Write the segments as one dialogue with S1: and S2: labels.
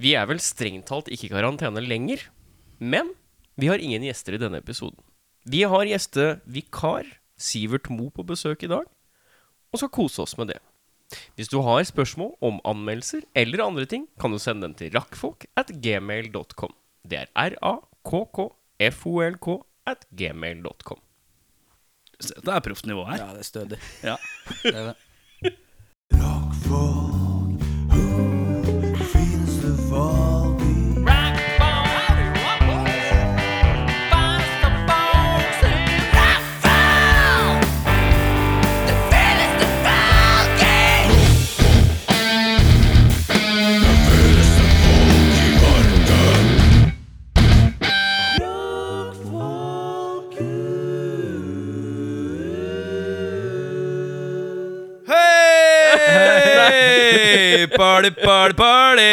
S1: Vi er vel strengt talt ikke i karantene lenger, men vi har ingen gjester i denne episoden. Vi har gjestevikar Sivert Mo på besøk i dag, og skal kose oss med det. Hvis du har spørsmål om anmeldelser eller andre ting, kan du sende dem til rakkfolk at gmail.com. Det er r-a-k-k-f-o-l-k at gmail.com.
S2: Så Dette er proft nivå her.
S3: Ja, det er stødig.
S2: Ja.
S3: Det er det.
S2: Hei! Party, party, party!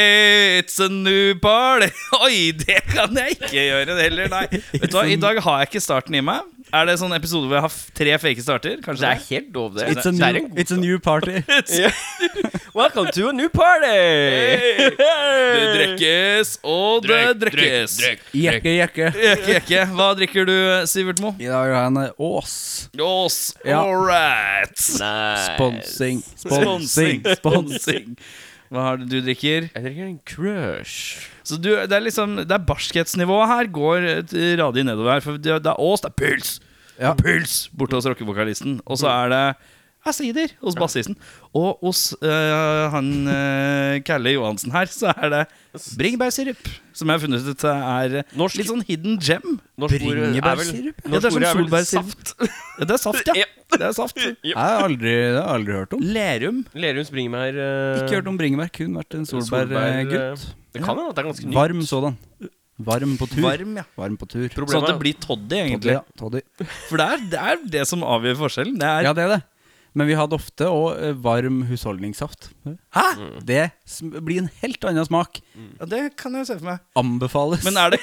S2: It's a new party! Oi, det kan jeg ikke gjøre det heller, nei. Vet du hva, I dag har jeg ikke starten i meg. Er det sånn episode hvor jeg har f- tre fake starter? Kanskje
S1: Det er helt lov, det.
S3: It's a
S1: det er en
S3: new,
S1: god
S3: it's a new party.
S1: Welcome to a new party!
S2: Det drikkes, og det drikkes.
S3: Jekke, jekke.
S2: Jekke, jekke. Hva drikker du, Sivert Mo?
S3: I dag har eh, jeg en Ås.
S2: Ås.
S3: Ja.
S2: All right.
S1: Nice.
S3: Sponsing. Sponsing. Sponsing.
S2: Hva har du du drikker?
S1: Jeg drikker en crush.
S2: Så du, det er liksom Det er barskhetsnivået her går et radig nedover her. For det det er Ås, det er puls!
S3: Ja.
S2: Puls borte hos rockevokalisten. Og
S1: Mm.
S2: så er det er sider hos bassisten. Og hos øh, han øh, Kalle Johansen her, så er det bringebærsirup. Som jeg har funnet ut er øh,
S1: Norsk-
S2: litt sånn hidden gem.
S1: Norsk ord er vel-
S3: Bringebærsirup?
S1: norsk
S2: Ja, det
S1: ord
S2: er som
S1: vel
S2: solbærsirup. Ja, det er saft, ja.
S1: Ja.
S2: Det er saft.
S3: Jeg har aldri, det har jeg aldri hørt om.
S2: Lerum.
S1: Lerums bringebær eh,
S3: Ikke hørt om bringebær, kun vært en solbærgutt.
S1: eh, Det kan hende at det er ganske nytt.
S3: Varm sådan. Varm på tur.
S2: Varm, ja.
S3: Varm på tur.
S1: Problemet
S2: Sånn at
S1: er-
S2: det blir toddy,
S3: Toddy,
S2: egentlig.
S3: ja. Toddy.
S2: For det er, det er det som avgjør forskjellen. Det er
S3: Ja, det er det. Men vi hadde ofte og eh, varm husholdningssaft.
S2: Hæ?!
S3: Det sm- blir en helt annen smak.
S2: Ja, det kan jeg se for meg.
S3: Anbefales.
S2: Men er det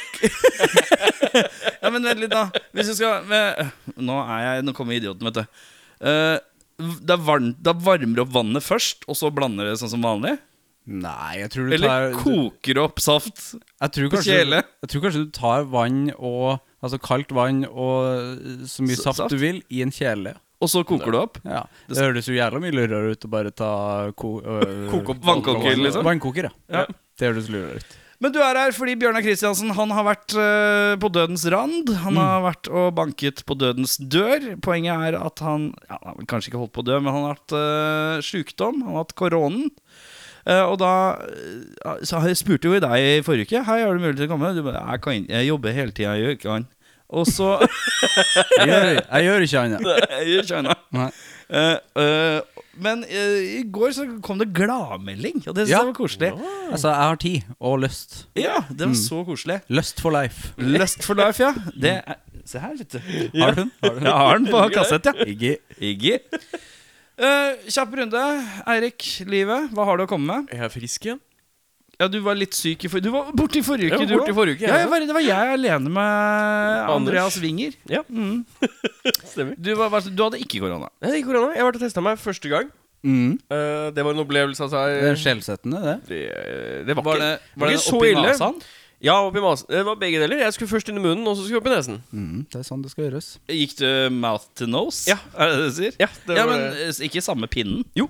S2: Ja, men vent litt, da. Hvis du skal men- Nå er jeg Nå kommer idioten, vet du. Eh, det, er varm, det varmer opp vannet først, og så blander det sånn som vanlig?
S3: Nei, jeg tror du
S2: Eller
S3: tar
S2: koker opp saft?
S3: jeg tror,
S2: på
S3: kanskje,
S2: kjele?
S3: jeg tror kanskje du tar vann og Altså kaldt vann og eh, så mye
S2: S-
S3: saft,
S2: saft?
S3: du vil i en kjele.
S2: Og så koker det opp?
S3: Ja. Det høres jo jævla mye lurere ut å bare ta ko øh,
S2: Koke opp vannkoker, liksom?
S3: Vannkoker, ja.
S2: Ja.
S3: Det høres lurere ut.
S2: Men du er her fordi Bjørnar Kristiansen Han har vært eh, på dødens rand. Han har vært og banket på dødens dør. Poenget er at han ja, Han har vel kanskje ikke holdt på å dø, men han har hatt eh, sjukdom. Han har hatt koronen. Eh, og da eh, så jeg spurte jo i deg i forrige uke Hei, har du mulighet til å komme. Du bare Jeg, kan, jeg jobber hele tida, jeg gjør ikke annet. Og så
S3: Jeg gjør, jeg gjør ikke annet.
S2: Jeg gjør ikke annet.
S3: Nei.
S2: Eh, eh, men eh, i går så kom det gladmelding, og det syns
S3: Ja.
S2: jeg var koselig.
S3: Altså, jeg har tid og lyst.
S2: Ja, det var så koselig.
S3: Lyst for life.
S2: Lust for life, ja. Det er, se her, vet du.
S3: Har du den? Har du den?
S2: Jeg har den på kassett, ja.
S3: Ikke
S2: Iggy. Eh, kjapp runde. Eirik, livet, hva har du å komme med?
S1: Jeg er frisk igjen.
S2: Ja, Du var litt syk i forrige Du var borte i forrige uke,
S1: Jeg var
S2: du
S1: borte i
S2: også.
S1: forrige uke, jeg
S2: Ja, jeg
S1: også.
S2: var, det var jeg alene med
S1: Anders.
S2: Andreas Winger.
S1: Ja.
S2: Mm.
S1: Stemmer.
S2: Du, var, var- du hadde ikke korona.
S1: Nei, det er ikke korona. Jeg har vært og testa meg første gang.
S3: mm.
S1: Eh, det var en opplevelse, altså.
S3: Det
S1: eh,
S3: er skjellsettende, det.
S1: Det, eh, det var,
S2: Var
S1: ikke,
S2: det,
S1: var
S2: var det
S1: ikke så
S2: oppi
S1: ille.
S2: nasen?
S1: Ja, oppi masen. Det var begge deler. Jeg skulle først inn i munnen, og så skulle jeg opp i nesen.
S3: Mm, det er sånn det skal gjøres.
S2: Gikk du mouth to nose?
S1: Ja.
S2: Er det det du sier?
S1: Ja, det
S2: ja,
S1: var
S2: men
S1: det.
S2: eh, ikke samme pinnen?
S1: Jo.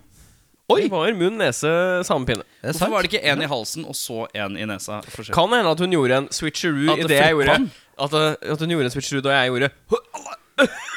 S2: Oi!
S1: Det var munn, nese, samme pinne.
S3: Det er
S2: Hvorfor
S3: sant.
S2: var det ikke én i halsen og så én i nesa? forskjellig?
S1: Kan hende at hun gjorde en switcheroo
S2: At
S1: i
S2: det
S1: det jeg
S2: flippa
S1: gjorde.
S2: den?
S1: At, eh, at hun gjorde en switcheroo da jeg gjorde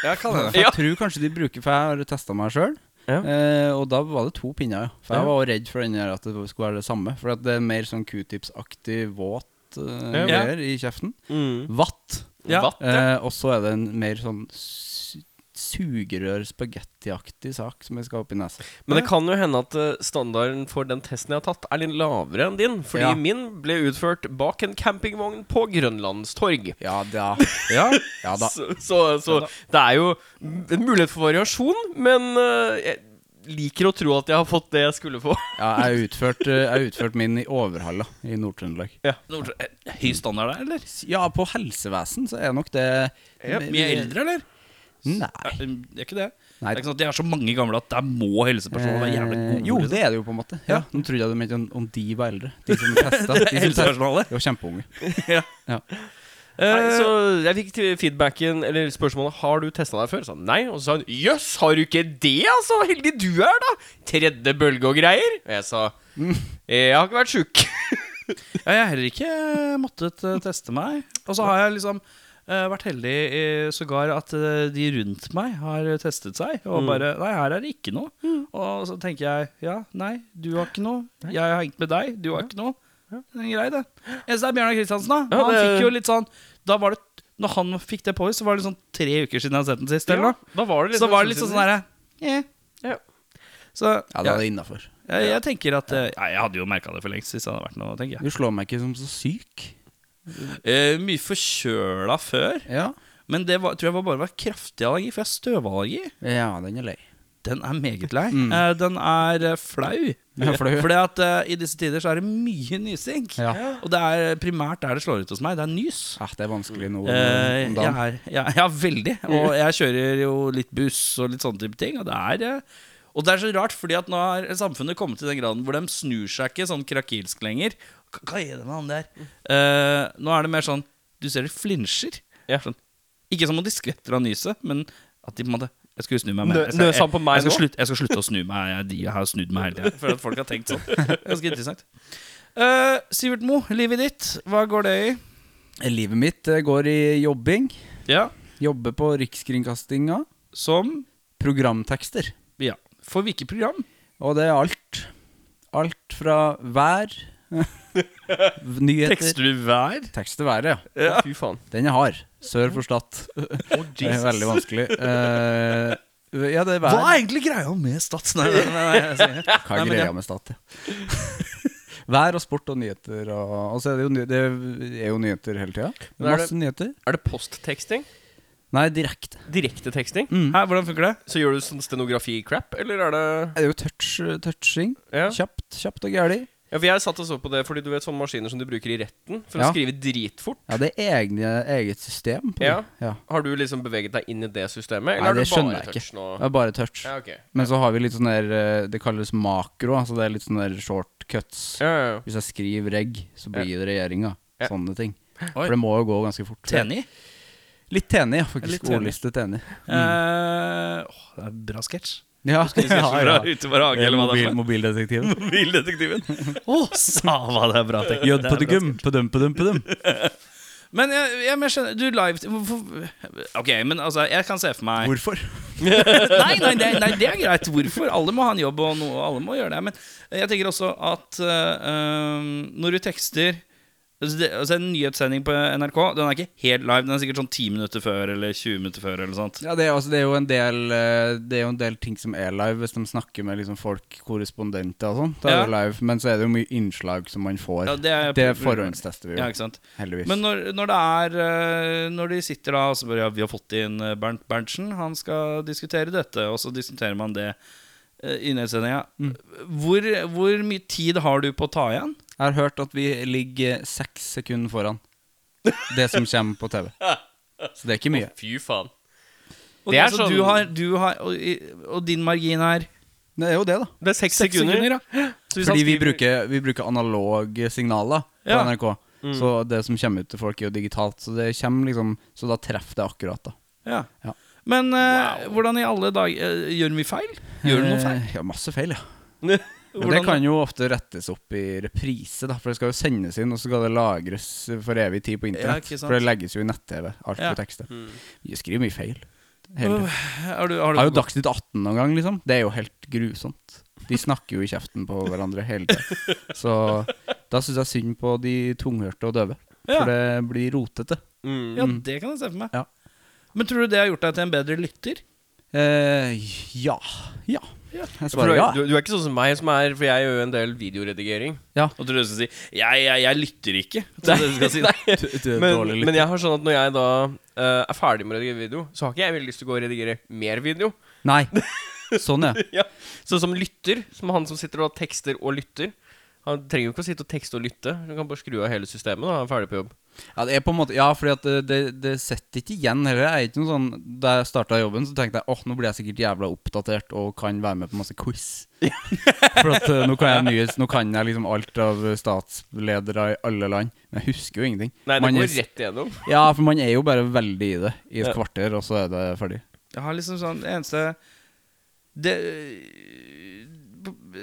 S2: Ja, kan hende.
S3: For jeg
S1: Ja.
S3: tror kanskje de bruker For jeg har testa meg sjøl.
S1: Ja.
S3: Eh, og da var det to pinner. ja. For jeg
S1: Ja.
S3: var redd for den der at det skulle være det samme. For at det er mer sånn q-tips-aktig våt eh,
S1: Ja.
S3: greier i kjeften.
S1: mm.
S3: Vatt.
S2: Ja.
S1: vatt. ja.
S3: Eh, og så er det en mer sånn su- sugerør-spagettiaktig sak som jeg skal ha oppi nesa.
S1: Men det kan jo hende at eh, standarden for den testen jeg har tatt, er litt lavere enn din. Fordi
S3: Ja.
S1: min ble utført bak en campingvogn på Grønlandstorg.
S3: Ja da. Ja, ja da.
S1: Så, så, så det er jo en mulighet for variasjon, men eh, jeg liker å tro at jeg har fått det jeg skulle få.
S3: Ja, jeg utførte utført min i Overhalla i Nord-Trøndelag.
S2: Nord- eh, Høy standard der, eller?
S3: Ja, på helsevesen så er nok det
S1: Ja,
S3: me-
S2: Mye eldre, eller?
S3: Nei.
S2: Er, er ikke det? Det
S3: Nei.
S2: er ikke sånn at de er så mange gamle at der må helsepersoner være jævlig
S3: Eh,
S2: gode. liksom.
S3: jo, det er det jo på en måte. Ja,
S2: Ja.
S3: Nå trodde jeg du mente om, om de var eldre. De som testa. De som testa.
S2: Helsepersonalet.
S3: De var kjempeunge.
S1: Nei, så Eh, jeg fikk til feedbacken, eller spørsmålet Har du testa deg før. Så han nei, og så sa hun jøss, har du ikke det, altså? Heldig du er, da! Tredje bølge og greier. Og jeg sa jeg har ikke vært sjuk.
S2: Ja, jeg har heller ikke måttet eh, teste meg. Og så har jeg liksom eh, vært heldig eh, sågar at eh, de rundt meg har testet seg.
S3: Mm.
S2: Og bare Nei, her er det ikke noe. Og så tenker jeg ja, nei, du har ikke noe. Jeg har hengt med deg, du har ikke noe. Det er grei, det. Eneste er Bjørnar Kristiansen, da.
S1: Ja,
S2: han
S1: det-
S2: fikk jo litt sånn Da var det Når han fikk det på oss, så var det sånn tre uker siden jeg hadde sett den sist. Eller noe.
S1: da var det
S2: Så var det litt sånn derre eh.
S1: Ja.
S2: Så
S3: Ja, det er innafor.
S2: jeg, jeg tenker at eh, Nei, jeg hadde jo merka det for lengst hvis det hadde vært noe, tenker jeg.
S3: Du slår meg ikke som så syk.
S2: Eh, mye forkjøla før,
S3: Ja,
S2: men det var, tror jeg var bare var kraftig allergi, for jeg har støvallergi.
S3: ja den er lei.
S2: Den er meget lei.
S3: Mm.
S2: Eh, den er eh, flau.
S3: Ja, flau.
S2: Fordi at eh, i disse tider så er det mye nysing.
S3: Ja.
S2: Og det er primært der det slår ut hos meg. Det er nys.
S3: Ja, Ah, det er vanskelig nå
S2: Eh, jeg
S3: om dagen.
S2: er, jeg, ja, veldig. Og jeg kjører jo litt buss og litt sånne type ting. Og det er, eh, og det er så rart, fordi at nå har samfunnet kommet til den graden hvor de snur seg ikke sånn krakilsk lenger. Hva- Hva er det med han der? Eh, nå er det mer sånn Du ser de flinsjer.
S1: Ja.
S2: Sånn. Ikke som om de skvetter av nyset, men at de på en måte jeg skulle snu meg mer.
S1: Nø-
S2: Jeg skal-
S1: nøs han på meg
S2: jeg, jeg,
S1: nå?
S2: skal slutte, jeg skal slutte å snu meg. Jeg, de- jeg har snudd meg hele tida. For at folk har tenkt sånn. Ganske interessant. Eh, Sivert Mo, livet ditt, hva går det
S3: Livet mitt eh, går i jobbing.
S2: i? Ja,
S3: Jobber på Rikskringkastinga.
S2: Som
S3: Programtekster.
S2: Ja. For hvilket program?
S3: Og det er alt. Alt fra vær Nyheter.
S2: Tekster du hver?
S3: Tekst til været, ja.
S1: Ja. Fy faen.
S3: Den er hard. Sør for Stad. Det er veldig vanskelig. Eh, ja, det er vær.
S2: Hva er egentlig greia med Stats? Nei, nei,
S1: eh,
S2: nei, jeg sier-
S3: Hva
S2: Nei,
S3: er
S2: men
S3: greia
S2: det-
S3: med stat? ja? Vær og sport og nyheter og Altså, det er jo, ny- det er jo nyheter hele tida.
S1: Men er det-
S3: Masse nyheter.
S1: Er det postteksting?
S3: Nei, direkte.
S1: Direkteteksting?
S3: Mm.
S2: Hæ, hvordan funker det?
S1: Så gjør du sånn stenografi-crap, eller er det
S3: Det er jo touch, touching.
S1: ja.
S3: Kjapt, kjapt og gæli.
S1: ja, for jeg satt og så på det, fordi du vet sånne maskiner som de bruker i retten for
S3: Ja.
S1: å skrive dritfort.
S3: Ja, det er egne, eget system på det.
S1: Ja.
S3: ja.
S1: Har du liksom beveget deg inn i det systemet,
S3: Nei,
S1: eller har
S3: det
S1: du
S3: skjønner
S1: bare
S3: jeg
S1: touch
S3: ikke.
S1: nå?
S3: Det er bare touch.
S1: Ja, ok.
S3: Men så har vi litt sånn der eh, Det kalles makro. Altså det er litt sånn der shortcuts.
S1: Ja, ja, ja.
S3: Hvis jeg skriver reg, så blir det regjeringa.
S1: Ja.
S3: Sånne ting.
S2: Oi.
S3: For det må jo gå ganske fort.
S2: Teni?
S3: Litt tenig, ja.
S2: Litt
S3: Faktisk.
S2: tenig.
S3: Ordliste tenig.
S2: Eh, åh, det er en bra sketsj.
S3: Ja, ja, ja.
S2: Ute var hage, eller hva det
S3: Mobil,
S2: er.
S3: mobildetektiven.
S2: Mobildetektiven. Å, sa hva det er bra teknikk.
S3: Jød
S2: Det
S3: på
S2: er
S3: det
S2: bra.
S3: gum, på dum, på dum, på dum.
S2: Men jeg, jeg, men jeg skjønner Du live hvorfor- Ok, men altså, jeg kan se for meg
S3: Hvorfor?
S2: nei, nei, nei, nei, det er greit. Hvorfor? Alle må ha en jobb, og noe, alle må gjøre det. Men jeg tenker også at eh, eh, når du tekster altså det, altså En nyhetssending på NRK Den er ikke helt live. Den er sikkert sånn 10 minutter før eller 20 minutter før. eller sånt
S3: Ja, det er, altså, det, er jo en del, eh, det er jo en del ting som er live, hvis de snakker med liksom, folk, korrespondenter og sånn. Da er det live, men så er det jo mye innslag som man får.
S2: Ja, det er,
S3: det forhåndstester vi jo,
S2: Ja, ikke sant?
S3: heldigvis.
S2: Men når, når det er eh, Når de sitter da og så bare ja, Vi har fått inn eh, Bernt Berntsen, han skal diskutere dette, og så diskuterer man det eh, i nyhetssendinga. Hvor, hvor mye tid har du på å ta igjen?
S3: Jeg har hørt at vi ligger seks sekunder foran det som kommer på TV. Så det er ikke mye.
S1: Fy faen. Det
S2: Og det
S1: er
S2: er sånn du
S1: sånn-
S2: har, du har og, i- og din margin er
S3: Det er jo det, da.
S1: Det er seks
S2: seks
S1: sekunder.
S2: sekunder. ja.
S1: Så hvis han
S3: Fordi vi
S1: skriver-
S3: bruker, vi bruker analoge signaler på
S2: Ja.
S3: NRK.
S2: Mm.
S3: Så det som kommer ut til folk, er jo digitalt. Så det kommer liksom Så da treffer det akkurat, da.
S2: Ja.
S3: Ja.
S2: Men eh, hvordan i alle dager eh, Gjør vi feil? Gjør du noe feil?
S3: Eh, Ja, masse feil, ja. Men
S2: Hvordan-
S3: det kan jo ofte rettes opp i reprise, da, for det skal jo sendes inn, og så skal det lagres for evig tid på
S2: Ja,
S3: internett.
S2: ikke sant.
S3: for det legges jo i nett-TV, alt
S2: Ja. Mm.
S3: på tekstet. Vi skriver mye feil. Hele
S2: Øh,
S3: tiden.
S2: har du, har du,
S3: Eh, Har jo Dagsnytt 18 noen gang, liksom. Det er jo helt grusomt. De snakker jo i kjeften på hverandre hele tida. Så da syns jeg synd på de tunghørte og døve.
S2: Ja.
S3: For det blir rotete.
S1: Mm.
S2: ja, det kan jeg se for meg.
S3: Ja.
S2: Men tror du det har gjort deg til en bedre lytter?
S3: Eh, ja. Ja.
S2: Ja.
S3: Jeg
S1: For du,
S3: svarer ja.
S1: du, du er ikke sånn som meg, som er, for jeg gjør jo en del videoredigering. liksom
S2: Og tror du skal si 'jeg, jeg, jeg lytter ikke'? Så det du skal si, da.
S3: Du, du er
S1: Men,
S3: dårlig
S1: men
S3: lytter.
S1: jeg har sånn at når jeg da eh, er ferdig med å redigere video, så har ikke jeg veldig lyst til å gå og redigere mer video.
S3: Nei. Sånn, ja.
S1: Så som lytter, som han som sitter og tekster og lytter, Han trenger jo ikke å sitte og tekste og lytte. Han kan bare skru av hele systemet da, han er ferdig på jobb.
S3: Ja, det er på en måte, ja fordi at det, det, det setter ikke igjen heller. Jeg er ikke noe sånn, Da jeg starta jobben, så tenkte jeg åh, nå blir jeg sikkert jævla oppdatert og kan være med på masse quiz. For at eh, nå kan jeg nyhets, nå kan jeg liksom alt av statsledere i alle land. Men jeg husker jo ingenting.
S1: Nei, det
S3: Man
S1: går
S3: er-
S1: rett igjennom.
S3: Ja, for man er jo bare veldig i det i et
S1: Ja.
S3: kvarter, og så er det ferdig.
S2: Jeg har liksom sånn Det eneste det, eh,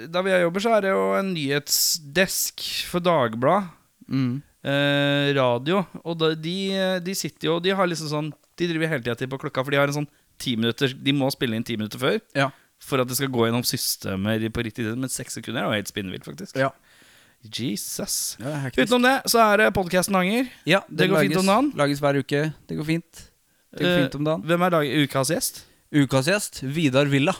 S2: Da vi jobber, så er det jo en nyhetsdesk for Dagbladet.
S3: Mm.
S2: Eh, radio. Og da, de, de sitter jo De har liksom sånn De driver hele tida til på klokka, for de har en sånn ti minutter De må spille inn ti minutter før
S3: Ja.
S2: for at det skal gå gjennom systemet på riktig tid. Men seks sekunder er jo helt spinnvilt, faktisk.
S3: Ja.
S2: Jesus.
S3: Ja, hektisk.
S2: Utenom det så er det podkasten Anger.
S3: ja,
S2: det går fint om dagen.
S3: Lages hver uke. Det går fint. Det går
S2: Eh,
S3: fint om dagen.
S2: Hvem er dag ukas gjest?
S3: Ukas gjest, Vidar Villa.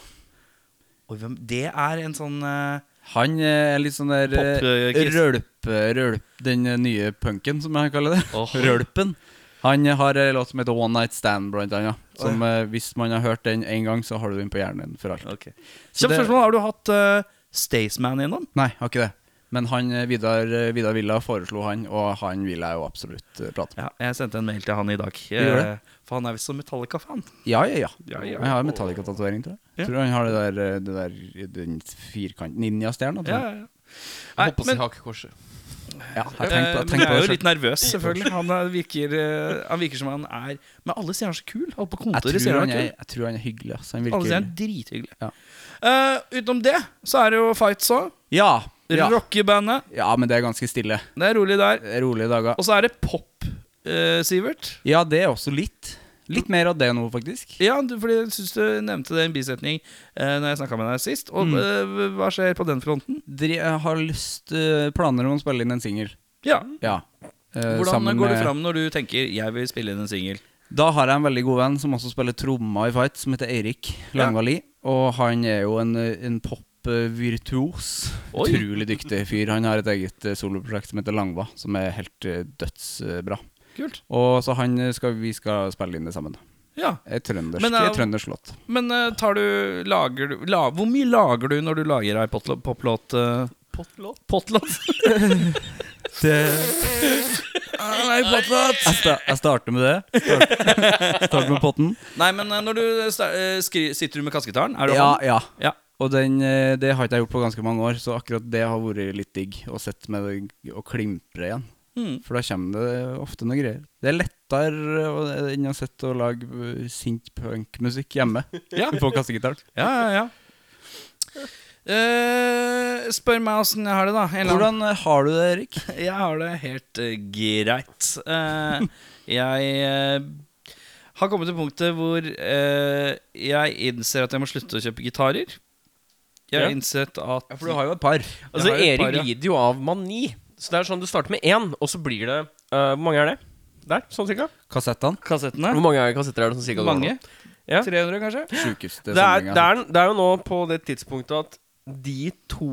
S2: Oi, hvem, det er en sånn eh,
S3: Han eh, er litt sånn der eh,
S2: Popkis.
S3: Rølpe, rølp, den eh, nye punken, som jeg kaller det.
S1: Åh.
S3: Rølpen. Han eh, har en låt som heter One Night Stand, blant annet. Som eh, hvis man har hørt den én gang, så har du den på hjernen for alt.
S2: Ok.
S3: Så
S2: Kjapt
S3: det-
S2: spørsmål. Har du hatt eh, Staysman innom?
S3: Nei, har ikke det. Men han, eh, Vidar, eh, Vidar Villa foreslo han, og han vil jeg jo absolutt eh, prate med.
S2: Ja, jeg sendte en mail til han i dag.
S3: gjorde
S2: Eh, For han er visst så Metallica-fan.
S3: Ja, ja, ja.
S2: Ja, ja.
S3: Jeg har en Metallica-tatovering, tror jeg.
S2: Ja.
S3: Tror han har det der, eh, det der den firkant ninjastjerna.
S2: Ja,
S3: tror jeg.
S2: ja, ja. Nei,
S1: Holdt på å si
S2: men,
S1: hakekorset.
S3: Ja, jeg
S2: eh,
S3: tenkte på,
S2: men
S3: tenk
S2: jeg
S3: på
S2: er
S3: det
S2: jo
S3: selv.
S2: litt nervøs, selvfølgelig. Han er, virker, eh, han virker som han er Men alle sier han er så kul. Alle på
S3: Jeg
S2: kontoret
S3: tror,
S2: sier
S3: han
S2: han
S3: er,
S2: er kul.
S3: jeg tror han er hyggelig. ass. Han
S2: Alle sier han
S3: virker
S2: er drithyggelig.
S3: Ja.
S2: Eh, utenom det så er det jo Fights òg.
S3: ja, ja,
S2: Rockebandet.
S3: ja, men det er ganske stille.
S2: Det er rolig der.
S3: Rolige dager.
S2: Og så er det pop, eh, Sivert.
S3: Ja, det er også litt. Litt mer av det nå, faktisk.
S2: Ja, du, fordi jeg syns du nevnte det i en bisetning eh, Når jeg snakka med deg sist. Og
S3: Mm.
S2: eh, hva skjer på den fronten?
S3: Dri jeg har lyst eh, planer om å spille inn en singel.
S2: Ja.
S3: Ja. Eh,
S2: Hvordan
S3: sammen
S2: går du
S3: med-
S2: fram når du tenker 'jeg vil spille inn en singel'?
S3: Da har jeg en veldig god venn som også spiller trommer i fight, som heter Eirik
S2: Ja.
S3: Langvali. Og han er jo en, eh, en pop-virtuos.
S2: Oi.
S3: Utrolig dyktig fyr. Han har et eget eh, soloprosjekt som heter Langva, som er helt eh, dødsbra.
S2: Kult.
S3: Og så han eh, skal, vi skal spille inn det sammen.
S2: Ja.
S3: Et trøndersk,
S2: Men, eh,
S3: et trøndersk låt.
S2: Men eh, tar du, lager du la, Hvor mye lager du når du lager ei potlå- poplåt? eh,
S1: Pottlåt?
S2: Potlåt?
S3: Nei, Jeg, sta jeg starter med det. Start, starter med potten.
S2: Nei, men eh, når du sta- eh, skri, sitter du med kassegitaren? Er du
S3: Ja,
S2: han?
S3: ja.
S2: Ja.
S3: Og den, eh, det har ikke jeg gjort på ganske mange år, så akkurat det har vært litt digg å sette med det og klimpre igjen.
S2: Mm.
S3: For da kommer det ofte noen greier. Det er lettere å- enn å sitte og lage eh, sint punkmusikk hjemme
S2: Ja.
S3: på kassegitaren.
S2: ja, ja, ja. Eh, spør meg åssen jeg har det, da. En eller annen-
S3: Hvordan eh, har du det, Erik?
S2: Jeg har det helt eh, greit. Eh, jeg eh, har kommet til punktet hvor eh, jeg innser at jeg må slutte å kjøpe gitarer. Jeg har
S1: Ja.
S2: innsett at
S3: har jo et par.
S1: Altså,
S2: Jeg har jo et
S1: Erik
S2: par, ja.
S1: lider jo av mani. Så det er sånn du starter med én, og så blir det eh, Hvor mange er det? Der, sånn cirka?
S3: Kassettene.
S2: kassettene
S1: Hvor mange kassetter er det sånn cirka? du har nå?
S2: Mange.
S1: Ja.
S2: 300, kanskje?
S3: Sjukeste
S1: det er,
S3: samlinga.
S1: det, er, det er jo nå på det tidspunktet at de to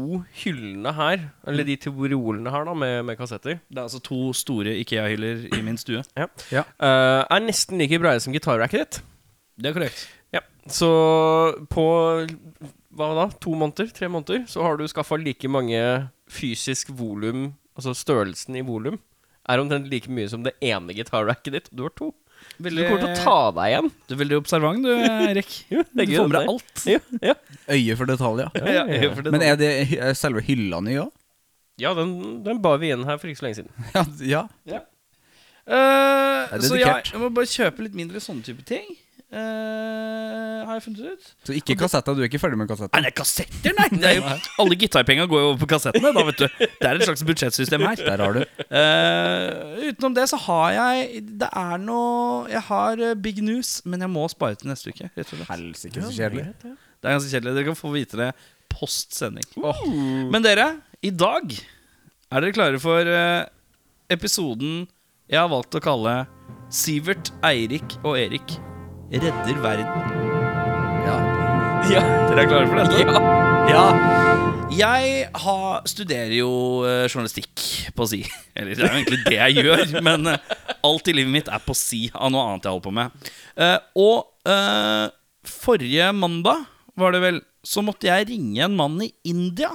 S1: hyllene her, eller de to reolene her da, med, med kassetter,
S2: Det er altså to store Ikea-hyller i min stue.
S1: eh, er nesten like breie som gitarracket ditt.
S2: Det er korrekt.
S1: Ja. Så på hva da, to måneder, tre måneder, så har du skaffa like mange fysisk volum, altså størrelsen i volum, er omtrent like mye som det ene gitarracket ditt. Du har to. Du
S2: Veldig,
S1: kommer til å ta deg igjen.
S2: Du er veldig observant, du, Erik.
S1: Jo, det er
S2: Du
S1: gøy,
S2: får med
S1: det
S2: deg
S1: der.
S2: alt.
S1: Jo, ja.
S3: Øye for detaljer.
S1: Ja, ja, ja.
S2: for det
S3: Men er det er selve hylla ny òg?
S1: ja den, den bar vi igjen her for ikke så lenge siden.
S3: Ja, ja.
S2: Eh,
S3: Det er
S2: Så jeg,
S3: dedikert.
S2: jeg må bare kjøpe litt mindre sånne type ting. Eh, har jeg funnet ut.
S3: Så ikke kassetter. Du er ikke ferdig med
S2: Nei,
S3: kassetter?
S2: det er kassetter, nei! Det er jo, alle gitarpenga går jo over på kassettene. Da, vet du. Det er et slags budsjettsystem her.
S3: Der har du.
S2: Eh, utenom det så har jeg Det er noe Jeg har eh, big news, men jeg må spare til neste uke. Rett og slett.
S3: Helsike, så kjedelig.
S2: Det er ganske kjedelig. Dere kan få vite det post sending. Men dere, i dag er dere klare for eh, episoden jeg har valgt å kalle Sivert, Eirik og Erik redder verden.
S3: Ja.
S1: Ja.
S2: Dere er klare for dette?
S1: ja.
S2: Jeg har, studerer jo eh, journalistikk på si. Eller det er jo egentlig det jeg gjør, men eh, alt i livet mitt er på si av noe annet jeg holder på med. Eh, og eh, forrige mandag, var det vel, så måtte jeg ringe en mann i India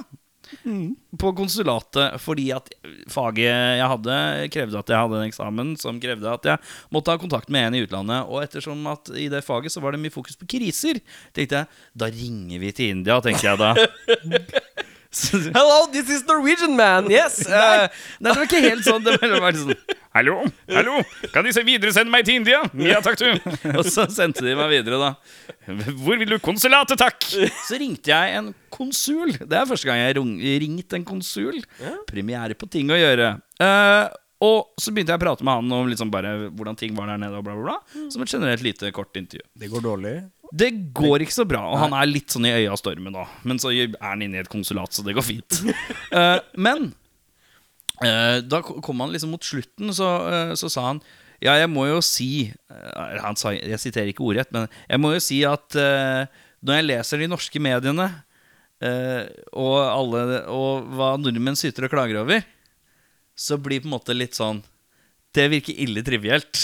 S2: på konsulatet fordi at faget jeg hadde, krevde at jeg hadde en eksamen som krevde at jeg måtte ha kontakt med en i utlandet. Og ettersom at i det faget så var det mye fokus på kriser, tenkte jeg da ringer vi til India, tenkte jeg da. Så-
S1: Hello, this is Norwegian man! Yes!
S2: eh, Nei, det var ikke helt sånn. Det var bare sånn
S4: Hallo, hallo, kan de se videre sende meg til India? Ja, takk du.
S2: Og så sendte de meg videre, da.
S4: Hvor vil du konsulatet, takk?
S2: Så ringte jeg en konsul. Det er første gang jeg har ringt en konsul. Premiere på ting å gjøre. Eh, og så begynte jeg å prate med han om liksom bare hvordan ting var der nede. Og bla, bla, bla,
S4: Mm.
S2: som et generelt lite, kort intervju.
S3: Det går dårlig.
S2: Det går ikke så bra, og han er litt sånn i øya av stormen da. Men så er han inne i et konsulat, så det går fint. Eh, men eh, da ko- kom han liksom mot slutten, så, eh, så sa han Ja, jeg må jo si eh, han sa, Jeg siterer ikke ordrett, men jeg må jo si at eh, når jeg leser de norske mediene eh, og, alle, og hva nordmenn syter og klager over, så blir på en måte litt sånn det virker ille trivielt.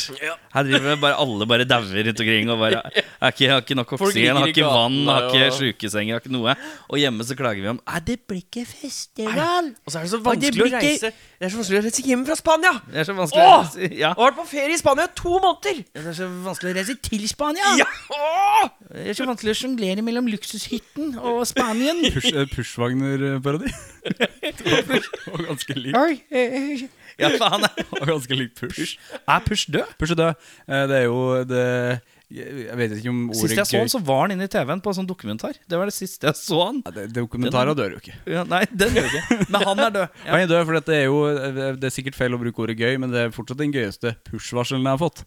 S2: Her driver bare alle bare dauer rundt omkring. Og bare, er ikke, har ikke nok oksygen,
S1: ligger
S2: har
S1: i
S2: ikke vann,
S1: gatene
S2: har ikke
S1: og-
S2: sjukesenger, har ikke noe. Og hjemme så klager vi om «Nei, det blir ikke festival.
S1: Og så er det så
S2: vanskelig
S1: vanskelig å
S2: å
S1: reise Det er så vanskelig å reise hjem fra Spania!
S2: Det er så vanskelig å
S1: Åh!
S2: si- ja.
S1: Og har vært på ferie i Spania i to måneder!
S2: Det er så vanskelig å reise til Spania.
S1: Ja! Åh!
S2: Det er så vanskelig å sjonglere mellom luksushytten og Spanien.
S3: Push, eh, Pushwagner-parodi. Det var- var ganske lik
S2: ja, faen.
S3: var ganske lik push.
S2: Er Push død?
S3: Push er død. Eh, Det er jo det Jeg vet ikke om ordet
S2: Sist jeg så
S3: gøy-
S2: han, så var han inne i TV-en på en sånn dokumentar. Det var det siste jeg så han.
S3: Ja, det- Dokumentarer dør jo ikke.
S2: Ja, nei, den gjør ikke. Men han er død.
S3: Han er død, for det er jo eh, Det er sikkert feil å bruke ordet gøy, men det er fortsatt den gøyeste push-varselen jeg har fått.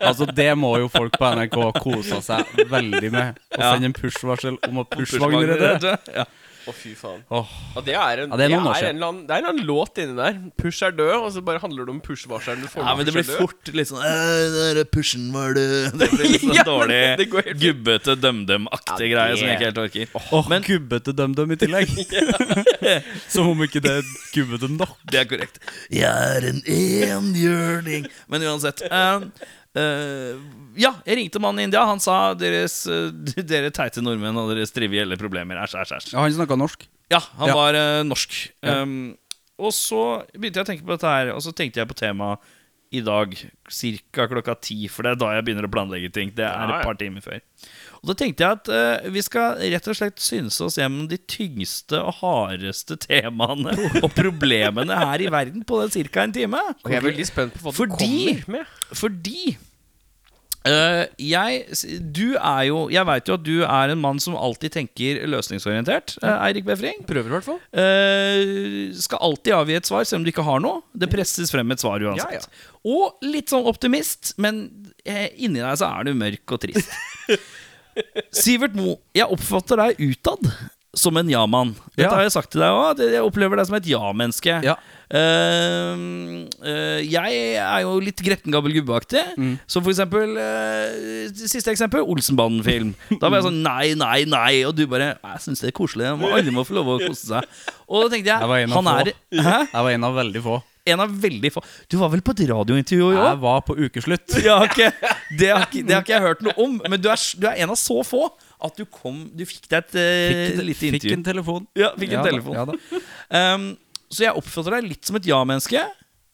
S3: altså Det må jo folk på NRK kose seg veldig med. Å
S2: Ja.
S3: sende en push-varsel om at push-vagner er død.
S2: Ja.
S1: Å, fy faen.
S3: Åh.
S1: Ja, det er en, det
S3: Ja,
S1: er
S3: det er noen år
S1: en,
S3: siden.
S1: eller annen, det er en eller annen låt inni der. Push er død, og så bare handler det om push-varsleren du får
S2: Ja, men det blir
S1: push er død.
S2: fort litt sånn «Øh, den der pushen var død. Det blir litt sånn
S1: Ja, men
S2: dårlig,
S1: det går helt fint.
S2: gubbete døm-døm-aktig
S1: Ja,
S2: greie
S1: det-
S2: som jeg ikke helt orker.
S3: Og gubbete døm-døm i tillegg. Som om ikke det er gubbete nok.
S2: Det er korrekt. Jeg er en enhjørning. Men uansett. eh, eh, ja, jeg ringte mannen i India. Han sa deres, eh, dere teite nordmenn og deres trivielle problemer. Æsj, æsj, æsj.
S3: Ja, han snakka norsk.
S2: Ja, han
S3: Ja.
S2: var eh, norsk. Um, og så begynte jeg å tenke på dette her, og så tenkte jeg på temaet i dag ca. klokka ti. For det er da jeg begynner å planlegge ting. Det er
S1: Ja, ja.
S2: et par timer før. Og da tenkte jeg at eh, vi skal rett og slett synse oss gjennom de tyngste og hardeste temaene og problemene her i verden på den ca. en time.
S1: Og jeg er veldig spent på hva du
S2: Fordi-
S1: kommer med.
S2: Fordi øh, jeg Du er jo Jeg veit jo at du er en mann som alltid tenker løsningsorientert, øh, Eirik Befring.
S1: Prøver i hvert fall.
S2: Eh, skal alltid avgi et svar, selv om du ikke har noe. Det presses frem et svar uansett.
S1: Ja, ja.
S2: Og litt sånn optimist, men eh, inni deg så er du mørk og trist. Sivert Mo, jeg oppfatter deg utad som en ja-mann. Dette
S3: Ja.
S2: har jeg sagt til deg òg. Jeg opplever deg som et ja-menneske.
S3: Ja.
S2: Eh, eh, jeg er jo litt gretten gammel gubbeaktig.
S3: Mm.
S2: Som for eksempel eh, Siste eksempel Olsenbanden-film. Da var jeg sånn nei, nei, nei. Og du bare Jeg syns det er koselig. Må- Alle må få lov å kose seg. Og da tenkte
S3: Jeg var
S2: jeg
S3: en av
S2: Han
S3: få.
S2: er Hæ?
S3: Jeg var en av veldig få.
S2: en av veldig få Du var vel på et radiointervju i
S3: Jeg
S2: år?
S3: var på ukeslutt.
S2: Jeg har ikke, det, har ikke, det har ikke jeg hørt noe om. Men du er, s- du er en av så få at du kom Du fikk deg et eh, lite intervju.
S3: Fikk, fikk en telefon.
S2: ja, fikk en
S3: Ja da,
S2: telefon.
S3: Ja, da.
S2: Um, så jeg oppfatter deg litt som et ja-menneske.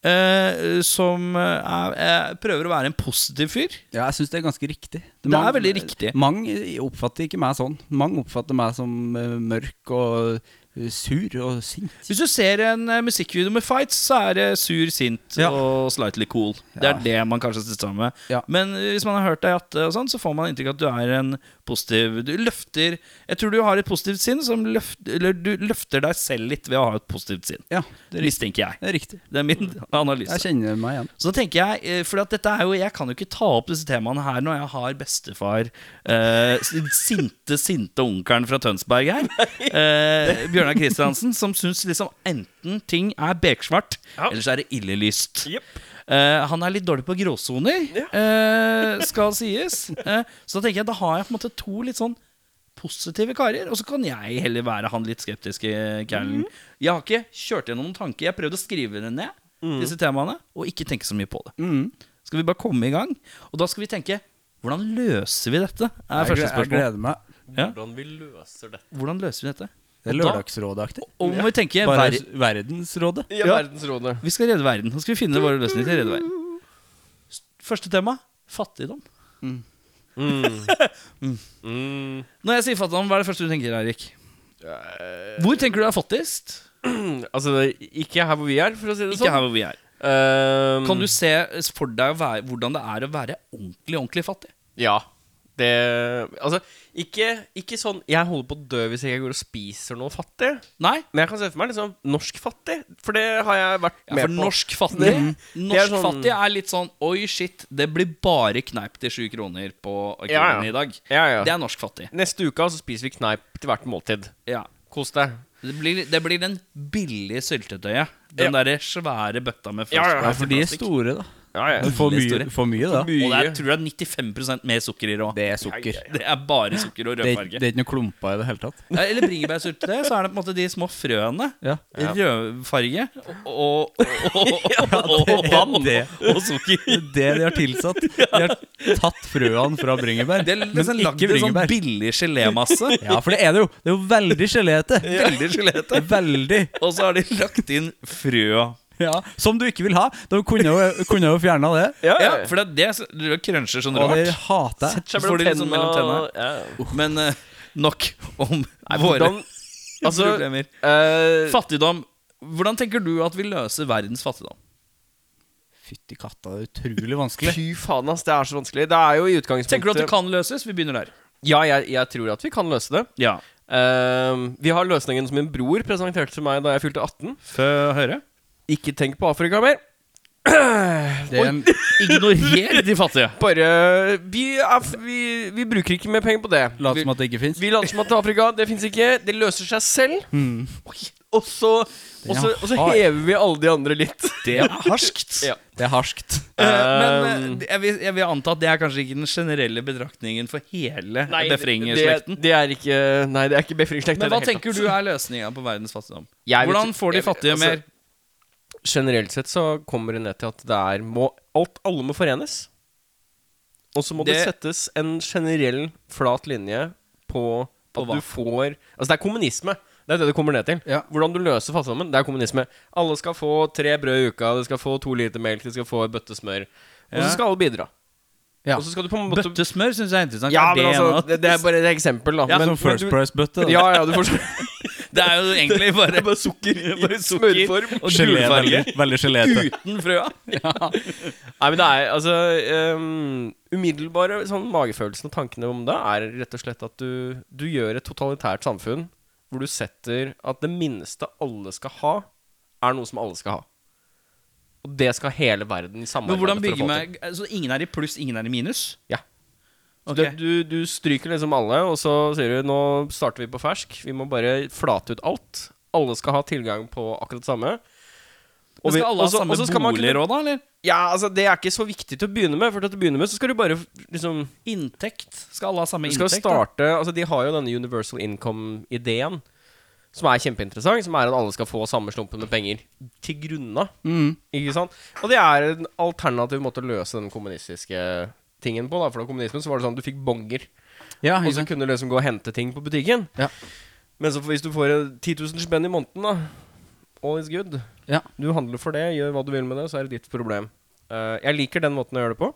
S2: eh, som eh, er, eh, prøver å være en positiv fyr.
S3: ja jeg syns det er ganske riktig.
S2: Det
S3: Mang-
S2: er veldig riktig.
S3: Mange oppfatter ikke meg sånn. Mange oppfatter meg som eh, mørk og eh, sur og sint.
S2: Hvis du ser en eh, musikkvideo med fights, så er det sur, sint
S3: Ja.
S2: og slightly cool. Det er
S3: Ja.
S2: det man kanskje sitter sammen med.
S3: Ja.
S2: Men eh, hvis man har hørt deg jatte, og sånn, så får man inntrykk av at du er en positiv Du løfter Jeg tror du har et positivt sinn som løfter Eller du løfter deg selv litt ved å ha et positivt sinn.
S3: Ja, det
S2: Det
S3: er riktig.
S2: mistenker jeg.
S3: Det er riktig.
S2: Det er min analyse.
S3: Jeg kjenner meg igjen.
S2: Så da tenker jeg, eh, for at dette er jo, jeg kan jo ikke ta opp disse temaene her når jeg har bestefar, eh, s- sinte, sinte onkelen fra Tønsberg her, eh, Bjørnar Kristiansen, som syns liksom enten ting er beksvart,
S1: Ja.
S2: eller så er det ille lyst.
S1: Jepp.
S2: Eh, han er litt dårlig på gråsoner, eh, skal sies. Eh, så da tenker jeg, da har jeg på en måte to litt sånn positive karer, og så kan jeg heller være han litt skeptiske kælen. Jeg har ikke kjørt gjennom noen tanker. Jeg prøvde å skrive det ned, disse temaene, og ikke tenke så mye på det. Skal vi bare komme i gang? Og da skal vi tenke hvordan løser vi dette? er
S3: Jeg,
S2: første
S3: jeg
S2: spørsmål.
S3: gleder meg.
S2: Ja.
S1: Hvordan vi løser dette.
S2: Hvordan løser vi dette?
S3: Det er
S2: Og da-
S3: Lørdagsrådet-aktig.
S2: Og må vi tenke
S3: Bare
S2: ver
S3: s- Verdensrådet.
S1: I
S2: Ja.
S1: verdensrådet.
S2: Vi skal redde verden. Nå skal vi finne våre løsninger til å redde verden. Første tema fattigdom.
S1: Mm.
S2: Når jeg sier fattigdom, hva er det første du tenker, Eirik? Hvor tenker du er fattigst?
S1: Altså, det er ikke her hvor vi er, for å si det
S2: Ikke
S1: sånn.
S2: her hvor vi er.
S1: Ehm,
S2: Kan du se for deg hva- hvordan det er å være ordentlig, ordentlig fattig?
S1: Ja. Det Altså, ikke, ikke sånn Jeg holder på å dø hvis jeg ikke går og spiser noe fattig.
S2: Nei?
S1: Men jeg kan se for meg liksom norsk fattig, for det har jeg vært
S2: Ja,
S1: med
S2: for
S1: på.
S2: norsk fattig
S1: Det- det er
S2: Norsk
S1: sånn-
S2: fattig er litt sånn Oi, shit, det blir bare kneip til sju kroner på Akronen
S1: Ja, ja.
S2: i dag.
S1: Ja, ja.
S2: Det er norsk fattig.
S1: Neste uke så spiser vi kneip til hvert måltid.
S2: Ja.
S1: Kos deg.
S2: Det blir, det blir den billige syltetøyet. Den derre svære bøtta med
S1: Ja, ja,
S2: Frostbite.
S3: Ja, for de er store, da.
S1: Ja, ja.
S3: For
S2: Veldig
S3: mye,
S2: store.
S3: for mye da.
S2: Og det er tror jeg 95 mer sukker i rå.
S3: Det er sukker.
S2: Det er bare sukker og
S3: Det er, det
S2: rødfarge.
S3: er ikke noe klumper i det hele tatt.
S2: Ja, Eller bringebærsyltetøy, så er det på en måte de små frøene.
S3: Ja.
S2: Rødfarge og, og, og, og, og vann og sukker.
S3: Det er det de har tilsatt. De har tatt frøene fra bringebær,
S2: Det er liksom
S3: men
S2: lagd
S3: ikke
S2: i sånn
S3: bringebær.
S2: billig gelémasse.
S3: Ja, for det er det jo. Det er jo veldig geléete.
S2: Veldig geléete.
S3: Veldig.
S2: Og så har de lagt inn frøa.
S3: Ja. Som du ikke vil ha. De kunne jo, kunne jo fjerna det.
S1: Ja, ja.
S2: Ja, for det er det som- du krønsjer sånn
S3: Og det
S2: rart.
S3: hater jeg.
S1: Sett seg
S2: Får de
S1: sånn mellom
S2: liksom mellom
S1: tenna.
S2: tenna.
S1: Ja.
S2: Men eh, nok om
S1: Nei,
S2: våre
S1: hvordan Altså
S2: problemer.
S1: eh,
S2: Fattigdom. Hvordan tenker du at vi løser verdens fattigdom?
S3: Fytti katta, det er utrolig vanskelig.
S1: Fy faen, ass. Det er så vanskelig. Det er jo i utgangspunktet
S2: Tenker du at det kan løses? Vi begynner der.
S1: Ja, jeg, jeg tror at vi kan løse det.
S2: Ja.
S1: Ehm, vi har løsningen som min bror presenterte til meg da jeg fylte 18.
S2: Få høre.
S1: Ikke tenk på Afrika mer.
S3: Det er en,
S2: Ignorer de fattige.
S1: Bare Vi, er, f- vi, vi bruker ikke mer penger på det.
S3: lat
S1: Vi-
S3: som at det ikke fins.
S1: Vi later som at det er Afrika, det fins ikke. Det løser seg selv. Oi. Og så, og, så, og så
S3: Hmm. hard.
S1: hever vi alle de andre litt.
S2: Det er harskt.
S1: Ja.
S3: Det er harskt.
S2: men
S1: Um,
S2: eh, jeg vil, jeg vil anta at det er kanskje ikke den generelle betraktningen for hele befringerslekten.
S1: Det, det er ikke Nei, det er ikke befringerslekt.
S2: Men hva tenker du er løsninga på verdens fattigdom?
S1: Jeg vet-
S2: Hvordan får de
S1: jeg vet-
S2: fattige
S1: altså,
S2: mer?
S1: Generelt sett så kommer det ned til at det er må, alt, Alle må forenes. Og så må det,
S2: Det-
S1: settes en generell flat linje på
S2: På
S1: at
S2: hva?
S1: du får Altså, det er kommunisme. Det er det det kommer ned til.
S3: Ja.
S1: Hvordan du løser fattigdommen, det er kommunisme. Alle skal få tre brød i uka, de skal få to liter melk, de skal få en bøtte smør. Og så
S2: Ja.
S1: skal alle bidra.
S3: Ja.
S1: Og så skal du på en måte
S2: Bøttesmør syns jeg er interessant.
S1: Ja, men
S2: Er det en
S1: altså,
S2: av-
S1: det, det er bare et eksempel, da.
S3: Ja,
S1: men,
S3: som First
S1: men du-
S3: Price-bøtte.
S1: Ja, ja, du får så-
S2: Det er jo egentlig bare, bare sukker
S1: i smørform.
S2: og
S3: Gelé, veldig,
S2: gulfarge
S3: veldig geléete.
S2: uten frøa.
S1: Nei, men det er altså ehm, Umiddelbare sånn magefølelsen og tankene om det er rett og slett at du, du gjør et totalitært samfunn hvor du setter at det minste alle skal ha, er noe som alle skal ha. Og det skal hele verden
S2: Men
S1: samarbeide
S2: hvordan
S1: for å
S2: bygger
S1: få til.
S2: man Så ingen er i pluss, ingen er i minus?
S1: Ja.
S2: Ok.
S1: Du, du, du stryker liksom alle, og så sier du nå starter vi på fersk. Vi må bare flate ut alt. Alle skal ha tilgang på akkurat det samme.
S2: Men
S1: vi-
S2: skal alle ha
S1: også-
S2: samme
S1: også skal man kunne-
S2: boligråd, da? eller?
S1: Ja, altså Det er ikke så viktig til å begynne med. For til å begynne med så skal du bare liksom
S2: Inntekt? Skal alle ha
S1: Du
S2: samme inntekt?
S1: skal starte Altså De har jo denne universal income-ideen, som er kjempeinteressant, som er at alle skal få samme slumpen med penger til grunna. Ikke sant? Og det er en alternativ måte å løse den kommunistiske tingen på. da For da kommunismen så var det sånn at du fikk bonger,
S3: Ja,
S1: og
S3: Ah, ikke
S1: så
S3: sant.
S1: kunne du liksom gå og hente ting på butikken.
S3: Ja.
S1: Men så hvis du får eh, 10 000 spenn i måneden, da All is good.
S3: Ja.
S1: Du handler for det, gjør hva du vil med det, så er det ditt problem. Eh, jeg liker den måten å gjøre det på.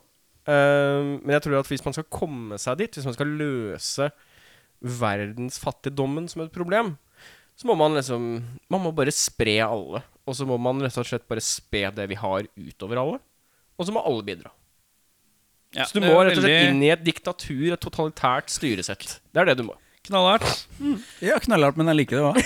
S1: Eh, men jeg tror at hvis man skal komme seg dit, hvis man skal løse verdensfattigdommen som et problem, så må man liksom Man må bare spre alle. Og så må man rett og slett bare spe det vi har, utover alle. Og så må alle bidra.
S2: Ja,
S1: så du
S2: det
S1: må
S2: er
S1: rett og slett
S2: veldig
S1: inn i et diktatur, et totalitært styresett. Det er det du må.
S2: Knallhardt.
S3: Ja, knallhardt, men jeg liker det òg.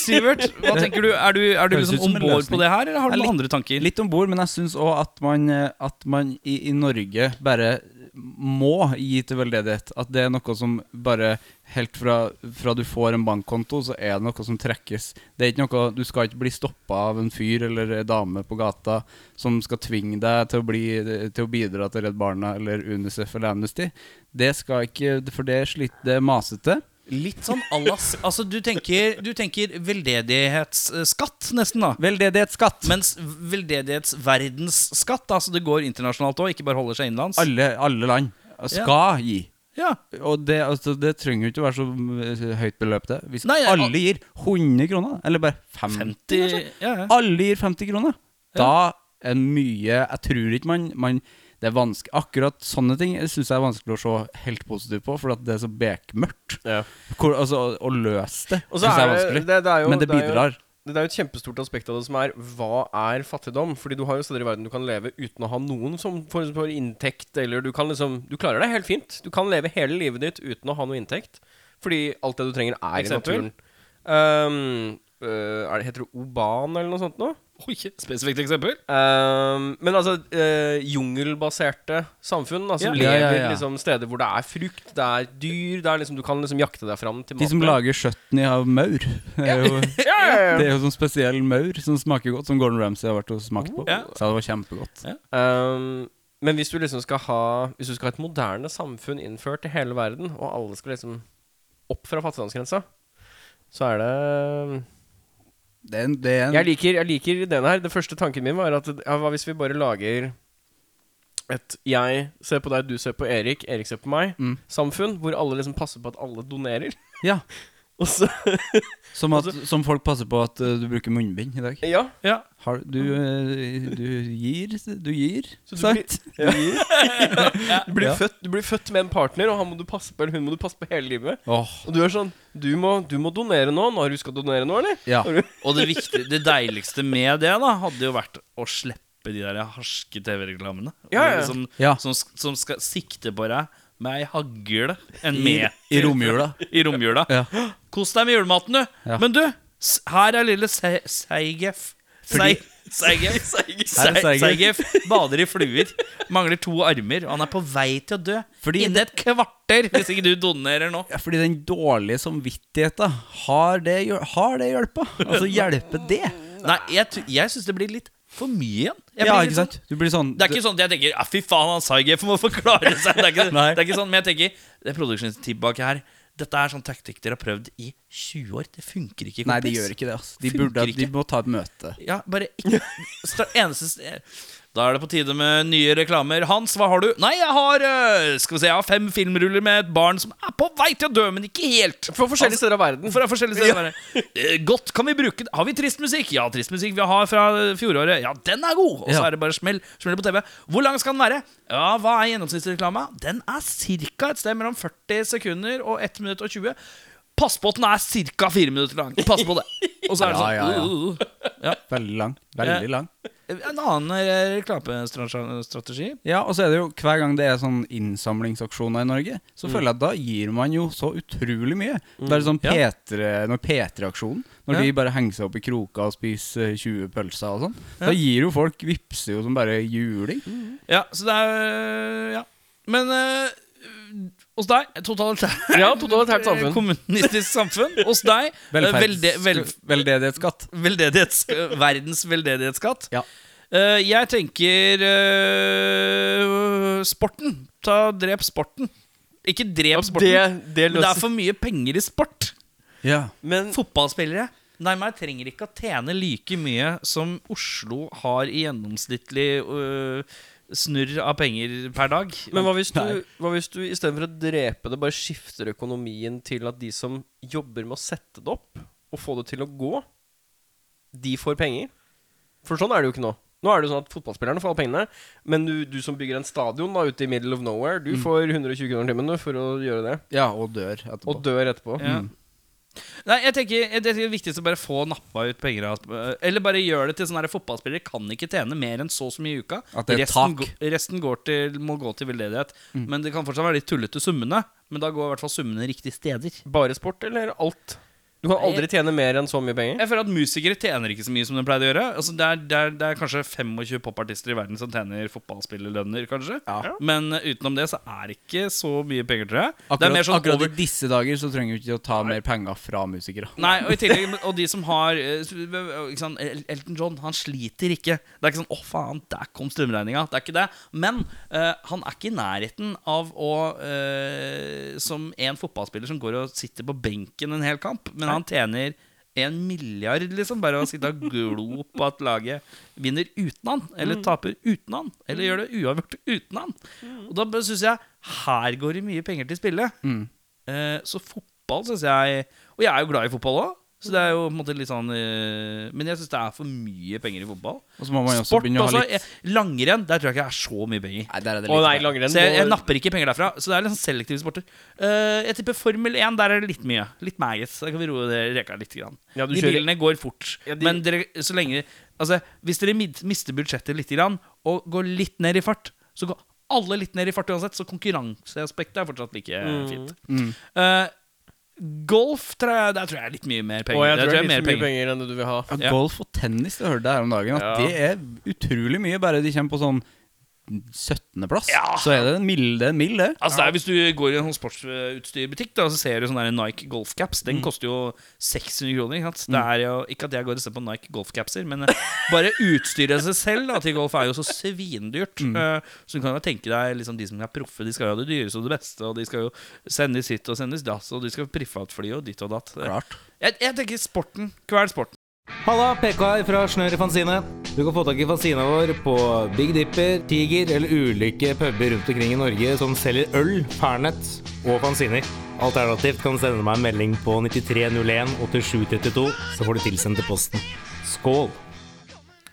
S2: Sivert, hva tenker du? Er du, er du
S3: Høres
S2: liksom
S3: ut som
S2: om
S3: en
S2: bord
S3: løsning.
S2: på det her, eller har du
S3: Jeg
S2: noen
S3: lik-
S2: andre tanker?
S3: Litt om bord, men jeg syns òg at man, eh, at man i, i Norge bare må gi til veldedighet. At det er noe som bare Helt fra, fra du får en bankkonto, så er det noe som trekkes. Det er ikke noe, Du skal ikke bli stoppa av en fyr eller ei dame på gata som skal tvinge deg til å, bli, til å bidra til Redd Barna eller Unicef eller Amnesty. Det skal ikke For det er slitt, det er masete.
S2: Litt sånn allas Altså, du tenker, du tenker veldedighetsskatt, nesten, da.
S3: Veldedighetsskatt!
S2: Mens veldedighetsverdensskatt, altså det går internasjonalt òg, ikke bare holder seg innenlands.
S3: Alle, alle land skal gi.
S2: Ja.
S3: Og det, altså, det trenger jo ikke å være så eh, høyt beløp, det. Hvis
S2: Nei, jeg-
S3: alle gir 100 kroner, eller bare
S2: Mm.
S3: 50,
S2: 50
S3: kanskje.
S2: ja, ja.
S3: Alle gir 50 kroner. Da er mye Jeg tror ikke man, man det er vanskelig, Akkurat sånne ting syns jeg er vanskelig å se helt positivt på, for at det er så bekmørkt.
S1: Ja.
S3: Hvor, altså, å- å løse det
S1: Og
S3: syns
S1: så
S3: jeg er
S1: er
S3: vanskelig.
S1: det- det- det er jo-
S3: Men det
S1: det er jo-
S3: bidrar.
S1: Det er jo et kjempestort aspekt av det som er hva er fattigdom? Fordi du har jo steder i verden du kan leve uten å ha noen som form for inntekt, eller du kan liksom Du klarer deg helt fint. Du kan leve hele livet ditt uten å ha noe inntekt. Fordi alt det du trenger, er i
S2: Eksempel?
S1: naturen. Um, øh, er det, heter det Oban eller noe sånt noe?
S2: Oi, spesifikt eksempel.
S1: Um, men altså eh, jungelbaserte samfunn da, som
S3: Ja.
S1: lever
S3: Ja, ja, ja.
S1: liksom steder hvor det er frukt, det er dyr, det er liksom, du kan liksom jakte deg fram til
S3: De som lager skjøtten av maur, er jo, det er jo sånn spesiell maur som smaker godt, som Gordon Ramsay har vært og smakt på.
S2: Ja.
S3: Så det var kjempegodt.
S1: Um, men hvis du liksom skal ha Hvis du skal ha et moderne samfunn innført i hele verden, og alle skal liksom opp fra fattigdomsgrensa, så er det
S3: Det er en, det er en
S1: Jeg liker, jeg liker ideen her. Den første tanken min var at ja, hva hvis vi bare lager et jeg ser på deg, du ser på Erik, Erik ser på meg,
S3: Mm.
S1: samfunn, hvor alle liksom passer på at alle donerer.
S3: Ja,
S1: Og så
S3: som, at, som folk passer på at eh, du bruker munnbind i dag.
S1: Ja.
S2: Ja.
S3: Har, du, eh, du gir, du gir,
S1: Så du
S3: sagt.
S1: ja. Du, blir
S3: Ja.
S1: født, du blir født med en partner, og han må du passe på, eller hun må du passe på hele livet.
S3: Åh,
S1: Og du er sånn Du må, du må donere nå. Nå har du skal donere nå, eller?
S3: ja.
S2: Og det, viktige, det deiligste med det da hadde jo vært å slippe de der harske TV-reklamene.
S1: Ja, ja.
S2: Som,
S3: Ja.
S2: liksom, som, sk- som skal sikte på deg med ei hagle en
S3: I,
S2: meter
S3: I romjula.
S2: I romjula.
S3: Ja.
S2: Kos deg med julematen, du.
S3: Ja.
S2: Men du, s- her er lille Se Seigef.
S3: Fordi-
S2: Sei- Seigef.
S3: Her er
S2: Se- Seigef bader i fluer. Mangler to armer, og han er på vei til å dø.
S3: Fordi-
S2: Innen et kvarter, hvis ikke du donerer nå.
S3: Ja, fordi den dårlige samvittigheten, har det, hjul- har det hjulpet? Altså, hjelper det?
S2: Nei, jeg, tu- jeg syns det blir litt for mye igjen. Jeg
S3: Ja,
S2: blir litt
S3: ikke
S2: sånn-
S3: sant? Du blir sånn
S2: Det er ikke sånn at jeg tenker ja, 'fy faen, han Saigef må forklare seg'. Det er ikke,
S3: Nei.
S2: det er ikke sånn, Men jeg tenker det er produksjonsteam bak her. Dette er sånn taktikk dere har prøvd i 20 år. Det funker ikke.
S3: Nei, de gjør ikke det. Altså. De,
S2: sånn Funker
S3: burde, de
S2: ikke.
S3: må ta et møte.
S2: Ja, bare ikke stra- eneste st- Da er det på tide med nye reklamer. Hans, hva har du? Nei, jeg har øh, Skal vi se, jeg har fem filmruller med et barn som er på vei til å dø, men ikke helt.
S1: Fra forskjellige steder av verden.
S2: Fra forskjellige steder. bare, eh, Godt, kan vi bruke det? Har vi trist musikk? Ja, trist musikk vi har fra eh, fjoråret. Ja, den er god! Og så
S3: Ja.
S2: er det bare smell, smell på TV. Hvor lang skal den være? Ja, hva er gjennomsnittsreklama? Den er ca. et sted mellom 40 sekunder og 1 minutt og 20. Pass på at den er ca. 4 minutter lang. Pass på det. Og så er det
S3: Ja,
S2: sånn
S3: ja, ja.
S2: uh, uh, uh.
S3: Veldig lang. Veldig lang.
S2: En annen eh, reklamestrategi.
S3: Ja, og så er det jo hver gang det er sånn innsamlingsaksjoner i Norge, så føler jeg at da gir man jo så utrolig mye. Det er sånn
S2: Mm. Ja.
S3: P3, når P3-aksjonen, når
S2: Ja.
S3: de bare henger seg opp i kroka og spiser eh, 20 pølser og sånn, da gir jo folk vipser jo som bare juling.
S2: Ja, så det er øh, Ja. Men øh, hos deg totalitært
S1: Ja, totalitært samfunn.
S2: Eh, Kommunistisk samfunn. Hos deg øh, velde, vel,
S3: Veldedighetsskatt.
S2: veldedighets, øh, verdens veldedighetsskatt.
S3: Ja.
S2: Eh, jeg tenker øh, sporten. Ta Drep sporten. Ikke drep sporten,
S1: Det, det
S2: men det er
S1: løser
S2: for mye penger i sport.
S3: Ja.
S1: Men
S2: Fotballspillere Nei, men jeg trenger ikke å tjene like mye som Oslo har i gjennomsnittlig øh, snurr av penger per dag.
S1: Men hva hvis du,
S3: Nei.
S1: hva hvis du istedenfor å drepe det, bare skifter økonomien til at de som jobber med å sette det opp, og få det til å gå, de får penger? For sånn er det jo ikke nå. Nå er det jo sånn at fotballspillerne får alle pengene, men du, du som bygger en stadion da ute i middle of nowhere, du får 120 kroner timen du, for å gjøre det,
S3: ja, og dør etterpå.
S1: og dør etterpå.
S2: Ja.
S3: Mm.
S2: Nei, jeg tenker, jeg tenker Det viktigste er bare å få nappa ut penger. av- eh, Eller bare gjør det til sånn her fotballspillere kan ikke tjene mer enn så og så mye i uka.
S3: At det er
S2: resten,
S3: tak. Mm.
S2: gå- resten går til, må gå til veldedighet. Men det kan fortsatt være litt tullete summene. Men da går i hvert fall summene riktige steder.
S1: Bare sport eller alt? Du kan aldri tjene mer enn så mye penger.
S2: Jeg føler at musikere tjener ikke så mye som de pleide å gjøre. Altså, det, er, det, er, det er kanskje 25 popartister i verden som tjener fotballspillerlønner, kanskje.
S3: Ja.
S2: Men eh, utenom det så er det ikke så mye penger, tror jeg. det
S3: Akkurat,
S2: er mer sånn
S3: akkurat
S2: over...
S3: i disse dager så trenger vi ikke å ta mer penger fra musikere.
S2: Nei, og i tillegg Og de som har eh, ikke sant, El- Elton John, han sliter ikke. Det er ikke sånn 'Å, faen, der kom strømregninga'. Det er ikke det. Men eh, han er ikke i nærheten av å eh, Som en fotballspiller som går og sitter på benken en hel kamp, men han tjener en milliard, liksom. Bare å sitte og glo på at laget vinner uten han, eller taper uten han, eller gjør det uavgjort uten han. Og da syns jeg her går det mye penger til spille. Eh, så fotball syns jeg Og jeg er jo glad i fotball òg. Så det er jo på en måte litt sånn eh, Men jeg syns det er for mye penger i fotball.
S3: Og så må man jo også
S2: Sport,
S3: begynne å ha
S2: altså.
S3: litt
S2: eh, Langrenn, der tror jeg ikke det er så mye penger.
S3: Nei, der er det
S1: Å
S3: litt
S1: nei, langrenn
S2: Så jeg, jeg
S1: må-
S2: napper ikke penger derfra. Så det er liksom selektive sporter. Eh, jeg tipper Formel 1. Der er det litt mye. Litt magis. Da kan vi roe det reka litt. Grann.
S1: Ja, du
S2: de
S1: kjører-
S2: bilene går fort.
S1: Ja, de-
S2: Men dere, så lenge Altså, hvis dere mid, mister budsjettet litt grann, og går litt ned i fart, så går alle litt ned i fart uansett. Så konkurranseaspektet er fortsatt like
S1: Mm.
S2: eh, fint. Eh, golf tror jeg, der tror jeg er litt mye mer penger.
S1: Å, jeg
S2: Der
S1: tror det er litt
S2: mer
S1: for mye penger enn det du vil ha.
S3: Ja,
S2: Ja.
S3: Golf og tennis, jeg hørte det her om dagen, at det er utrolig mye. Bare de kommer på sånn 17.-plass,
S2: Ja.
S3: så er det en mild, det er en mild, det.
S2: Altså det er Hvis du går i en sånn sportsutstyrbutikk da, Så ser du sånne der Nike golfcaps. Den koster jo 600 kroner. Ikke, sant? Det er jo, ikke at jeg går og ser på Nike golfcapser, men eh, bare utstyret seg selv da, til golf er jo så svindyrt. Eh, så du kan jo tenke deg liksom, de som er proffe, de skal jo ha det dyreste og det beste, og de skal jo sendes hit og sendes dass, og de skal priffe av et fly og ditt og datt.
S3: Klart.
S2: Jeg, jeg tenker sporten. Hver sporten.
S5: Halla, PK her fra Snør i Fanzine. Du kan få tak i fanzina vår på Big Dipper, Tiger eller ulike puber rundt omkring i Norge som selger øl, Fernet og fanziner. Alternativt kan du sende meg en melding på 9301 8732, så får du tilsendt til posten. Skål!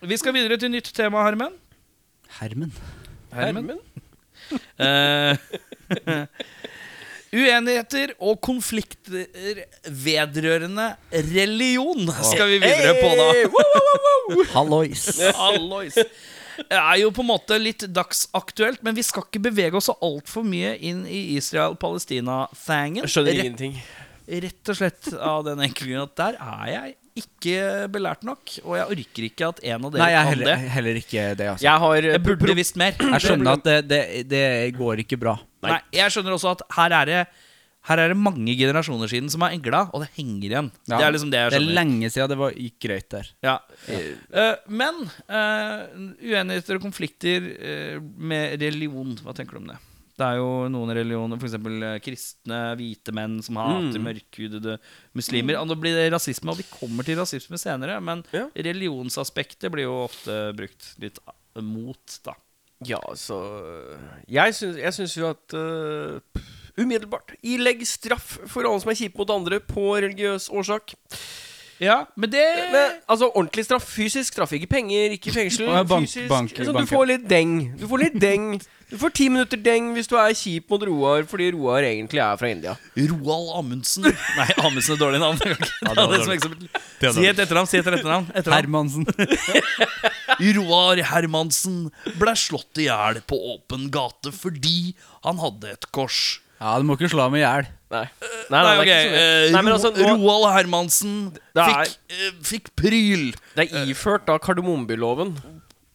S2: Vi skal videre til nytt tema, Harmen.
S3: Hermen.
S1: Hermen?
S2: Eh, Uenigheter og konflikter vedrørende religion skal vi videre på, da.
S3: Hallois.
S2: Hallois. Det er jo på en måte litt dagsaktuelt, men vi skal ikke bevege oss så altfor mye inn i Israel-Palestina-thangen.
S1: Jeg skjønner ingenting.
S2: Rett og slett av den enkle grunn at der er jeg ikke belært nok. Og jeg orker ikke at en av dere
S3: Nei, jeg er
S2: kan
S3: heller,
S2: det.
S3: heller ikke det, altså.
S1: Jeg har
S2: Jeg eh, burde visst mer.
S3: Jeg skjønner at det, det, det går ikke bra.
S2: Nei, jeg skjønner også at her er det her er det mange generasjoner siden som har engla, og det henger igjen.
S3: Ja.
S2: Det er liksom det jeg
S3: Det er
S2: skjønner.
S3: lenge siden det var, gikk greit der.
S2: ja. Eh, men eh, uenigheter og konflikter eh, med religion, hva tenker du om det? Det er jo noen religioner, f.eks. kristne, hvite menn som hater mørkhudede muslimer. Og da blir det rasisme, og vi kommer til rasisme senere, men
S1: Ja.
S2: religionsaspektet blir jo ofte brukt litt mot, da.
S1: Ja, altså Jeg syns, jeg syns jo at øh, Umiddelbart. Ilegg straff for alle som er kjipe mot andre på religiøs årsak.
S2: Ja, men det
S1: Men, altså ordentlig straff. Fysisk straff. Ikke penger, ikke fengsel.
S3: Å, ja, bank-
S1: fysisk.
S3: bank-
S1: Altså,
S3: bank-
S1: du får litt deng. Du får litt deng. Du får ti minutter deng hvis du er kjip mot Roar fordi Roar egentlig er fra India.
S2: Roald Amundsen. Nei, Amundsen er dårlig navn. Jeg kan ikke ta
S3: det var
S2: det som eksempel. Si et etternavn. si et etternavn, etternavn.
S3: Hermansen.
S2: Roar Hermansen ble slått i hjel på åpen gate fordi han hadde et kors.
S3: Ja, du må ikke slå ham i hjel.
S1: Nei. Nei, nei, det er ikke så mye.
S2: ok, eh,
S1: Nei, men altså,
S2: Ro-
S1: nå,
S2: Roald Hermansen
S1: Det er-
S2: fikk, eh, fikk pryl.
S1: det er iført da kardemommebyloven.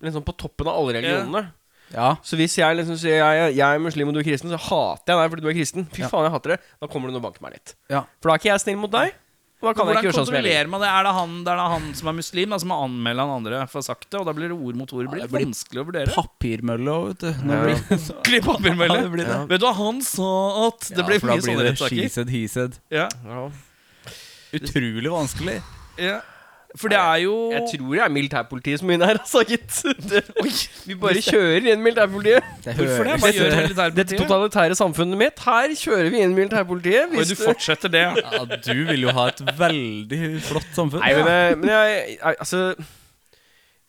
S1: Liksom på toppen av alle religionene.
S3: Ja.
S1: Så hvis jeg liksom sier jeg, jeg er muslim og du er kristen, så hater jeg deg fordi du er kristen. Fy faen, jeg hater det. Da kommer du og banker meg litt.
S3: ja.
S1: For da er ikke jeg snill mot deg. Og da kan jeg
S2: Hvordan
S1: ikke gjøre sånn som jeg vil.
S2: kontrollerer man det? Er det han, det er da han som er muslim, da, som må anmelde han andre for sakte? Og da blir det ord mot ord. Det blir litt vanskelig å vurdere.
S3: Papirmølle òg, vet du. Nå blir-
S2: Skikkelig papirmølle.
S3: Ja, det blir det.
S2: Ja. Vet du hva han sa at Det
S3: Ja,
S2: blir
S3: for da
S2: mye sånne
S3: det she
S2: rettssaker.
S3: said, he said.
S2: Ja,
S3: Utrolig vanskelig.
S2: ja. For det er jo
S1: Jeg tror det er militærpolitiet som er inne her, altså, gitt. Det, oi, vi bare kjører inn militærpolitiet.
S2: Hvorfor det? Hva gjør militærpolitiet?
S1: Dette totalitære samfunnet mitt, her kjører vi inn militærpolitiet.
S2: Oi,
S1: Hvis
S2: du
S1: du-
S2: fortsetter det, ja.
S3: Ja, du vil jo ha et veldig flott samfunn.
S1: Nei, men, eh, men jeg, jeg Altså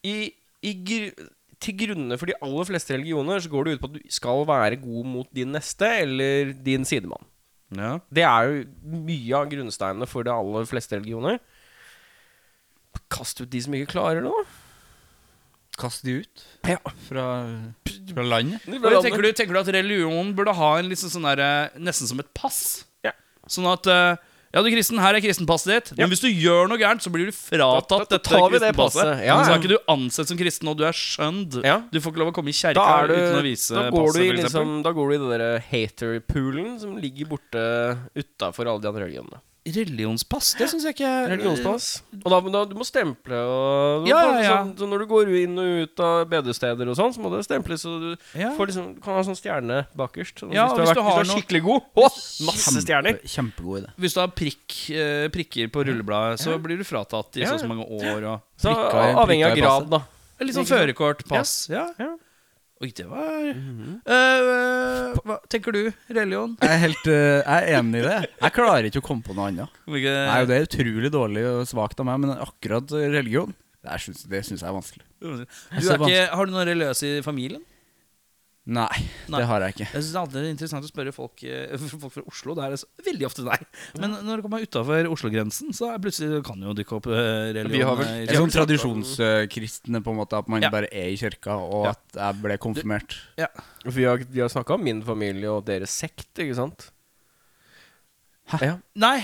S1: i, i gr Til grunne for de aller fleste religioner så går det ut på at du skal være god mot din neste eller din sidemann.
S2: ja.
S1: Det er jo mye av grunnsteinene for de aller fleste religioner. Kast ut de som ikke klarer det, da.
S3: Kast de ut
S1: Ja.
S3: fra, fra landet.
S2: Men tenker, du, tenker du at religion burde ha en liksom sånn der, eh, nesten som et pass?
S1: Ja.
S2: Sånn at eh, Ja, du er kristen, her er kristenpasset ditt.
S1: Ja.
S2: Men hvis du gjør noe gærent, så blir du fratatt
S1: Da- da
S2: dette
S1: tar vi det
S2: kristenpasset.
S1: passet. Ja, ja.
S2: Så er ikke du ansett som kristen, og du er skjønd.
S1: Ja.
S2: Du får ikke lov å komme i
S1: da,
S2: kjerka
S1: er du,
S2: uten å vise
S1: da, går du
S2: passet,
S1: i,
S2: for eksempel.
S1: liksom, da går du i den derre hater-poolen som ligger borte utafor alle de andre religionene.
S2: religionspass, det syns jeg ikke er-
S1: Religionspass. Og da, da du må stemple og du
S2: Ja,
S1: må-
S2: ja, ja.
S1: Sånn, så når du går inn og ut av bedesteder og sånn, så må det stemples, så du
S2: Ja.
S1: får liksom, kan ha sånn stjerne bakerst. Sånn,
S2: Ja,
S1: hvis, du har vært, hvis du
S2: noe-
S1: er skikkelig god Å, masse stjerner!
S3: Kjempegod idé.
S2: sånn- Hvis du har prikk, eh, prikker på rullebladet, så blir du fratatt i
S1: Ja.
S2: så og så mange år. Og
S1: Så
S3: prikker i-
S1: avhengig av
S3: prikker i
S1: grad, da.
S2: Litt sånn
S1: Ikke sant?
S2: førerkort, pass. Ja.
S1: Ja. Mhm.
S2: Oi, det var Eh, eh, Hva tenker du, religion?
S3: Jeg er helt eh, jeg er enig i det. Jeg klarer ikke å komme på noe annet. Nei,
S2: Hvilke-
S3: Det er utrolig dårlig og svakt av meg, men akkurat religion det er- syns- det syns jeg er vanskelig.
S2: Du er ikke, har du noen religiøse i familien?
S3: Nei,
S2: Nei.
S3: det har jeg ikke.
S2: Jeg synes Det er alltid interessant å spørre folk, eh, folk fra Oslo. Det er det så- veldig ofte deg. Men når det kommer utafor Oslo-grensen, så er plutselig kan jo dukke opp eh, religion.
S1: Vi har vel-
S2: eh, i-
S3: Jeg er sånn tradisjonskristne, på en måte, at man
S2: Ja.
S3: bare er i kirka, og
S2: Ja.
S3: at jeg ble konfirmert.
S1: Vi har, vi har snakka om min familie og deres sekt, ikke sant? Hæ? Ja,
S2: Nei!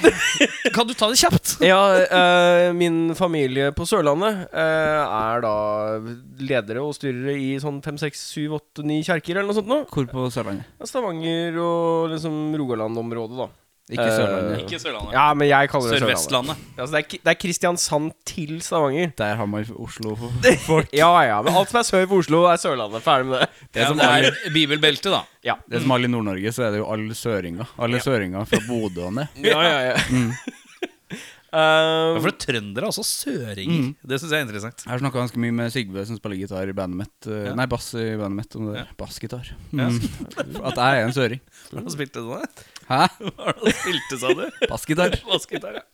S2: Kan du ta det kjapt?
S1: Ja, eh, min familie på Sørlandet eh, er da ledere og styrere i sånn fem, seks, syv, åtte, ni kjerker eller noe sånt nå.
S3: Hvor på Sørlandet?
S1: Stavanger og liksom Rogaland-området, da.
S3: Ikke
S1: Eh,
S3: Sørlandet.
S2: Sørlandet.
S1: Ja, men jeg kaller det Sørlandet.
S2: Sør-Vestlandet.
S1: Altså, det, er, Ki- det er Kristiansand til Stavanger.
S3: Der har man Oslo.
S1: Ja, ja, men alt som er sør for Oslo, er Sørlandet. Ferdig med det.
S2: Ja,
S3: som
S2: det er bibelbeltet, da.
S1: Ja,
S3: Det som alle i Nord-Norge, så er det jo alle søringer. Alle søringer fra Bodø og ned.
S1: ja, ja. ja.
S2: Ja,
S1: Eh,
S2: For det er trøndere, altså søringer.
S1: Mm.
S2: Det syns jeg er interessant.
S3: Jeg har snakka ganske mye med Sigve, som spiller gitar i bandet mitt. eh, Nei, bass i bandet mitt. Om det der. Bassgitar. Mm. At jeg er en søring.
S2: Har du spilt det sånn? da?
S3: Hæ?
S2: Har du spilt det, sa du?
S3: Bassgitar?
S2: Vaskegitar, ja.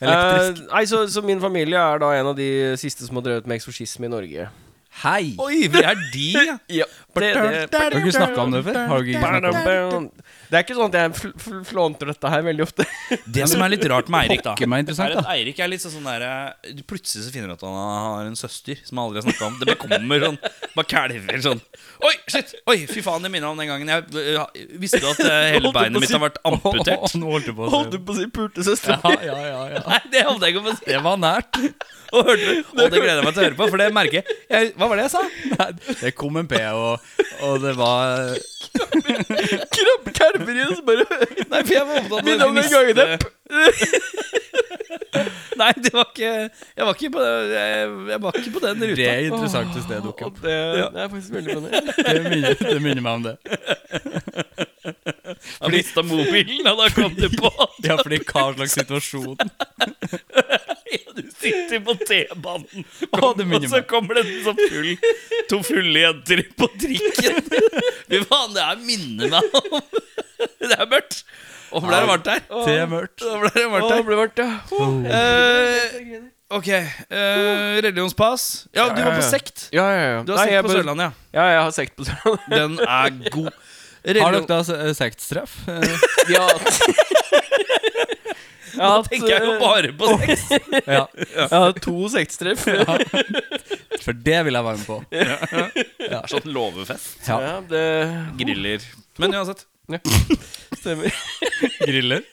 S3: Elektrisk.
S1: eh, nei, så, så min familie er da en av de siste som har drevet med eksorsisme i Norge.
S3: Hei!
S2: Oi, vi er de, ja.
S1: Ja, det, det,
S3: Har du ikke snakka om det før? Har du ikke snakket om det?
S1: Det er ikke sånn at jeg fl fl flånter dette her veldig ofte.
S2: Det som er litt rart med Eirik, da
S3: Ikke meg interessant,
S2: er at
S3: da.
S2: Eirik er litt sånn der eh, du Plutselig så finner du at han har en søster som han aldri har snakka om. Det bare kommer sånn. Bare kalver sånn. Oi, shit! Oi, fy faen, det minner om den gangen jeg eh, visste at eh, hele beinet mitt har vært amputert.
S3: nå holdt du på
S1: Holdt du på å si pultesøster?
S3: Ja, ja, ja, ja.
S2: Nei, det holdt jeg ikke på å si.
S3: Det var nært.
S2: Og, hørte, du? og det gleder jeg meg til å høre på, for det merker jeg. jeg. Hva var det jeg sa?
S3: Nei, Det kom en P, og, og det var
S1: Krabb, Kerber i det, så bare
S2: Nei, for jeg var opptatt av
S1: Minner om den gangen jeg
S2: Nei, det var ikke Jeg var ikke på, jeg, jeg var ikke på den
S3: Det
S2: ruta.
S3: er interessant hvis det dukker opp.
S1: Og det, det er faktisk veldig spennende.
S3: Det minner, det minner meg om det.
S2: Jeg mista mobilen, og da kom du på at
S3: Ja, fordi hva slags situasjon
S2: du sitter på T-banen,
S3: Å, det
S2: og
S3: minner
S2: så
S3: meg.
S2: kommer det så full, to fulle jenter på trikken. Fy faen, det her minner meg om Det er mørkt. Og ble det varmt her?
S3: Det er mørkt.
S2: Da ble det
S1: Å,
S2: varmt
S1: det
S2: her.
S1: ble varmt, ja. Å,
S2: Eh, ok. eh, religionspass. Ja, du var på sekt.
S1: Ja, ja, ja.
S2: Du har sekt
S1: jeg
S2: på
S1: bare-
S2: Sørlandet, ja.
S1: Ja, jeg har sekt på Sørlandet.
S2: Den er god.
S3: Har dere
S2: Religion...
S3: da eh, sektstreff? Eh,
S1: Vi har hatt Jeg har
S2: Da
S1: hatt,
S2: tenker jeg jo
S1: eh,
S2: bare på sex.
S3: Ja,
S1: jeg har hatt to sektstreff. Ja.
S3: for det vil jeg være med på.
S2: Sånn låvefest.
S3: Ja,
S1: det
S2: Griller. Men uansett.
S1: stemmer.
S3: Griller.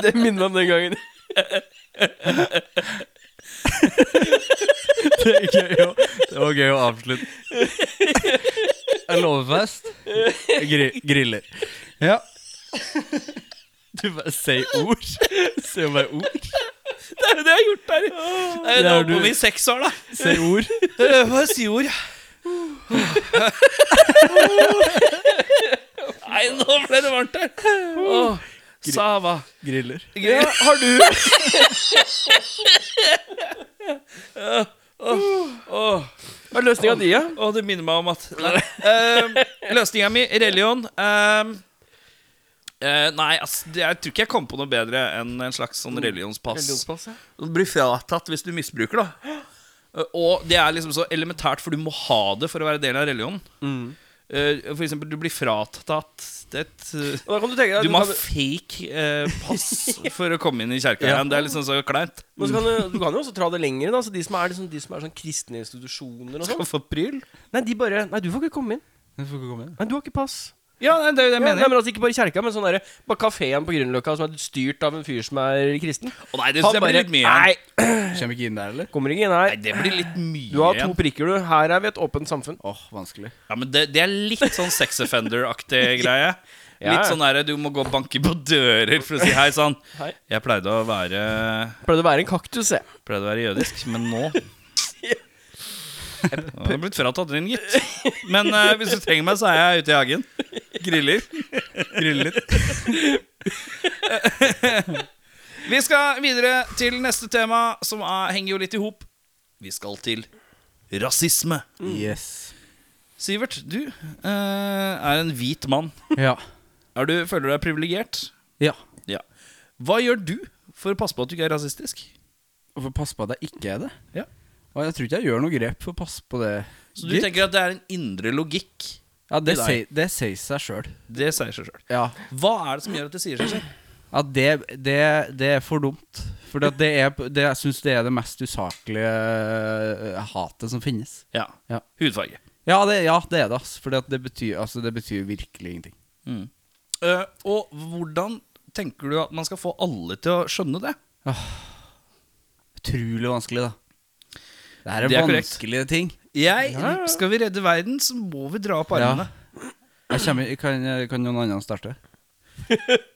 S1: Det minner meg om den gangen.
S3: Det er gøy å, det var gøy å avslutte. En Låvefest. Gri, griller. Ja. Du bare sier ord. Sier bare ord.
S2: Det er jo det jeg har gjort der. Jeg
S3: Det
S2: er
S3: har
S2: nå
S3: du.
S2: på i seks år, da.
S3: Sier ord.
S2: Hva sier ord? Nei, nå ble det varmt her. Åh, Sava.
S3: Griller.
S1: Ja, har du
S2: Åh,
S1: Hva er løsninga di, ja?
S2: åh, det minner meg om at uh, Løsninga mi, religion ehm, eh, Nei, ass, det, jeg tror ikke jeg kom på noe bedre enn en slags sånn religionspass.
S1: Religionspass, ja.
S2: Du blir fratatt hvis du misbruker, da. Og det er liksom så elementært, for du må ha det for å være del av religionen. Eh, For eksempel, du blir fratatt et eh,
S1: Og da kan du tenke deg
S2: Du må ha
S1: kan-
S2: fake eh, pass for å komme inn i kjerka igjen. Det er liksom så kleint.
S1: Men så kan du, du kan jo også tra det lenger. Da. Så de som er, liksom, de som er sånn kristne institusjoner og sånn
S2: Skal få pryl.
S1: Nei, de bare Nei, du får ikke komme inn.
S3: Du får ikke komme inn.
S1: Nei, du har ikke pass.
S2: Ja, nei, det er jo det jeg
S1: Ja, nei,
S2: mener.
S1: men altså Ikke bare kjerka, men sånn derre Bare kafeen på Grünerløkka som er styrt av en fyr som er kristen.
S2: Å nei, det synes jeg blir litt mye igjen.
S1: Nei,
S3: Kommer ikke inn der, eller?
S1: kommer ikke inn
S2: Nei,
S1: her.
S2: det blir litt mye
S1: Du har to
S2: igjen.
S1: prikker, du. Her er vi et åpent samfunn.
S3: Åh, vanskelig.
S2: Ja, men det, det er litt sånn sex offender-aktig greie.
S1: Ja,
S2: Litt
S1: ja.
S2: sånn der, du må gå og banke på dører for å si hei sann.
S1: Hei.
S2: Jeg pleide å være
S1: Pleide å være en kaktus, jeg.
S2: Pleide å være jødisk, men nå Nå har jeg blitt fratatt den, gitt. Men eh, hvis du trenger meg, så er jeg ute i hagen. Griller. Griller litt. Vi skal videre til neste tema, som er, henger jo litt i hop. Vi skal til rasisme.
S3: Mm. Yes.
S2: Sivert, du eh, er en hvit mann.
S3: Ja.
S2: Er du, føler du deg privilegert?
S3: ja.
S2: Ja. Hva gjør du for å passe på at du ikke er rasistisk?
S3: For pass på at jeg ikke er det.
S2: Ja.
S3: Og jeg tror ikke jeg gjør noe grep for å passe på det.
S2: Så du tenker at det er en indre logikk?
S3: Ja, det
S2: i deg?
S3: sier- det sier seg sjøl.
S2: Det sier seg sjøl.
S3: Ja.
S2: Hva er det som gjør at det sier seg selv?
S3: Ja, det, det, det er for dumt. For det er, det, jeg syns det er det mest usaklige eh, hatet som finnes.
S2: Ja.
S3: Ja.
S2: Hudfarge.
S3: Ja, det, ja, det er det, ass. For det, betyr- altså, det betyr virkelig ingenting.
S2: Eh, og hvordan tenker du at man skal få alle til å skjønne det?
S3: Utrolig vanskelig, da. Det her er,
S2: Det er korrekt.
S3: vanskelige ting.
S2: Jeg, Skal vi redde verden, så må vi dra opp
S3: Ja.
S2: armene.
S3: Jeg kommer, kan,
S1: eh,
S3: kan noen andre starte?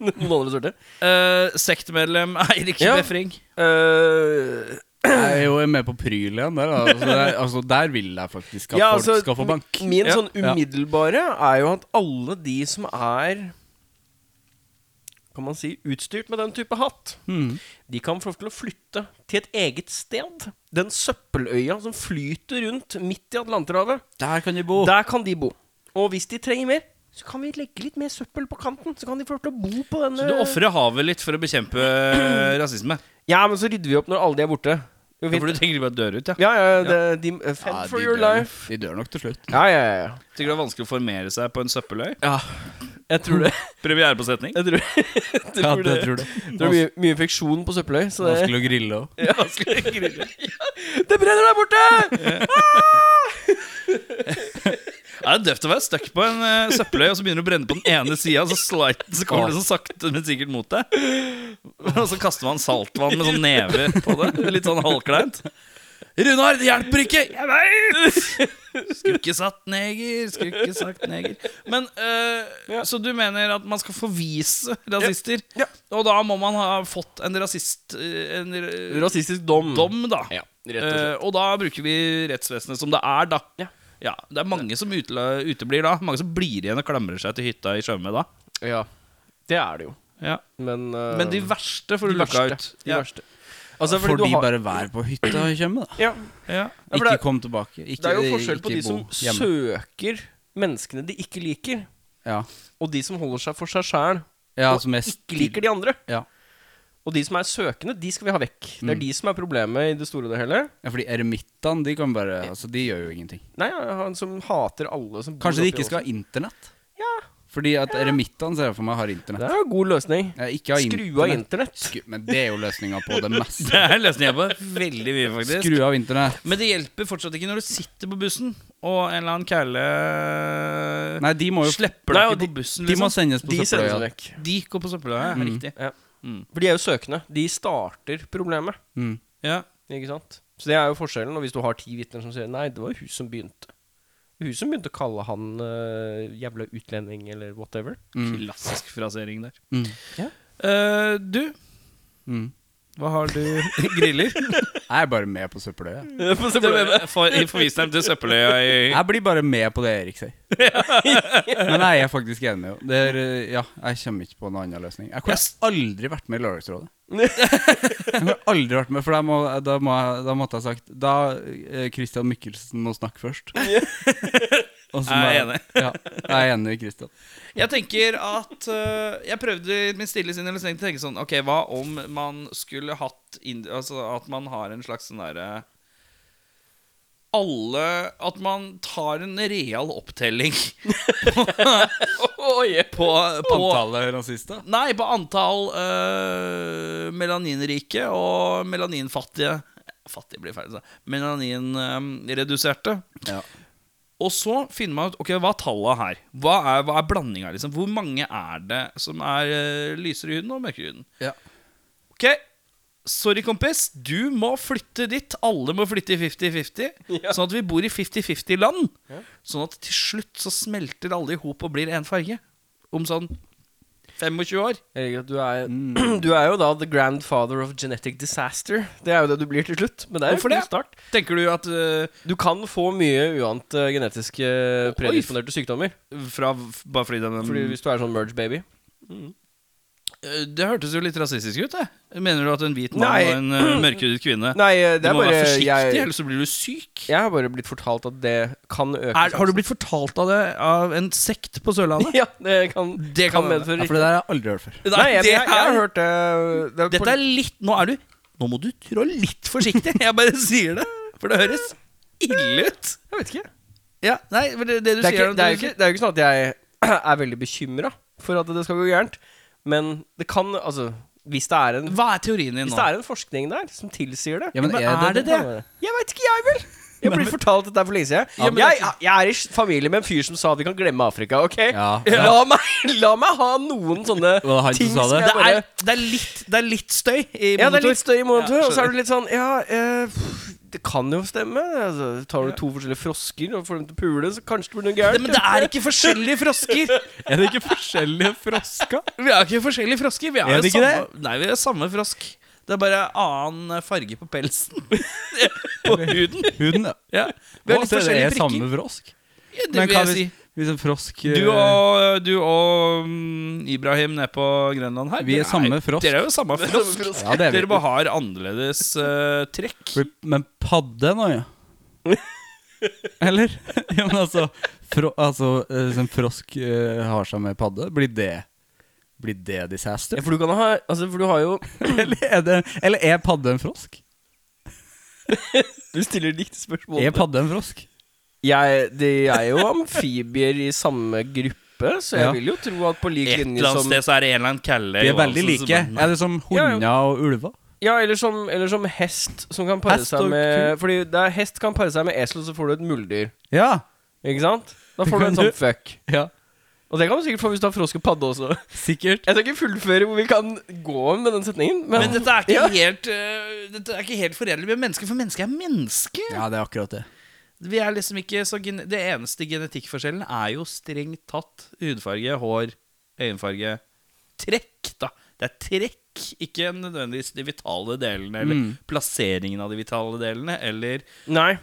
S1: Noen andre sorte.
S2: Eh, sektmedlem Eirik
S1: Ja.
S2: Befring.
S1: Eh,
S3: Jeg er jo med på pryl igjen der. da. Altså, der, altså, der vil jeg faktisk at
S1: ja,
S3: folk
S1: altså,
S3: skal få bank.
S1: Min
S2: Ja.
S1: sånn umiddelbare er jo at alle de som er Kan man si utstyrt med den type hatt, de kan få lov til å flytte til et eget sted. Den søppeløya som flyter rundt midt i Atlanterhavet,
S3: Der kan de bo.
S1: der kan de bo. Og hvis de trenger mer, så kan vi legge litt mer søppel på kanten. Så kan de få lov til å bo på eh, denne
S2: Du ofrer havet litt for å bekjempe eh, rasisme.
S1: Ja, men så rydder vi opp når alle de er borte. Det går
S2: For
S1: fint.
S2: du tenker de bare dør ut, ja?
S1: Ja, ja, det, de, eh, fend
S3: Ja, de
S1: for your
S3: dør-
S1: life.
S3: De dør nok til slutt.
S1: Ja, ja, ja.
S2: Tenker det er vanskelig å formere seg på en søppeløy?
S1: Jeg tror det.
S2: Premiere på setning.
S1: Jeg tror, jeg tror
S3: Ja,
S1: det.
S3: det tror du.
S1: Det er mye, mye infeksjon på søppeløy, så det
S3: Vanskelig å grille òg.
S1: Ja. Det brenner der borte!
S2: Ja, det er døvt å være stuck på en eh, søppeløy, og så begynner det å brenne på den ene sida, så, slide- så kommer det så sakte, men sikkert mot deg. Og så kaster man saltvann med sånn neve på det. Litt sånn halvkleint. Runar, det hjelper ikke! Jeg veit! Skulle ikke sagt neger, skulle ikke sagt neger. Men eh, Så du mener at man skal forvise rasister?
S1: Ja.
S2: Og da må man ha fått en rasist... eh, En r-
S1: Rasistisk dom.
S2: dom, da.
S1: Mm. Ja, rett og slett.
S2: Eh, og da bruker vi rettsvesenet som det er, da.
S1: Ja.
S2: Ja, det er mange som utela- uteblir da. Mange som blir igjen og klamrer seg til hytta i Tjøme da.
S1: Ja. Det er det jo.
S2: Ja.
S1: Men, eh,
S2: Men de verste får
S1: de
S2: du lukka
S1: verste.
S2: ut.
S1: De
S2: ja.
S1: verste. Altså, fordi
S3: Får
S1: du
S3: de
S1: har-
S3: bare være på hytta og komme, da?
S1: ja.
S2: Ja.
S1: Ja, for
S3: Ikke
S1: det-
S3: kom tilbake. Ikke, eh,
S1: Det er jo forskjell på
S3: ikke
S1: de som
S3: bo hjemme.
S1: søker menneskene de ikke liker,
S3: Ja,
S1: og de som holder seg for seg sjæl
S3: ja
S1: og
S3: som er
S1: ikke liker de andre.
S3: Ja.
S1: Og de som er søkende, de skal vi ha vekk. Det er de som er problemet i det store og det hele.
S3: Ja, fordi eremittene, de kan
S1: Eh,
S3: bare Altså, de gjør jo ingenting.
S1: Nei, han som hater alle som bor
S3: Kanskje de
S1: oppi
S3: ikke skal
S1: åsen.
S3: ha internett?
S1: Ja,
S3: Fordi at eremittene ser jeg for meg har
S1: det
S3: internett.
S1: er jo en god løsning.
S3: Jeg ikke har
S1: Skru av internett.
S3: Skru- Men det er jo løsninga på det meste.
S2: Det er løsningen på veldig mye, faktisk.
S3: Skru av internett.
S2: Men det hjelper fortsatt ikke når du sitter på bussen, og en eller annen kæle
S3: Nei, de må jo
S2: slipper deg
S1: Nei, og
S2: ikke
S1: de-
S2: på bussen.
S3: De må
S2: Liksom.
S3: sendes på
S1: De sendes
S3: søppeløya.
S1: vekk.
S2: De går på søppeløya, ja,
S1: Mm.
S2: riktig.
S1: For de er jo søkende. De starter problemet.
S3: Mm.
S2: Ja.
S1: Ikke sant? Så det er jo forskjellen. Og hvis du har ti vitner som sier Nei, det var hun som begynte. Hun som begynte å kalle han eh, jævla utlending eller whatever.
S2: Klassisk frasering der.
S3: Mm.
S2: Eh, du,
S3: Mm.
S2: hva har du Griller?
S3: Jeg er bare med på søppeløya.
S2: For, Forvis dem til søppeløya i
S3: Jeg blir bare med på det Erik sier. Men jeg er faktisk enig med henne. Det er, eh, Ja, jeg kommer ikke på noen annen løsning. Jeg kunne aldri vært med i Lørdagsrådet. Jeg kunne aldri vært med, for da, må, da, må, jeg- da måtte jeg sagt Da eh, Christian Michelsen må snakke først. Og så må
S2: Jeg er enig.
S3: Ja, jeg er enig med Christian.
S2: Jeg tenker at øh, Jeg prøvde i min stille sinn eller stengte å tenke sånn Ok, hva om man skulle hatt ind Altså at man har en slags sånn derre Alle At man tar en real opptelling på, på
S3: Antallet rasister?
S2: Nei, på antall øh, melaninrike og melaninfattige Fattige blir feil, altså. Melaninreduserte.
S3: Ja.
S2: Og så finner man ut ok, hva er tallene her. Hva er, hva er blandinga? Liksom? Hvor mange er det som er eh, lysere i huden og mørkere i huden?
S3: Ja.
S2: Ok, sorry, kompis. Du må flytte dit. Alle må flytte i 50-50. Sånn at vi bor i 50-50-land. Sånn at til slutt så smelter alle i hop og blir én farge. Om sånn 25 år.
S1: Erik, du er, du er jo da the grandfather of genetic disaster. Det er jo det du blir til slutt. Men det er jo
S2: Hvorfor
S1: en
S2: det?
S1: god start.
S2: Tenker du at eh,
S1: Du kan få mye uante genetiske predisponerte sykdommer.
S2: fra, f- Bare fordi den
S1: Fordi Hvis du er sånn merge baby.
S2: Eh, Det hørtes jo litt rasistisk ut, det. Mener du at en hvit mann
S1: Nei.
S2: og en eh, mørkhudet kvinne
S1: Nei, eh,
S2: Du
S1: det er
S2: må
S1: bare
S2: være forsiktig,
S1: jeg,
S2: ellers så blir du syk.
S1: jeg har bare blitt fortalt at det kan øke
S2: Er, har du
S1: sjansen.
S2: blitt fortalt av det av en sekt på Sørlandet?
S1: Ja, det kan,
S2: Det kan hende.
S1: medføre
S3: Ja, for det der har jeg aldri hørt før.
S1: Nei, jeg, jeg, jeg har hørt det, det
S2: Dette er litt Nå er du Nå må du trå litt forsiktig. Jeg bare sier det. For det høres ille ut.
S1: Jeg vet ikke.
S2: Ja, nei, for det, det du
S1: Det er,
S2: sier
S1: ikke, det, er jo ikke, det er jo ikke sånn at jeg er veldig bekymra for at det skal gå gærent. Men det kan Altså, hvis det er en,
S2: Hva er teorien din
S1: hvis
S2: nå?
S1: det er en forskning der som tilsier det
S3: Ja, men
S2: Men
S3: er det det?
S1: Jeg veit ikke, jeg vel. Jeg ble fortalt dette for lenge siden.
S2: men det er
S1: jeg, jeg er i s- familie med en fyr som sa vi kan glemme Afrika, OK?
S3: Ja.
S1: La, meg, la meg ha noen sånne
S3: Var det han som
S1: ting
S3: sa
S1: som
S3: det?
S1: jeg
S2: Det
S1: bare
S2: er, det, er litt, det er litt støy i
S1: Ja, det er
S2: monitor.
S1: litt støy i monitor,
S2: Ja,
S1: og så er du litt sånn Ja, eh, pff, det kan jo stemme. Altså, tar du to forskjellige frosker og får dem til å pule, så kanskje det blir noe
S2: Det-
S1: gærent.
S2: Men det er ikke forskjellige frosker.
S3: Er det ikke forskjellige frosker?
S2: Vi er ikke forskjellige frosker. Vi er,
S3: Er
S2: jo
S3: det ikke
S2: samme, Nei, vi er samme frosk. Det er bare annen eh, farge på pelsen. på huden.
S3: Huden, ja.
S2: Ja. Vi har
S3: Hva,
S2: litt
S3: så det
S2: forskjellige
S3: er
S2: prikker.
S3: samme frosk.
S2: Ja, det
S3: Men
S2: vil
S3: hva
S2: jeg si.
S3: hvis, hvis en frosk eh,
S2: Du og, du og mm, Ibrahim nede på Grønland her
S3: Vi er
S2: dere
S3: samme frosk.
S2: Dere er jo samme frosk.
S3: Ja, det er vi.
S2: Dere bare har annerledes eh, trekk.
S3: Fordi- Men padde nå, ja. Eller? Ja, men altså, fro, altså eh, Hvis en frosk eh, har seg med padde, blir det Blir det disaster?
S1: Ja, for du kan ha Altså, for du har jo
S3: Eller er, det, eller er padde en frosk?
S1: Du stiller dikt spørsmål.
S3: Er padde en frosk?
S1: Jeg, de er jo amfibier i samme gruppe, så jeg
S3: Ja.
S1: vil jo tro at på lik
S2: Et
S1: linje
S2: eller annet
S1: som
S2: sted så er det en eller annen kalle
S3: De er
S2: Johansen
S3: veldig
S2: som-
S3: like. Er det som
S1: Ja, ja.
S3: hunder og ulver?
S1: Ja, eller som, eller som hest som kan pare
S3: Hest
S1: seg
S3: og
S1: med Fordi det er, hest kan pare seg med esel, så får du et muldyr.
S3: Ja.
S1: Ikke sant? Da får du
S3: Kan
S1: en sånn
S3: du-
S1: fuck.
S3: ja.
S1: Og det kan du sikkert få hvis du har frosk og padde også.
S3: Sikkert.
S1: Jeg skal ikke fullføre hvor vi kan gå med den setningen, men,
S2: Men dette er ikke
S1: Ja.
S2: helt eh, Dette er ikke helt forenlig med mennesker, for mennesker er mennesker.
S3: Ja, det er akkurat det.
S2: Vi er liksom ikke så gene Det eneste genetikkforskjellen er jo strengt tatt hudfarge, hår, øyenfarge Trekk, da. Det er trekk, ikke nødvendigvis de vitale delene, eller
S1: Mm.
S2: plasseringen av de vitale delene, eller
S1: Nei.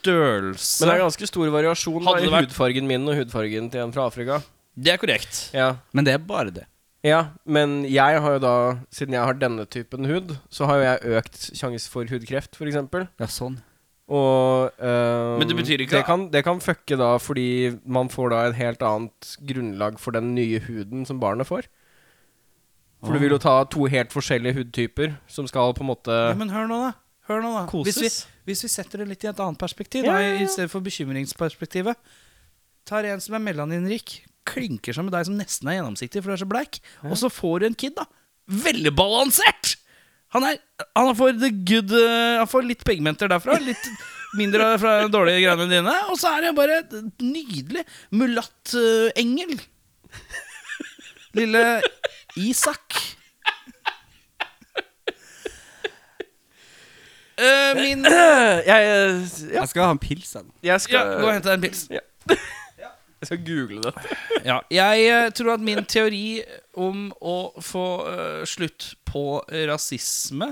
S2: størrelse.
S1: Men det er ganske stor variasjon da,
S2: Hadde
S1: i
S2: det vært-
S1: hudfargen min og hudfargen til en fra Afrika.
S2: det er korrekt.
S1: Ja.
S3: Men det er bare det.
S1: ja, men jeg har jo da, siden jeg har denne typen hud, så har jo jeg økt sjanse for hudkreft, f.eks.
S3: Ja, sånn.
S1: Og eh,
S2: Men det betyr ikke-
S1: det kan, det kan fucke da fordi man får da et helt annet grunnlag for den nye huden som barnet får. For du vil jo
S2: Ah.
S1: ta to helt forskjellige hudtyper som skal på en måte
S2: Ja, men hør nå, da. Hør nå da.
S1: Koses.
S2: Hvis, vi, hvis vi setter det litt i et annet perspektiv,
S1: Ja,
S2: da,
S1: ja, ja.
S2: i stedet for bekymringsperspektivet Tar en som er melaninrik, klinker seg med deg som nesten er gjennomsiktig, for du er så bleik, og så får du en kid, da. Veldig balansert! Han, er, han får the good eh, Han får litt pigmenter derfra, litt mindre fra de dårlige greiene dine, og så er det bare et nydelig mulattengel. Lille Isak. Eh, min
S1: Jeg, ja,
S3: Jeg skal ha en pils, jeg. nå.
S1: jeg
S2: Ja,
S1: skal
S2: gå og hent deg en pils.
S1: Jeg skal google det.
S2: Ja, jeg eh, tror at min teori om å få eh, slutt på rasisme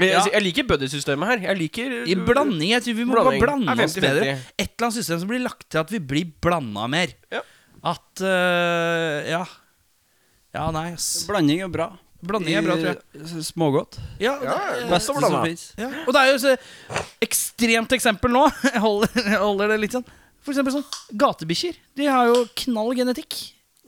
S1: Jeg,
S2: Ja.
S1: jeg liker buddy-systemet her. Jeg liker øh,
S2: I blanding. Jeg tror vi må
S1: Blanding.
S2: bare blande
S1: Ja,
S2: oss bedre.
S1: 50-50.
S2: Et eller annet system som blir lagt til at vi blir blanda mer.
S1: Ja.
S2: At eh, Ja. Ja, nei, ass.
S3: Blanding er bra.
S2: Blanding er bra, tror jeg.
S3: jeg. Smågodt.
S2: Ja, det,
S3: Beste
S1: blanda.
S3: som fins.
S2: Ja. Og det er jo et ekstremt eksempel nå. Jeg holder, jeg holder det litt sånn. For eksempel sånn gatebikkjer. De har jo knall genetikk.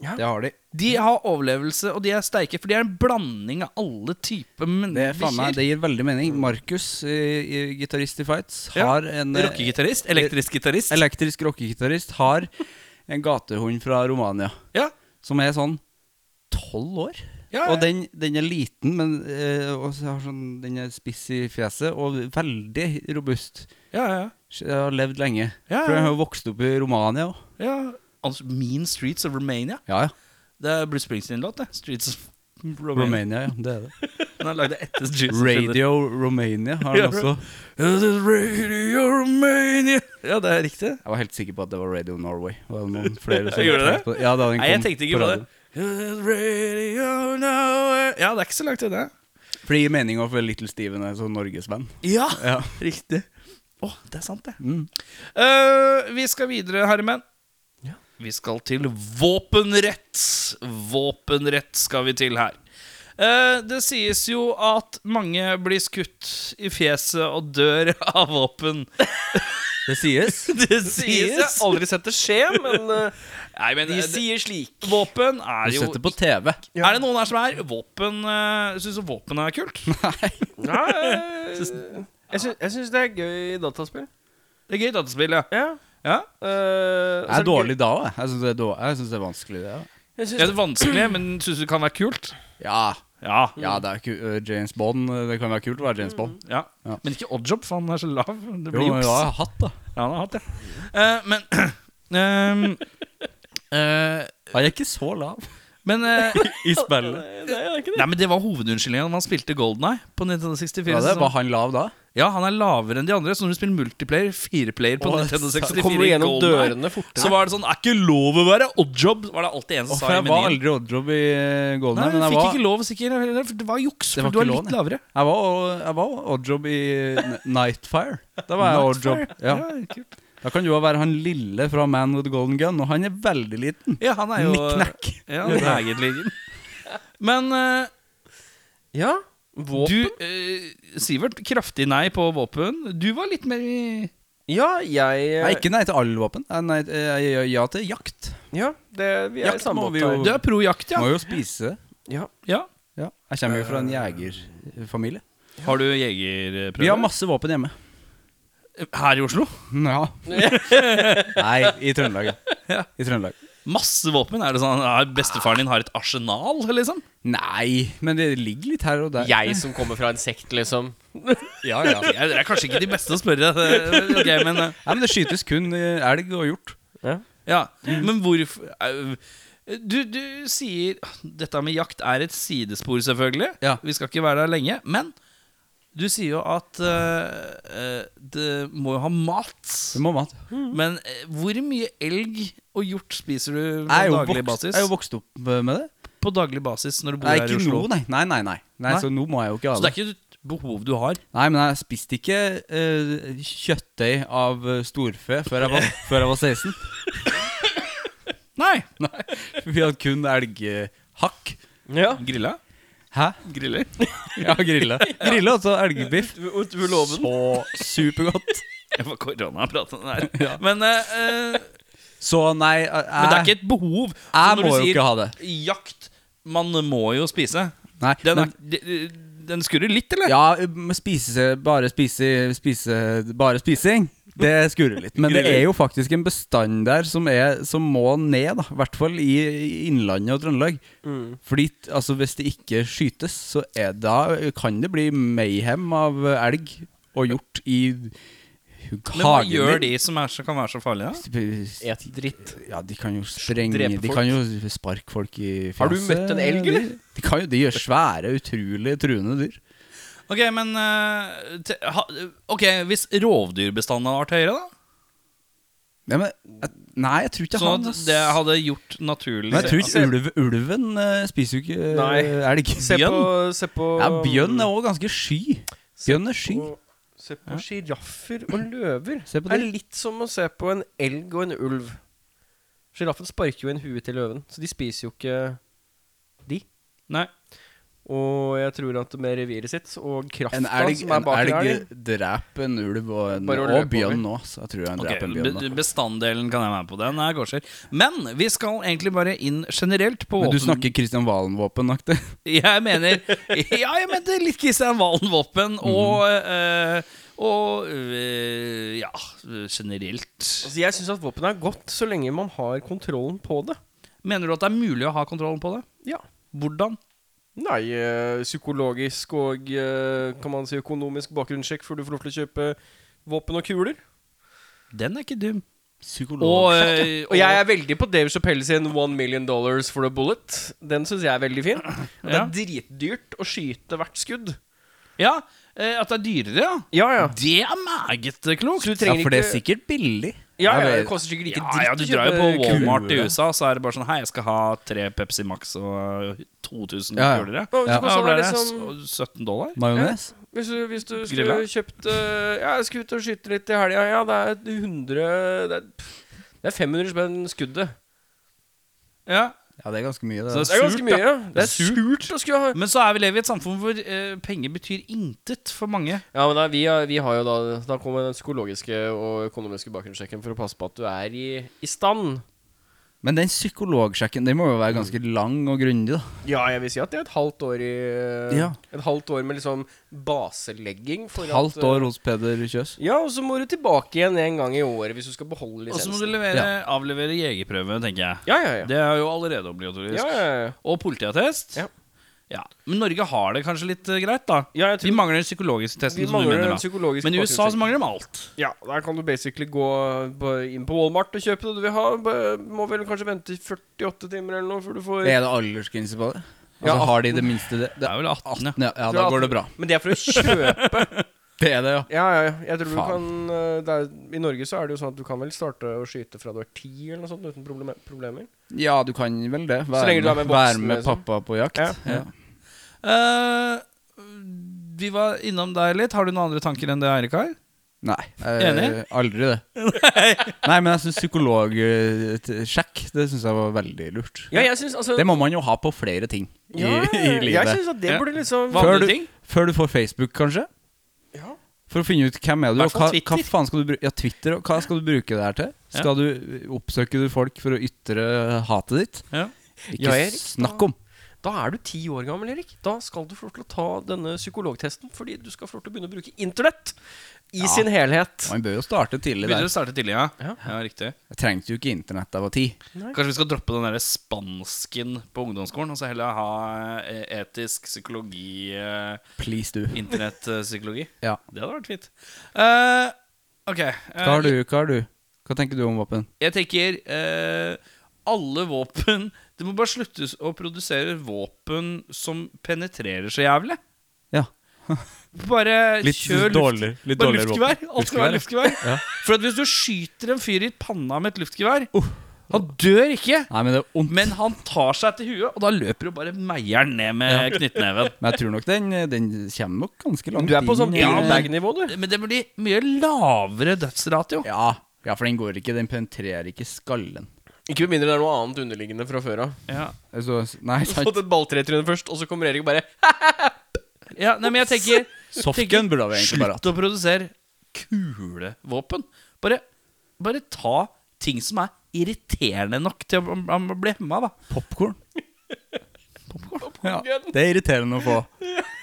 S3: Det har de.
S2: De har overlevelse, og de er sterke, for de er en blanding av alle typer
S3: Det, er faen meg,
S2: mennesker.
S3: det gir veldig mening. Markus, eh, i- gitarist i Fights, har en eh,
S2: Rockegitarist. Elektrisk gitarist.
S3: elektrisk rockegitarist, har en gatehund fra Romania
S2: ja.
S3: som er sånn tolv år.
S2: Ja, ja.
S3: Og den, den er liten, men eh, og så har sånn, den er spiss i fjeset og veldig robust.
S2: Ja, ja,
S3: Jeg har levd lenge.
S2: Ja,
S3: For
S2: ja.
S3: den har jo vokst opp i Romania òg.
S2: ja. Altså, mean Streets of Romania.
S3: Ja, ja.
S2: Det er Bruce Springsteen-låt, det. Streets of Romania.
S3: Romania, ja. Det er det.
S2: Den er lagd etter Jesus.
S3: Radio Romania har den
S2: Ja.
S3: også.
S2: Radio Romania. Ja, det er riktig.
S3: Jeg var helt sikker på at det var Radio Norway. Var det noen flere som
S2: Gjorde
S3: tenkte
S2: det?
S3: på det? Ja, da den
S2: Nei, jeg
S3: kom
S2: tenkte ikke
S3: på
S2: på det.
S3: radioen.
S2: Radio Nowhere Ja, det er ikke så langt unna.
S3: For det gir mening å få Little Steven er sånn norgesvenn.
S2: Ja,
S3: Ja.
S2: riktig. Å, det er sant, det. Eh, vi skal videre, herremenn. Vi skal til våpenrett. Våpenrett skal vi til her. Eh, det sies jo at mange blir skutt i fjeset og dør av våpen.
S3: Det sies.
S2: Det
S1: Sies. Jeg har aldri sett det skje, men eh,
S2: Nei, men
S1: de
S2: eh, det-
S1: sier slik.
S2: våpen er
S3: Du
S2: jo
S3: setter på TV.
S2: Er det noen her som er våpen uh, Syns du våpen er kult?
S1: Nei, eh, jeg syns, jeg syns det er gøy i dataspill.
S2: Det er gøy dataspill, ja.
S1: Ja.
S2: ja.
S1: eh,
S3: Jeg
S1: så
S3: er dårlig da òg. Jeg syns det, er dår- jeg synes det er vanskelig, det. også.
S1: gøy- Jeg
S2: Det
S1: syns
S2: er vanskelig, men syns du det kan være kult?
S3: Ja.
S2: Ja.
S3: ja, det er ku uh, James Bond. uh, Det kan være kult å være James Bond.
S2: Ja.
S3: Ja.
S2: Men ikke oddjob, for han er så lav. Det
S3: Jo,
S2: blir
S3: men
S2: juks.
S3: ja, jeg har hatt, da.
S2: Ja, han har hatt det. Eh, men ehm, eh,
S3: Han er ikke så lav
S2: Men eh,
S3: i spillet.
S2: Nei, men det var hovedunnskyldningen når man spilte Golden Eye på 1964.
S3: Ja, det sånn-
S2: så-
S3: Var han lav da?
S2: ja, han er lavere enn de andre, så når du spiller multiplayer, fireplayer på
S3: Å,
S2: Nintendo
S3: så
S2: 64
S1: kommer du
S2: i
S1: gjennom
S2: GoldenEye,
S1: dørene fortere.
S2: Så var det sånn Er ikke lov å være oddjob? Var det alltid en som
S3: Å,
S2: sa
S3: for
S2: i
S3: jeg var
S2: menyen.
S3: aldri oddjob i uh, Golden
S2: Nei,
S3: Eye, men jeg
S2: fikk
S3: var,
S2: ikke lov, sikkert. eller- for Det var juks,
S3: Det
S2: for
S3: var
S2: du er
S3: ikke
S2: litt
S3: lov,
S2: lavere.
S3: jeg var, jeg var oddjob i N- Nightfire. Da var jeg oddjob. Ja.
S2: kult.
S3: Da kan du òg være han lille fra Man with the Golden Gun, og han er veldig liten.
S2: ja, han er jo
S3: Nikk-nakk.
S2: Ja, det er egentlig ikke. Men eh,
S1: Ja, våpen.
S2: Du, eh, Sivert, kraftig nei på våpen. Du var litt mer i
S1: Ja, jeg øh,
S3: Nei, ikke nei til alle våpen. Eh, Nei, eh, ja- ja til jakt.
S1: Ja, det, vi er i
S3: Jakt
S1: samme
S3: må
S1: båt
S3: vi
S1: her.
S3: jo-
S2: Du er pro jakt, ja.
S3: Må jo spise.
S1: Ja.
S2: ja.
S3: Ja. Jeg kommer jo fra en
S2: Eh.
S3: jegerfamilie.
S2: Har du
S3: Vi har
S2: jegerprøve?
S3: masse våpen hjemme.
S2: Her i Oslo?
S3: Ja. Nei, i Trøndelag. Ja. I Trøndelag.
S2: Masse våpen? Er det sånn at bestefaren din har et arsenal, liksom?
S3: Nei, men det ligger litt her og der.
S1: Jeg som kommer fra en sekt, liksom.
S3: Ja,
S2: Ja,
S3: ja.
S2: Dere er kanskje ikke de beste å spørre. eh, Ok, men eh,
S3: Nei, men det skytes kun eh, elg og hjort.
S2: Ja, men hvorfor au. du, du sier Dette med jakt er et sidespor, selvfølgelig.
S3: Ja.
S2: Vi skal ikke være der lenge. Men du sier jo at eh, eh, det må jo ha mat.
S3: Det må man.
S2: Men eh, hvor mye elg og hjort spiser du på
S3: Jeg er, jo
S2: daglig
S3: vokst,
S2: basis?
S3: jeg er jo vokst opp eh, med det.
S2: På daglig basis når du bor
S3: Nei,
S2: her i
S3: ikke
S2: Oslo?
S3: nå, nei. Nei, nei, nei. nei.
S2: Nei.
S3: Så nå må jeg jo ikke ha
S2: Så det er ikke et behov du har?
S3: Nei, men jeg spiste ikke eh, kjøttdeig av eh, storfe før jeg var, før jeg var 16.
S2: Nei.
S3: Vi hadde kun elghakk.
S1: Ja.
S2: Grilla?
S3: Hæ?
S2: Griller?
S3: Ja, grilla. Grilla, altså elgbiff.
S1: Uloven.
S3: Så supergodt.
S2: Det var koronapraten der. Men, eh, eh,
S3: Så nei, eh, jeg,
S2: men det er ikke et behov. Så
S3: jeg
S2: når du
S3: må jo
S2: sier
S3: ikke ha det.
S2: Jakt Man må jo spise.
S3: Nei,
S2: Den,
S3: men-
S2: er, de- den skurrer litt, eller?
S3: Ja, men spise, bare spise, spise Bare spising. Det skurrer litt. Men det er jo faktisk en bestand der som, er, som må ned, da. I hvert fall i i Innlandet og Trøndelag.
S1: Mm.
S3: Fordi altså, hvis det ikke skytes, så er, da kan det bli mayhem av elg og hjort i
S2: Men hva
S3: hagen
S2: gjør
S3: din.
S2: de som er, så kan være så farlige? da?
S1: Et dritt.
S3: Ja, de kan jo sprenge
S1: Drepe
S3: De
S1: folk.
S3: kan jo sparke folk i fjeset.
S1: Har du møtt en elg, eller?
S3: De, de, kan jo, de gjør svære, utrolig truende dyr.
S2: Ok, men eh, te, ha, Ok, Hvis rovdyrbestanden hadde vært høyere, da?
S3: Nei, men, jeg, nei, jeg tror ikke
S2: Så
S3: han
S2: det hadde gjort naturlig Altså,
S3: Men jeg tror ikke ulv, ulven eh, spiser jo ikke uh,
S1: Nei.
S3: elg.
S1: Se
S3: Bjørn?
S1: på, se på
S3: Ja, bjørn er også ganske sky.
S1: Se
S3: Bjørn er sky.
S1: på- Se på sjiraffer og løver.
S3: Se på
S1: det er
S3: de.
S1: litt som å se på en elg og en ulv. Sjiraffen sparker jo inn huet til løven, så de spiser jo ikke de.
S2: Nei.
S1: Og jeg tror at med reviret sitt og krafta
S3: En elg,
S1: som er
S3: en
S1: bak i
S3: elg
S1: elgen
S3: dreper en ulv og, en,
S1: Bare å
S3: og
S1: løpe
S3: bjørn òg, så jeg tror han
S2: Ok,
S3: dreper en bjørn.
S2: be-
S3: da.
S2: Bestanddelen kan jeg være med på. Den er gårdsdyr. Men vi skal egentlig bare inn generelt på
S3: Men du snakker Kristian Valen-våpenaktig?
S2: Jeg mener Ja, jeg mente litt Kristian Valen-våpen og eh, Og eh, ja, generelt.
S1: Altså, jeg syns at våpenet er godt så lenge man har kontrollen på det.
S2: Mener du at det er mulig å ha kontrollen på det?
S1: Ja.
S2: Hvordan?
S1: Nei, eh, psykologisk og eh, kan man si økonomisk bakgrunnssjekk før du får lov til å kjøpe våpen og kuler.
S2: Den er ikke dum.
S3: Psykolog.
S2: Og, eh,
S1: Og jeg er veldig på Dave Chappelle sin 'One Million Dollars for a Bullet'. Den syns jeg er veldig fin. Og Det
S2: Ja.
S1: er dritdyrt å skyte hvert skudd.
S2: Ja, eh, at det er dyrere, ja.
S1: Ja, ja.
S2: Det er meget eh, klokt.
S1: Så du
S3: Ja,
S1: trenger
S3: for det er
S1: ikke
S3: sikkert billig.
S2: Ja,
S3: Jeg
S2: ja,
S3: vet-
S2: det koster sikkert ikke
S3: Ja,
S2: dritt.
S3: ja,
S2: du
S3: du
S2: drar jo på
S3: kjøper
S2: Walmart i
S3: kuler.
S2: USA, så er det bare sånn Hei, jeg skal ha tre Pepsi Max og 2000
S3: Ja, ja.
S2: kuler. Ja.
S1: Hva-
S3: Ja.
S1: hva sa
S2: ble
S1: det
S2: det
S1: liksom-
S2: så- 17 dollar?
S3: Majones?
S1: Hvis du, hvis du skulle
S2: Grilla?
S1: kjøpt eh, Ja, jeg skulle ut og skyte litt i helga. Ja, det er 100 det er, pff, det er 500 spenn skuddet.
S2: Ja.
S3: Ja, det er ganske mye.
S2: Så-
S3: Det.
S1: Det er ganske
S2: Surt,
S1: mye.
S2: ja.
S1: Det er surt å skulle ha
S2: Men så er vi lever i et samfunn hvor eh, penger betyr intet for mange.
S1: Ja, men da, vi, har- vi har jo da Da kommer den psykologiske og økonomiske bakgrunnssjekken for å passe på at du er i, i stand.
S3: Men den psykologsjekken Den må jo være ganske lang og grundig, da.
S1: Ja, jeg vil si at det er et halvt år i eh,
S3: Ja.
S1: Et halvt år med liksom baselegging. For at, eh,
S3: Halvt år hos Peder Kjøs.
S1: Ja, og så må du tilbake igjen en gang i året hvis du skal beholde
S2: Og så
S1: lisensen.
S2: må du levere, avlevere jegerprøve, tenker jeg.
S1: Ja, sånn. ja, ja.
S2: Det er jo allerede obligatorisk.
S1: ja, ja, ja.
S2: Og politiattest.
S1: Ja.
S2: Ja. Men Norge har det kanskje litt eh, greit, da.
S1: Ja, jeg tror-
S2: vi mangler den psykologiske testen.
S1: Vi
S2: som du
S1: mangler
S2: mener,
S1: den
S2: da.
S1: psykologiske
S2: Men i USA så
S1: bakgrunnen.
S2: mangler de alt.
S1: Ja, der kan du basically gå på- inn på Walmart og kjøpe det du vil ha. Bø- Må vel kanskje vente i 48 timer eller noe før du får
S3: Er det aldersgrense på det? Altså,
S1: Ja,
S3: Har de det minste det?
S2: Det
S3: det
S2: er vel 18, ja.
S3: ja, ja, da går det bra.
S1: Men det er for å kjøpe.
S3: Det er det, ja.
S1: Ja, ja, ja. Jeg tror du
S3: Faen.
S1: kan eh, det er, I Norge så er det jo sånn at du kan vel starte å skyte fra du er ti eller noe sånt uten probleme- problemer.
S3: Ja, du kan vel det. Være
S1: Så lenge du er med
S3: med,
S1: voksen,
S3: være med
S1: liksom.
S3: pappa på jakt.
S1: Ja.
S3: Ja.
S2: Eh, vi var innom deg litt. Har du noen andre tanker enn det Eirik har?
S3: Nei.
S2: Enig?
S3: Eh, aldri det. Nei, men jeg syns psykologsjekk Det synes jeg var veldig lurt.
S1: Ja, jeg syns altså
S3: Det må man jo ha på flere ting i,
S1: ja,
S3: i
S1: Jeg
S3: livet.
S1: syns at det
S2: Ja.
S1: burde liksom
S2: Hva-
S3: Før
S2: Andre
S3: du,
S2: ting?
S3: før du får Facebook, kanskje?
S1: Ja.
S3: For å finne ut hvem er du og
S2: Hvertfall
S3: hva, hva
S2: Twitter.
S3: faen skal du bruke Ja, Twitter, og hva skal du bruke det her til?
S2: Ja.
S3: Skal du eh, Oppsøker du folk for å ytre eh, hatet ditt?
S2: Ja.
S1: Ja,
S3: Ikke
S1: Erik, da-
S3: snakk om!
S1: Da er du ti år gammel, Erik. Da skal du få lov til å ta denne psykologtesten. Fordi du skal få lov til å begynne å bruke internett i
S3: Ja.
S1: sin helhet.
S3: Man bør jo starte tidlig
S2: Begynner å
S3: der.
S2: starte tidlig, ja.
S1: Ja.
S2: riktig
S3: Jeg trengte jo ikke internett da jeg var ti.
S2: Kanskje vi skal droppe den der spansken på ungdomsskolen, og så heller ha eh, etisk psykologi, eh,
S3: Please, du.
S2: internettpsykologi?
S3: Ja.
S2: Det hadde vært fint. Eh, ok. eh,
S3: Hva har du? Hva har du? Hva tenker du om våpen?
S2: Jeg tenker eh, alle våpen Det må bare sluttes å produsere våpen som penetrerer så jævlig.
S3: Ja.
S2: Bare
S3: Litt
S2: kjør luft-
S3: dårlig- litt
S2: bare
S3: dårligere
S2: luftgevær.
S3: våpen.
S2: Alt skal være luftgevær.
S3: ja.
S2: For at hvis du skyter en fyr i panna med et luftgevær Han dør ikke,
S3: Nei, men det er vondt.
S2: men han tar seg til huet, og da løper jo bare meieren ned med knyttneven.
S3: Men jeg tror nok den, den kommer nok ganske langt
S1: Du er på sånn
S3: inn, eh,
S1: beanbag-nivå, du.
S2: Men det blir mye lavere dødsratio.
S3: ja. ja, for den går ikke Den penetrerer ikke skallen.
S1: Ikke med mindre det er noe annet underliggende fra før av.
S2: Ja.
S3: Altså, nei,
S1: Du har
S3: sant.
S1: fått et balltretryne først, og så kommer Erik og bare
S2: Ja, nei, men jeg tenker
S3: Softgun burde vi egentlig bare hatt.
S2: Slutt å produsere kulevåpen. Bare, bare ta ting som er irriterende nok til å å- å bli hemma, da.
S3: Popkorn. Ja, det er irriterende å få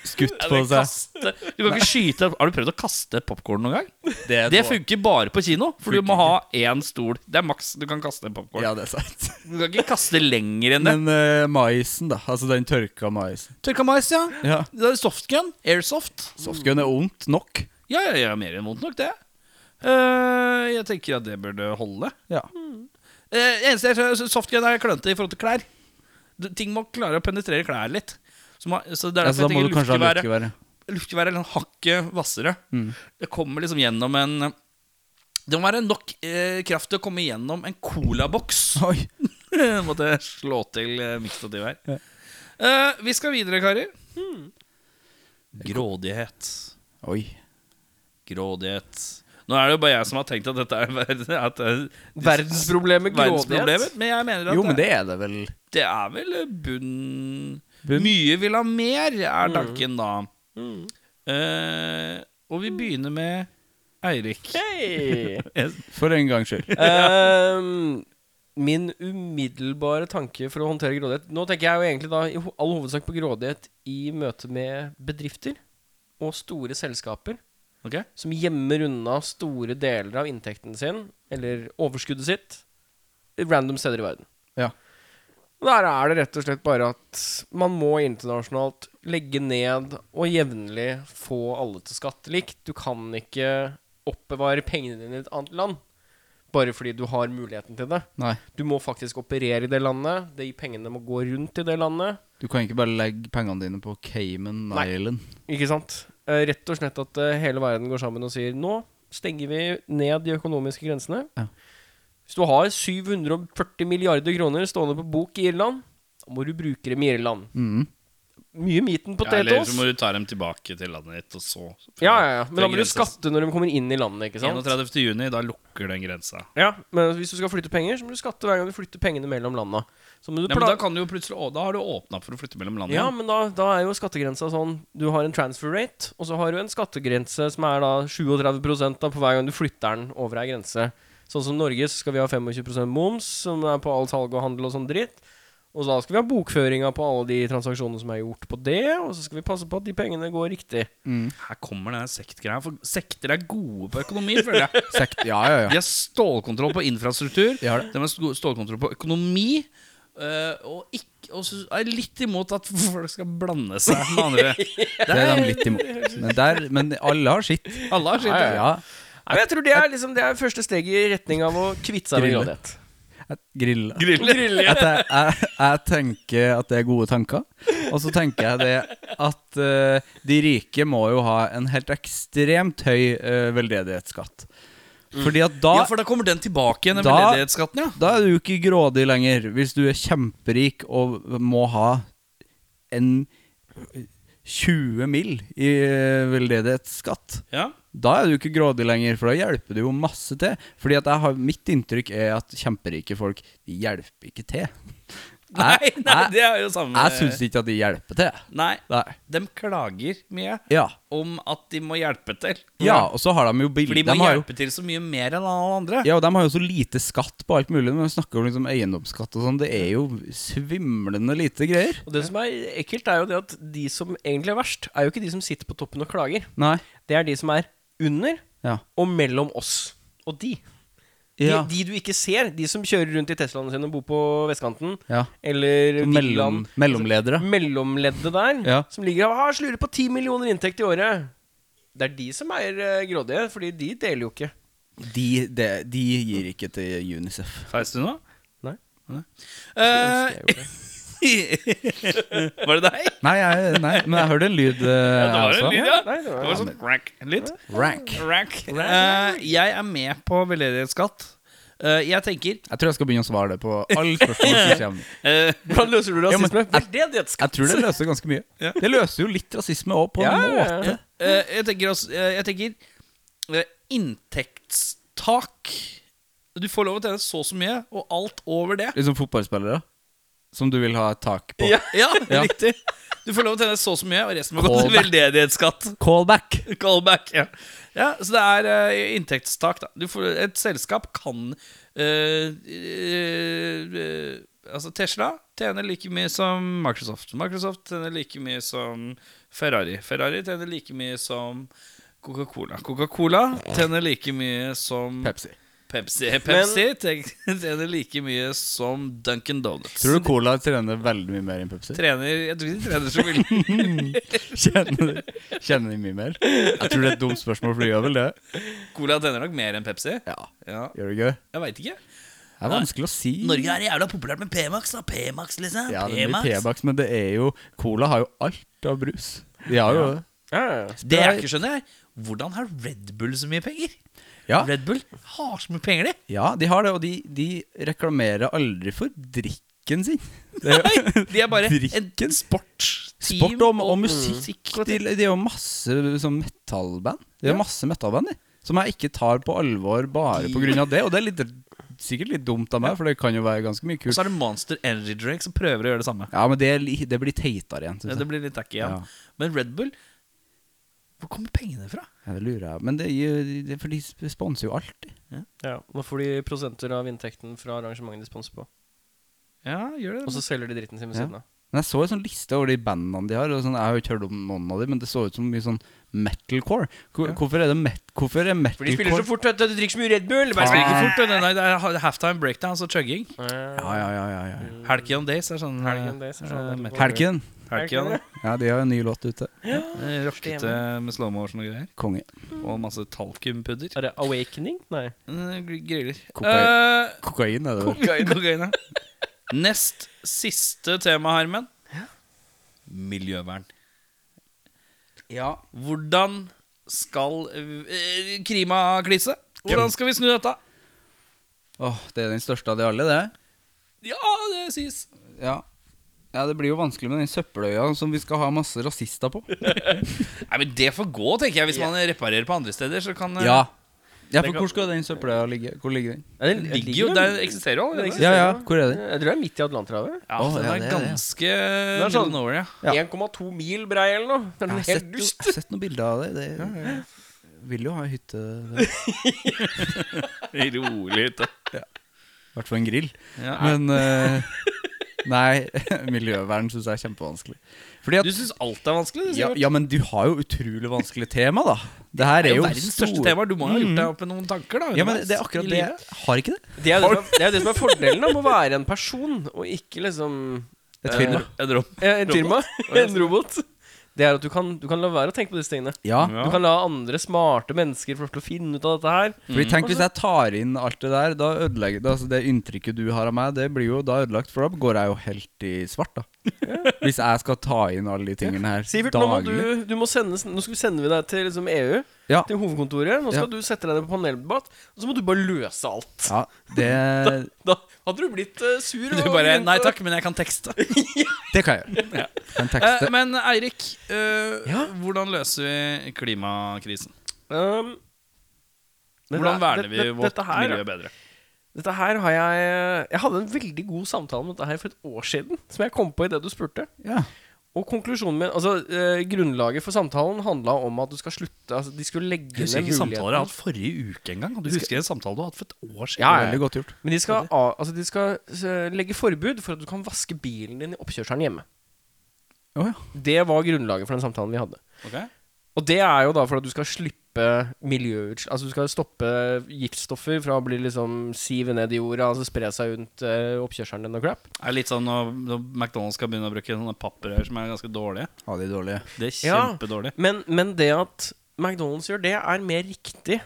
S3: skutt på seg.
S2: Kaste. Du kan ikke skyte Har du prøvd å kaste popkorn noen gang?
S3: Det,
S2: Det funker bare på kino, for du må ha én stol. Det er maks du kan kaste en popkorn.
S3: Ja, det er sant.
S2: Du kan ikke kaste lenger enn det.
S3: Men eh, maisen, da. Altså den tørka maisen.
S2: Tørka mais, ja.
S3: Ja.
S2: Det er softgun. Airsoft.
S3: Softgun er vondt nok.
S2: Ja, ja, ja. Mer enn vondt nok, det. Eh, jeg tenker at det burde holde.
S3: Ja.
S2: Eh, eneste jeg tror Softgun er klønete i forhold til klær. Du, ting må klare å penetrere klær litt. Så, må, så det er derfor
S3: Altså, da må
S2: jeg
S3: du kanskje
S2: tenker
S3: ha
S2: luftgeværet
S3: luftgeværet.
S2: Luftgeværet er en hakket hvassere.
S3: Mm.
S2: Det kommer liksom gjennom en Det må være nok eh, kraft til å komme gjennom en colaboks.
S3: Oi.
S2: Måtte jeg slå til eh, mikstativet her. Eh, vi skal videre, karer. Grådighet.
S3: Oi.
S2: Grådighet. Nå er det jo bare jeg som har tenkt at dette er verden- at det er
S1: Verdensproblemet
S2: verdensproblemet,
S1: grådighet.
S2: men jeg mener at
S3: Jo, men det er det vel.
S2: Det er vel bunn... Mye vil ha mer,
S1: Mm.
S2: er tanken da. Eh, og vi begynner med Eirik.
S1: Hei!
S3: For en gangs skyld.
S1: Ehm, min umiddelbare tanke for å håndtere grådighet Nå tenker jeg jo egentlig da i ho- all hovedsak på grådighet i møte med bedrifter og store selskaper
S2: Ok?
S1: som gjemmer unna store deler av inntekten sin eller overskuddet sitt random steder i verden.
S3: Ja.
S1: Og Der er det rett og slett bare at man må internasjonalt legge ned og jevnlig få alle til skatt likt. Du kan ikke oppbevare pengene dine i et annet land bare fordi du har muligheten til det.
S3: Nei.
S1: Du må faktisk operere i det landet. De pengene må gå rundt i det landet.
S3: Du kan ikke bare legge pengene dine på Cayman
S1: Nei.
S3: Island.
S1: Ikke sant? Eh, Rett og slett at eh, hele verden går sammen og sier nå stenger vi ned de økonomiske grensene.
S3: Ja.
S1: Hvis du har 740 milliarder kroner stående på bok i Irland, da må du bruke dem i Irland. Mye meat and
S2: Ja, eller
S1: potatoes.
S2: så må du ta dem tilbake til landet ditt, og så
S1: Ja, ja, ja. Men da må du
S2: Grenses.
S1: skatte når de kommer inn i landet, ikke sant?
S2: 31. juni, da lukker den grensa.
S1: Ja, men hvis du skal flytte penger, så må du skatte hver gang du flytter pengene mellom landa. Så må du
S2: Ja, men da,
S1: pla-
S2: kan du jo plutselig, å, da har du åpna for å flytte mellom landene.
S1: ja, men da, da er jo skattegrensa sånn Du har en transfer rate, og så har du en skattegrense som er da 37 da på hver gang du flytter den over ei grense. Sånn som Norge så skal vi ha 25 moms, som er på all salg og handel og sånn dritt. Og da skal vi ha bokføringa på alle de transaksjonene som er gjort på det, og så skal vi passe på at de pengene går riktig.
S2: Her kommer den sektgreia. For sekter er gode på økonomi, føler jeg.
S3: Sekt, ja, ja, ja.
S2: De har stålkontroll på infrastruktur.
S3: De har det.
S2: De har sto- stålkontroll på økonomi. eh, og, ikke, og så er jeg litt imot at folk skal blande seg med andre.
S3: Det er de litt imot. Men, der, men alle har sitt.
S2: Alle har sitt.
S3: Ja, ja,
S1: Nei, men jeg tror det er, liksom, det er første steget i retning av å kvitte seg med
S3: Grille.
S1: grådighet.
S3: ja. Grill.
S1: Grille, ja.
S3: At jeg, jeg, jeg tenker at det er gode tanker. Og så tenker jeg det at eh, de rike må jo ha en helt ekstremt høy eh, veldedighetsskatt. Fordi at da
S2: Ja, for da kommer den tilbake igjen, den
S3: Da-
S2: veledighetsskatten, ja.
S3: Da er du ikke grådig lenger, hvis du er kjemperik og må ha en 20 mill. i eh, veldedighetsskatt.
S2: ja.
S3: Da er du ikke grådig lenger, for da hjelper du jo masse til. Fordi at jeg har, mitt inntrykk er at kjemperike folk, de hjelper ikke til.
S2: Nei,
S3: Jeg-
S2: nei,
S3: jeg-
S2: det er jo samme
S3: Jeg syns ikke at de hjelper til.
S2: Nei,
S3: Nei.
S2: de klager mye
S3: Ja.
S2: om at de må hjelpe til.
S3: ja, og så har de jo billig
S2: For de
S3: de
S2: må
S3: har jo,
S2: hjelpe til så mye mer enn alle andre.
S3: ja, og de har jo så lite skatt på alt mulig. Når vi snakker om liksom eiendomsskatt og sånn, det er jo svimlende lite greier.
S1: Og det som er ekkelt, er jo det at de som egentlig er verst, er jo ikke de som sitter på toppen og klager.
S3: Nei.
S1: Det er de som er under
S3: Ja.
S1: og mellom oss og de. De,
S3: Ja.
S1: de du ikke ser. De som kjører rundt i Teslaene sine og bor på vestkanten.
S3: Ja.
S1: Eller
S3: Mellom,
S1: villaen.
S3: mellomledere.
S1: Mellomleddet der,
S3: Ja.
S1: som ligger og ah, slurer på 10 millioner inntekt i året. Det er de som eier eh, grådige, fordi de deler jo ikke.
S3: De, de, de gir ikke til Unicef.
S2: Feis du nå?
S1: Nei.
S2: Eh,
S1: Jeg gjorde det.
S2: var det deg?
S3: Nei, jeg, nei, men jeg hørte en lyd, eh,
S2: Det var
S3: jeg
S2: en
S3: også.
S2: lyd, ja.
S1: Nei, det var-
S2: Det var sånn crack lyd.
S3: Rank.
S2: Crack. Eh, jeg er med på veldedighetsskatt. Eh, jeg tenker
S3: Jeg tror jeg skal begynne å svare det på alle spørsmål som kommer.
S2: eh,
S1: Hvordan løser du
S3: men-
S1: rasisme? Veldedighetsskatt.
S3: Jeg tror det løser ganske mye.
S2: Ja.
S3: Det løser jo litt rasisme òg, på en
S1: Ja, ja, ja.
S3: måte.
S2: eh, Jeg tenker, også, eh, jeg tenker eh, inntektstak. Du får lov å tjene så og så mye, og alt over det
S3: Liksom fotballspillere som du vil ha et tak på.
S1: Ja.
S2: Ja,
S3: Ja.
S2: riktig. Du får lov å tjene så og så mye, og resten må gå til
S3: Callback.
S2: veldedighetsskatt.
S3: Callback!
S2: Callback, ja. ja så det er eh, inntektstak, da. Du får, et selskap kan eh, eh, eh, Altså, Tesla tjener like mye som Microsoft. Microsoft tjener like mye som Ferrari. Ferrari tjener like mye som Coca-Cola. Coca-Cola tjener like mye som
S3: Pepsi.
S2: Pepsi. Pepsi ten- tjener like mye som Duncan Donuts.
S3: Tror du Cola trener veldig mye mer enn Pepsi?
S2: Trener, jeg tror ikke de trener så mye.
S3: Kjenner, kjenner de mye mer? Jeg tror det er et dumt spørsmål, for de gjør vel det?
S2: Cola tjener nok mer enn Pepsi.
S3: Ja,
S2: Ja,
S3: Gjør det gøy?
S2: jeg veit ikke.
S3: Det er vanskelig å si.
S2: Norge er jævla populært med P-Max, da. P-Max, liksom.
S3: ja, det er mye
S2: P-Max.
S3: P-Bax, men det er jo Cola har jo alt av brus. De har jo det.
S1: Ja, ja, ja.
S2: Det jeg ikke skjønner, er hvordan har Red Bull så mye penger?
S3: Ja.
S2: Red Bull har så mye penger, de.
S3: Ja, de har det, og de, de reklamerer aldri for drikken sin. Det er jo
S2: Nei, de er bare
S3: Drikken?
S2: en sport. Team
S3: sport og, og musikk.
S2: og
S3: De, de er jo masse sånn metallband. De har masse metallband, de. Som jeg ikke tar på alvor bare på grunn av det. Og det er litt, sikkert litt dumt av meg, for det kan jo være ganske mye
S2: Og
S3: kult.
S2: så er det Monster Energy Drake som prøver å gjøre det samme.
S3: Ja, men det, er li- det blir teitere igjen.
S2: Altså- Ja,
S3: Synes
S2: det
S3: jeg.
S2: blir litt tacky igjen.
S3: Ja.
S2: Men Red Bull Hvor kommer pengene fra?
S3: Ja, det lurer jeg. Men det, er jo- det, er for de sponser jo alt.
S1: Ja, Nå får de prosenter av inntekten fra arrangementet de sponser på.
S2: Ja, gjør
S1: Og så selger de dritten sin ved
S3: Ja.
S1: siden av.
S3: Men jeg så en sånn liste over de bandene de har. Og sånn, jeg har jo ikke hørt om noen av dem, men det så ut som mye sånn metalcore. Hvor, Hvorfor er det met, hvorfor er metalcore?
S1: For de spiller så fort at du drikker så mye Red Bull.
S2: Bare
S1: Bare
S2: spiller
S1: spiller
S2: ikke fort. da. Nei, det er halftime breakdowns og chugging.
S3: Ja, ja, ja, ja, ja.
S2: Helgen Days er sånn
S1: Helgen Days er sånn-
S2: eh, metal.
S3: Helken.
S2: Helgen, ja.
S3: Ja, de har en ny låt ute.
S2: Eh, Rockete med slow motion og greier.
S3: Konge.
S2: Og masse talkumpudder.
S1: Er det Awakening? Nei.
S2: Eh, gr- Griller.
S3: Kokain.
S2: Eh,
S3: Kokain er det vel?
S2: kokain. ja. Nest siste tema, Herman. Miljøvern.
S3: Ja.
S2: Hvordan skal eh, Klimaklise? Hvordan skal vi snu dette?
S3: Åh, det er den største av de alle, det.
S2: Ja, det sies.
S3: Ja. ja, det blir jo vanskelig med den søppeløya som vi skal ha masse rasister på.
S2: Nei, men Det får gå, tenker jeg. Hvis man reparerer på andre steder, så kan eh,
S3: Ja. ja, for hvor skal den søppeløya ligge? Hvor ligger den?
S1: Nei, Den
S2: Det ligger jo
S1: den-
S2: der det eksisterer jo allerede.
S3: Ja, ja, hvor er den?
S1: Jeg tror det er midt i Atlanterhavet.
S2: Ja,
S3: Åh,
S2: den er
S3: ja, det er det, ja.
S2: ganske
S1: er sånn-
S2: middle nowhere, ja.
S3: Ja.
S1: 1,2 mil brei eller noe. Den er
S3: Jeg har
S1: helt
S3: sett, jo,
S1: dust.
S3: jeg har sett noen bilder av det. det Vil jo ha ei hytte. I
S4: Rolig hytte.
S3: hvert fall en grill.
S2: Ja.
S3: Men eh, Nei, miljøvern syns jeg er kjempevanskelig. Fordi at
S2: Du syns alt er vanskelig? Du,
S3: ja,
S2: Sivert?
S3: ja, men du har jo utrolig vanskelig tema, da. Det her
S2: det
S3: er jo
S2: verdens
S3: store-
S2: største tema. Du må jo ha gjort deg opp med noen tanker, da.
S3: Ja, men
S2: underveis
S3: det er akkurat
S2: i
S3: det.
S2: livet.
S3: jeg Har ikke det?
S1: Det er jo det, som er- det er jo det som er fordelen da, med å være en person, og ikke liksom
S3: Et
S1: eh,
S3: firma.
S2: En rom.
S1: ja, en firma. En robot. Det er at du kan, du kan la være å tenke på disse tingene.
S3: Ja.
S1: Du kan la andre smarte mennesker få lov til å finne ut av dette her.
S3: Fordi tenk hvis jeg tar inn alt det der, da ødelegger det, altså det inntrykket du har av meg, det blir jo da ødelagt, for da går jeg jo helt i svart, da. Hvis jeg skal ta inn alle de tingene her
S1: Sivert, nå, må
S3: daglig.
S1: du, du må sendes, nå skal vi sende vi deg til liksom, EU,
S3: Ja.
S1: til hovedkontoret. Nå
S3: Ja.
S1: skal du sette deg ned på paneldebatt, og så må du bare løse alt.
S3: Ja, det,
S1: Da hadde du blitt eh, sur.
S2: Du
S1: og
S2: bare
S1: glemt
S2: Nei
S1: å-
S2: takk, men jeg kan tekste.
S3: det kan jeg gjøre. Kan
S2: Eh,
S3: tekste.
S2: men Eirik, eh,
S1: Ja?
S2: hvordan løser vi klimakrisen?
S1: Um, dette-
S2: Hvordan verner vi
S1: dette-
S2: vårt
S1: dette her-
S2: miljø bedre?
S1: Dette her har jeg Jeg hadde en veldig god samtale om dette her for et år siden, som jeg kom på idet du spurte.
S3: Ja.
S1: Og konklusjonen min Altså, eh, grunnlaget for samtalen handla om at du skal slutte Altså, de skulle legge ned muligheten
S2: forrige uke engang. Du husker en samtale du hadde for et år siden?
S1: Ja, Ah, ja,
S3: Veldig
S1: ja.
S3: godt gjort.
S1: Men de skal, av- altså, de skal eh, legge forbud for at du kan vaske bilen din i oppkjørselen hjemme.
S3: Å ja.
S1: Det var grunnlaget for den samtalen vi hadde.
S2: Ok.
S1: Og det er jo da for at du skal slippe miljøutslipp Altså du skal stoppe giftstoffer fra å bli liksom sive ned i jorda, altså spre seg rundt eh, oppkjørselen din og crap.
S2: Det er litt sånn når, når McDonald's skal begynne å bruke sånne papprør som er ganske dårlige.
S3: Ja, de er dårlige.
S2: Det er
S1: Ja.
S2: kjempedårlig.
S1: Men, men det at McDonald's gjør det, er mer riktig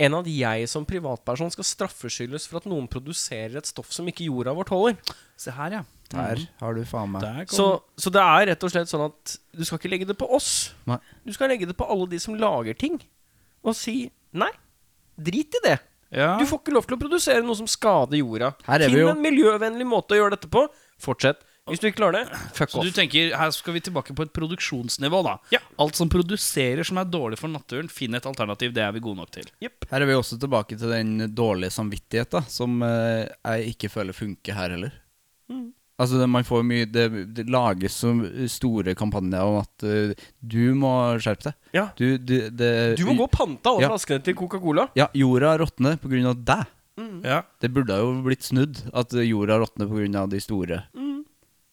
S1: enn at jeg som privatperson skal straffeskyldes for at noen produserer et stoff som ikke jorda vårt holder.
S2: Se her, ja.
S3: Der
S1: Mm.
S3: har du faen meg
S2: Der kom
S1: Så, så det er rett og slett sånn at du skal ikke legge det på oss.
S3: Nei.
S1: Du skal legge det på alle de som lager ting, og si nei, drit i det.
S2: ja.
S1: Du får ikke lov til å produsere noe som skader jorda.
S3: Her er vi
S1: Finn
S3: jo-
S1: en miljøvennlig måte å gjøre dette på. Fortsett. Hvis du ikke klarer det, fuck
S2: Så du
S1: off.
S2: tenker, her skal vi tilbake på et produksjonsnivå, da.
S1: Ja.
S2: Alt som produserer som er dårlig for naturen, finn et alternativ. Det er vi gode nok til.
S3: Her er vi også tilbake til den dårlige samvittigheten som eh, jeg ikke føler funker her heller.
S1: Mm.
S3: Altså det, man får mye det, det lages så store kampanjer om at eh, du må skjerpe deg.
S1: Ja.
S3: Du, du, det,
S1: Du må gå og panta alle
S3: Ja.
S1: flaskene til Coca-Cola.
S3: Ja, jorda råtner på grunn av deg.
S2: Ja.
S3: Det burde jo blitt snudd, at jorda råtner på grunn av de store.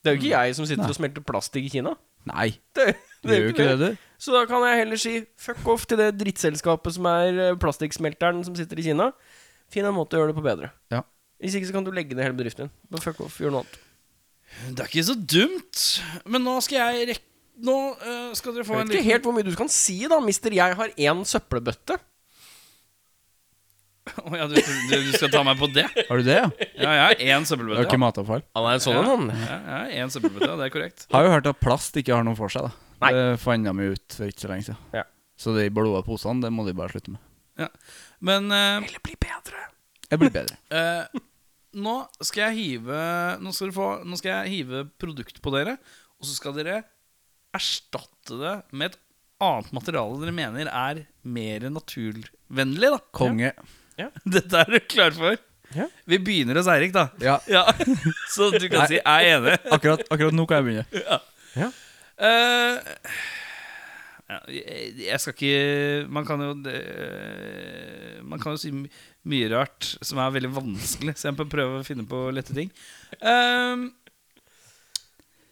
S1: Det er jo ikke jeg som sitter
S3: Mm. Nei.
S1: og smelter plastikk i Kina.
S3: Nei,
S1: Det,
S3: du gjør jo ikke det, du.
S1: Så da kan jeg heller si fuck off til det drittselskapet som er eh, plastikksmelteren som sitter i Kina. Finn en måte å gjøre det på bedre.
S3: Ja.
S1: Hvis ikke så kan du legge ned hele bedriften din. Bare fuck off, gjør noe annet.
S2: Det er ikke så dumt. Men nå skal jeg rekke Nå øh, skal dere få
S1: Jeg
S2: en
S1: vet ikke helt hvor mye du kan si, da, mister. Jeg har én søppelbøtte.
S2: Å ja, du, du, du skal ta meg på det?
S3: Har du det, ja?
S2: Ja, jeg har én
S3: Det er
S2: søppelbøtte.
S3: ikke matavfall.
S1: Han er en
S2: ja.
S1: sånn en, han.
S2: Ja, jeg har én søppelbøtte, ja, det er korrekt.
S3: Har jo hørt at plast ikke har noe for seg, da.
S1: Nei.
S3: Det fant de jo ut for ikke så lenge siden.
S1: Ja.
S3: Så de blå posene, det må de bare slutte med.
S2: Ja. Men øh,
S1: Eller bli bedre.
S3: Jeg blir bedre.
S2: Eh, nå skal jeg hive nå skal, dere få, nå skal jeg hive produkt på dere, og så skal dere erstatte det med et annet materiale dere mener er mer naturvennlig. da
S3: Konge.
S2: Dette er du klar for?
S1: Ja.
S2: Vi begynner hos Eirik, da.
S3: Ja,
S2: Ja. Så du kan si 'jeg er enig'.
S3: akkurat, akkurat nå kan jeg begynne.
S2: Eh, ja, jeg jeg skal ikke Man kan jo det- Man kan jo si my- mye rart som er veldig vanskelig, så jeg må prøve å finne på lette ting. Eh,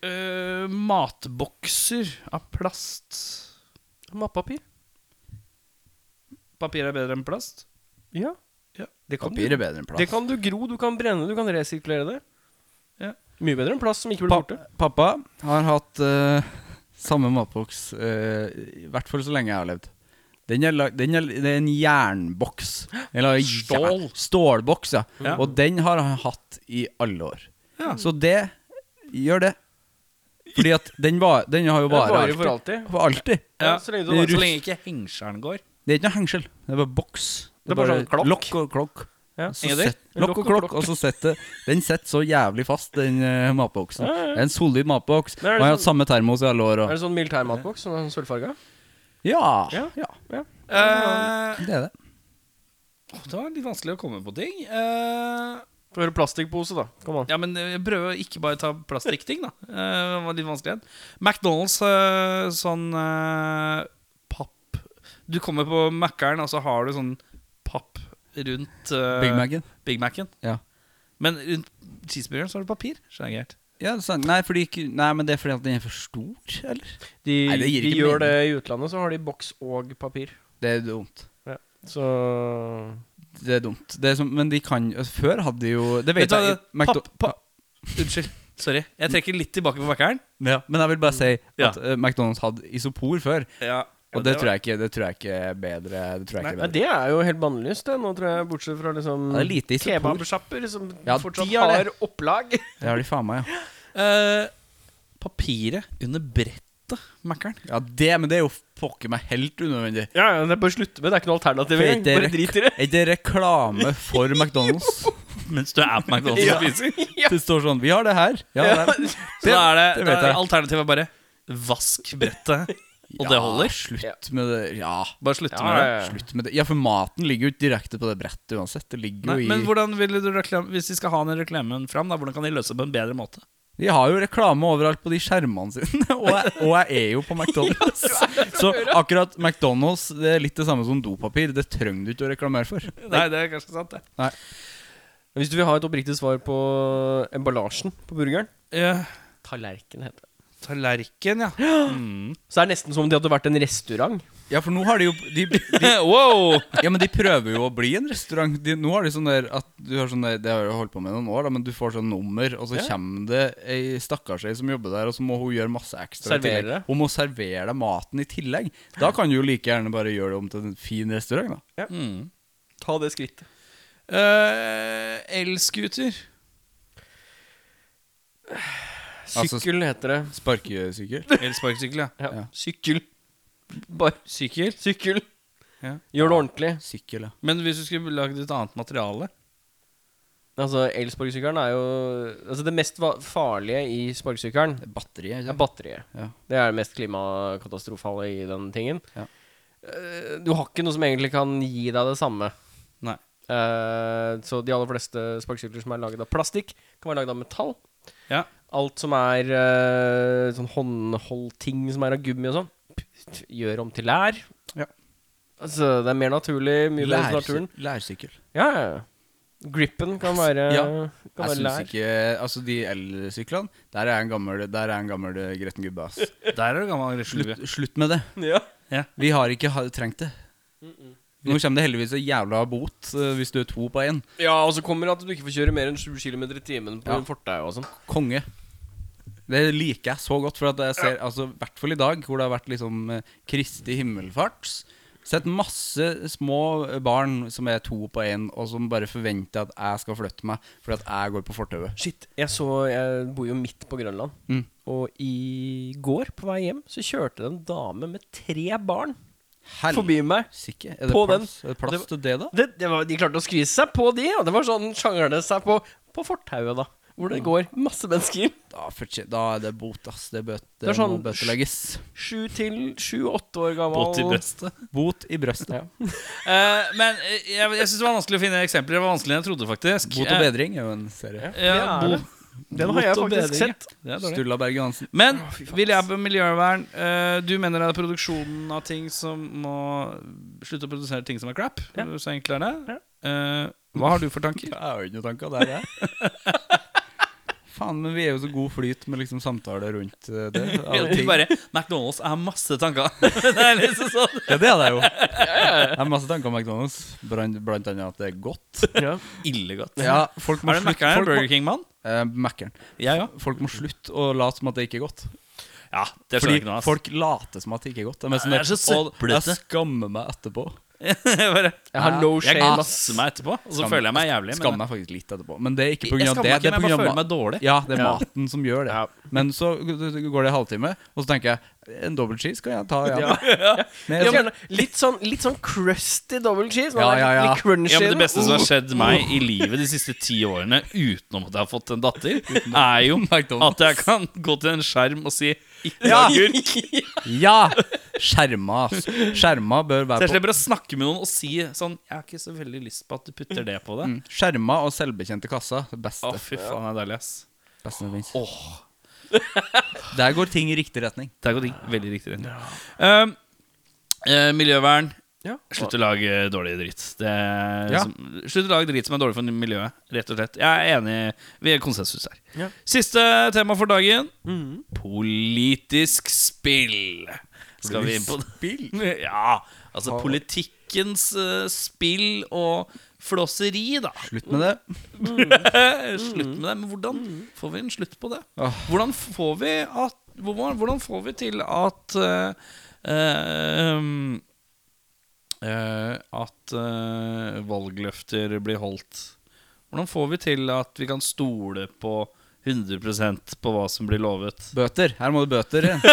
S2: eh, matbokser av plast.
S1: Mattpapir.
S2: Papir er bedre enn plast?
S1: Ja.
S2: Ja.
S1: Det, kan
S3: Papir
S1: du,
S3: er bedre enn
S1: det
S3: plast.
S1: kan du gro, du kan brenne, du kan resirkulere det.
S2: Ja.
S1: Mye bedre enn plast som ikke blir
S3: Pa
S1: borte.
S3: pappa har hatt eh, samme matboks eh, i hvert fall så lenge jeg har levd. Den er, lag- den er, det er en jernboks. Eller
S2: Stål.
S3: jern- stålboks, ja.
S2: Ja.
S3: Og den har han hatt i alle år. Så det gjør det. Fordi at den, var, den har jo
S1: Det
S3: bare
S1: varer for alltid.
S3: For alltid.
S1: Ja, så lenge du
S2: det
S1: har
S2: er så lenge ikke hengsjelen går.
S3: Det er ikke noe hengsel. Det er bare boks.
S1: Det er bare sånn klokk.
S3: lokk og klokk.
S1: Ja.
S3: Så
S2: Enig.
S3: sett, lokk og klokk, og så setter Den setter så jævlig fast, den uh, matboksen.
S1: Ja, ja.
S3: Det er En solid matboks. Og
S1: Men er det
S3: jeg har hatt
S1: sånn-
S3: samme termos i alle år.
S1: Er
S3: Og.
S1: det sånn militær matboks? Sånn sølvfarga?
S3: Ja,
S1: Ja.
S3: ja,
S1: Ja.
S2: Eh,
S3: det er det.
S2: det var litt vanskelig å komme på ting. Eh,
S1: Får høre plastikkpose, da. Kom an.
S2: ja, men jeg prøver å ikke bare ta plastikkting, da. Eh, det var litt vanskelig. McDonald's eh, sånn eh, papp Du kommer på Mac-eren, og så har du sånn papp rundt eh,
S3: Big Mac-en.
S2: Big Mac-en.
S3: Ja.
S2: Men rundt cheeseburgeren så har du papir. Skjønner jeg greit.
S3: Ja, sant. Nei, fordi, ikke- nei, men det er fordi at den er for stor, eller?
S1: De,
S3: Nei, det gir
S1: de
S3: ikke
S1: gjør
S3: mening.
S1: det i utlandet, så har de boks og papir.
S3: Det er dumt.
S1: Så
S3: Det er dumt. Det er som, men de kan Før hadde de jo Det
S2: Vet
S3: vet
S2: du
S3: jeg.
S2: hva,
S3: McDo-
S2: papp- papp- Unnskyld. Sorry. Jeg trekker litt tilbake på Mac-eren.
S3: Ja, men jeg vil bare si
S2: Ja.
S3: at eh, McDonald's hadde isopor før.
S2: Ja,
S3: Og det, tror jeg ikke, det tror jeg ikke er bedre. Det tror jeg ikke er
S1: Nei,
S3: bedre.
S1: det er jo helt bannlyst, det. Nå tror jeg, bortsett fra liksom
S3: Ja, det er lite isopor.
S1: kebabsjapper som
S3: Ja,
S1: fortsatt
S3: de har
S1: har
S3: det.
S1: opplag.
S3: Det har de faen meg, ja.
S2: Eh, Papiret under brettet, Mac-eren.
S3: ja det, men det er jo pokker meg helt unødvendig.
S1: Ja, ja, det er bare å slutte med. Det er ikke noe alternativ.
S3: For er
S1: engang.
S3: ikke
S1: Bare
S3: det
S1: drit i det.
S3: Er ikke det reklame for McDonald's?
S2: Mens du er på McDonald's
S1: Ja.
S2: og spiser.
S3: Det står sånn Vi har det her. Ja, det er-
S2: Så da er det,
S3: det
S2: da
S3: vet
S2: er
S3: jeg.
S2: alternativet er bare vask brettet, og det
S3: Ja,
S2: holder.
S3: Slutt med det. Ja.
S2: Bare slutte
S1: Ja,
S2: med det.
S1: ja, ja.
S3: Slutt med det. Ja, for maten ligger jo ikke direkte på det brettet uansett. Det ligger
S2: Nei,
S3: jo i
S2: men hvordan ville du reklam Hvis de skal ha den reklamen fram, da, hvordan kan de løse det på en bedre måte?
S3: De har jo reklame overalt på de skjermene sine, og jeg, og jeg er jo på McDonald's. Så akkurat McDonald's det er litt det samme som dopapir. Det trenger du ikke å reklamere for.
S2: Nei, det er kanskje sant, det.
S1: Hvis du vil ha et oppriktig svar på emballasjen på burgeren
S2: Eh,
S1: Tallerken heter det.
S2: tallerken, ja.
S1: Så det er nesten som om det hadde vært en restaurant.
S3: Ja, for nå har de jo de, de,
S2: wow!
S3: Ja, men de prøver jo å bli en restaurant. De, nå har de sånn der at du har sånn der, Det har jeg holdt på med i noen år, da, men du får sånn nummer, og så kommer det ei stakkars ei som jobber der, og så må hun gjøre masse ekstra. i
S1: Servere
S3: tillegg.
S1: det.
S3: Hun må servere deg maten i tillegg. Da kan du jo like gjerne bare gjøre det om til en fin restaurant, da.
S1: Ta det skrittet.
S2: Mm. Eh, Elscooter.
S3: Altså,
S1: Sykkel heter det.
S3: Sparkesykkel.
S2: Elsparkesykkel, ja.
S1: Ja.
S3: Ja.
S1: Sykkel. Bare
S2: Sykkel.
S1: sykkel.
S2: Ja.
S1: Gjør det ordentlig.
S3: Sykkel, ja.
S2: Men hvis du skulle lagd et annet materiale
S1: Altså, elsparkesykkelen er jo Altså, det mest va- farlige i sparkesykkelen
S3: Det er Batteriet.
S1: er
S3: ikke sant?
S1: batteriet.
S3: Ja.
S1: Det er det mest klimakatastrofale i den tingen.
S3: Ja.
S1: Eh, Du har ikke noe som egentlig kan gi deg det samme.
S2: Nei.
S1: Eh, så de aller fleste sparkesykler som er laget av plastikk, kan være laget av metall.
S2: Ja.
S1: Alt som er eh, sånn håndholdting som er av gummi og sånn, p- gjør om til lær.
S3: Ja.
S1: Altså, det er mer naturlig. Mye bedre for
S3: Lærsy-
S1: naturen.
S3: Lærsykkel.
S1: Ja, ja, ja. Grippen kan være,
S3: Ja.
S1: kan
S3: Jeg
S1: være
S3: syns
S1: lær.
S3: ikke Altså, de elsyklene Der er jeg en gammel, der er jeg en gammel eh, gretten gubbe, ass.
S2: Der er du gammel reslue.
S3: Slutt, slutt med det.
S1: Ja.
S3: Vi har ikke ha, trengt det. Nå kommer det heldigvis en jævla bot eh, hvis du er to på én.
S1: ja, og så kommer det at du ikke får kjøre mer enn 7 km i timen på
S3: Ja.
S1: fortau og sånn.
S3: Konge. Det liker jeg så godt, for at jeg ser, altså, i hvert fall i dag, hvor det har vært liksom eh, Kristi himmelfarts. Sett masse små barn som er to på én, og som bare forventer at jeg skal flytte meg fordi at jeg går på fortauet.
S1: Shit, jeg så Jeg bor jo midt på Grønland.
S3: Mm.
S1: Og i går, på vei hjem, så kjørte det en dame med tre barn
S3: Hel-
S1: forbi meg.
S3: Sikke. Er det
S1: På
S3: plass, er det plass
S1: Det-
S3: til det, da?
S1: Det, det var, de klarte å skvise seg på, de. Og det var sånn sjangrene seg på, på fortauet, da. Hvor det
S3: Mm.
S1: går masse mennesker.
S3: Da, fortje- da er det bot, ass. Det, bøt,
S1: Det er sånn-
S3: må bøtelegges.
S1: Sju til sju-åtte år gammel.
S2: Båt i brøstet.
S3: Bot i brøstet.
S1: Ja.
S2: Eh, men eh, jeg, jeg syns det var vanskelig å finne eksempler. Det var vanskeligere enn jeg trodde, faktisk.
S3: Bot og bedring er jo en serie.
S2: Eh,
S1: Det
S2: ja,
S1: er
S2: bo-
S1: det. Den har jeg
S2: Bot og
S1: faktisk
S2: bedring,
S1: sett.
S2: ja. Det er dårlig.
S3: Sturla Berge Johansen.
S2: Men vil jeg på miljøvern eh, Du mener det er produksjonen av ting som må slutte å produsere ting som er crap?
S1: Ja.
S2: Så enkelt er det. Eh, hva har du for tanker?
S3: Jeg har jo ikke noen tanker der, jeg. Faen, men vi er jo så god flyt med liksom samtaler rundt eh, det. Alle
S2: Vi
S3: ting.
S2: Bare, McDonald's er masse tanker. det er liksom sånn
S3: Ja, det hadde jeg jo. Jeg har masse tanker om McDonald's, blant, blant annet at det er godt.
S1: Ja.
S2: illegodt.
S3: Ja, folk må
S2: Er det
S3: slutte
S2: Mac-eren en
S3: folk må-
S2: Burger King-mann?
S3: eh, Mac-eren.
S2: Jeg òg.
S3: Folk må slutte å late som at det ikke er godt.
S2: Ja, det skjønner
S3: Fordi
S2: jeg ikke noe av. ass.
S3: folk later som at det ikke er godt. De er sånn
S2: Det er
S3: der,
S2: så
S3: «Å,
S2: søplete.»
S3: Jeg skammer meg etterpå.
S2: Jeg bare
S1: Jeg har no
S2: Jeg
S1: shame, ass.
S2: gasser meg etterpå, og så
S3: Skam-
S2: føler jeg meg jævlig. men-
S3: Skammer meg faktisk litt etterpå. Men det er ikke
S2: Jeg
S3: pga.
S2: skammer
S3: det.
S2: meg
S3: det
S2: ikke,
S3: er
S2: men jeg
S3: på grunn
S2: bare
S3: av
S2: føler meg dårlig.
S3: Ja, det er maten som gjør det.
S1: Ja.
S3: Men så går det en halvtime, og så tenker jeg en dobbel cheese kan jeg ta. Ja.
S1: Ja.
S3: Men
S1: Ja,
S3: jeg,
S1: men litt sånn, litt sånn crusty double cheese.
S3: Ja, ja, ja.
S1: Litt crunchy.
S2: Ja, men Det
S1: da.
S2: beste som har skjedd meg i livet de siste ti årene utenom at jeg har fått en datter, er jo at jeg kan gå til en skjerm og si ikke
S3: Ja.
S2: agurk.
S3: ja! Skjerma, ass. Skjerma bør
S2: Så
S3: være
S2: jeg
S3: på
S2: slipper å snakke med noen og si sånn Jeg har ikke så veldig lyst på at du putter det på deg.
S3: Mm. Skjerma og selvbetjente kassa. Det
S2: Å,
S3: beste.
S2: fy faen, det er deilig, ass.
S3: beste som finnes. Der går ting i riktig retning.
S2: Der går ting veldig riktig rett. Um, eh, miljøvern.
S1: Ja.
S2: Slutt å lage dårlig dritt. Det er,
S3: Ja.
S2: som, slutt å lage dritt som er dårlig for miljøet. Rett og slett. Jeg er enig. Vi er konsensus her.
S1: Ja.
S2: Siste tema for dagen.
S3: Mm.
S2: Politisk spill. Skal vi inn på Spill? ja. Altså politikkens eh, spill og flåseri, da.
S3: Slutt med det. Mm.
S2: slutt med det. Men hvordan får vi en slutt på det?
S3: Åh.
S2: Hvordan får vi, at, hvordan, hvordan får vi til at eh, eh, um, eh, At eh, valgløfter blir holdt? Hvordan får vi til at vi kan stole på 100 på hva som blir lovet?
S3: Bøter. Her må det bøter igjen.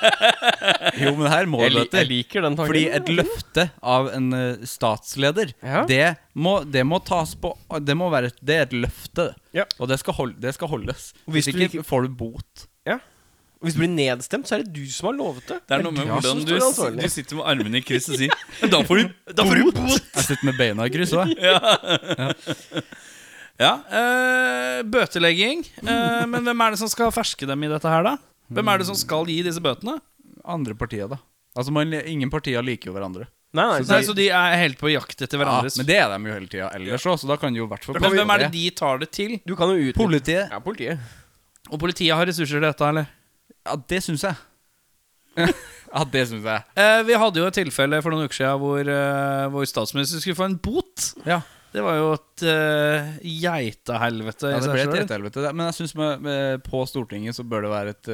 S3: Jo, men her må
S1: Jeg,
S3: det
S1: li jeg
S3: bøter.
S1: liker den tanken.
S3: Fordi et løfte av en eh, statsleder,
S1: Ja.
S3: det, må, det må tas på Det må være et, det er et løfte,
S1: Ja.
S3: og det skal, hold, det skal holdes.
S1: Og
S3: Hvis,
S1: hvis du
S3: ikke, får du bot.
S1: ja. Hvis du blir nedstemt, så er det du som har lovet det.
S2: Det er noe med
S1: du som
S2: hvordan du,
S1: står ansvarlig.
S2: du sitter med armene i kryss og sier Men da får du, da får du bot!
S3: Jeg sitter med beina i kryss òg.
S2: Ja, eh, bøtelegging. Eh, men hvem er det som skal ferske dem i dette her, da? Hvem er det som skal gi disse bøtene?
S3: Andre partier, da. Altså, man, ingen partier liker jo hverandre.
S1: Nei, nei,
S2: Nei, Så de er helt på jakt etter
S3: Altså, Ja,
S2: hverandres
S3: men det er de jo hele tida ellers òg, så da kan de jo i hvert fall
S2: Men hvem er det de tar det til?
S1: Du kan jo utnytte
S3: Politiet.
S1: Ja, politiet.
S2: Og politiet har ressurser til dette, eller?
S3: Ja, det syns jeg. ja, det syns jeg.
S2: Eh, vi hadde jo et tilfelle for noen uker siden hvor, eh, hvor statsministeren skulle få en bot.
S3: Ja,
S2: Det var jo et eh, geitehelvete. i
S3: det
S2: seg
S3: ble et
S2: selv.
S3: helvete. det. Men jeg syns med- med- på Stortinget så bør det være et,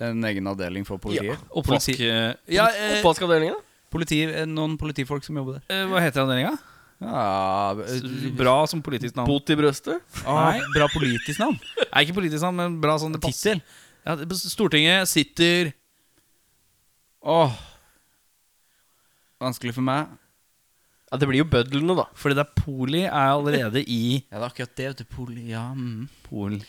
S3: eh, en egen avdeling for politiet.
S2: Og politi... Ja,
S1: Ja,
S2: eh,
S1: Oppvaskavdelingen?
S3: Politi, eh, noen politifolk som jobber der.
S2: eh, hva heter avdelinga?
S3: Ja, eh,
S2: Bra som politisk navn.
S1: Bot i brøstet?
S3: ah, bra politisk navn.
S2: Nei, ikke politisk navn, men bra sånn det passer.
S3: Tittel.
S2: Ja, det- Stortinget sitter
S3: Åh. Vanskelig for meg.
S1: Ja, det blir jo bødlene, da.
S2: Fordi det er poli er allerede i
S3: Ja, det er akkurat det. vet du, Poli, ja, mm.
S2: Polen.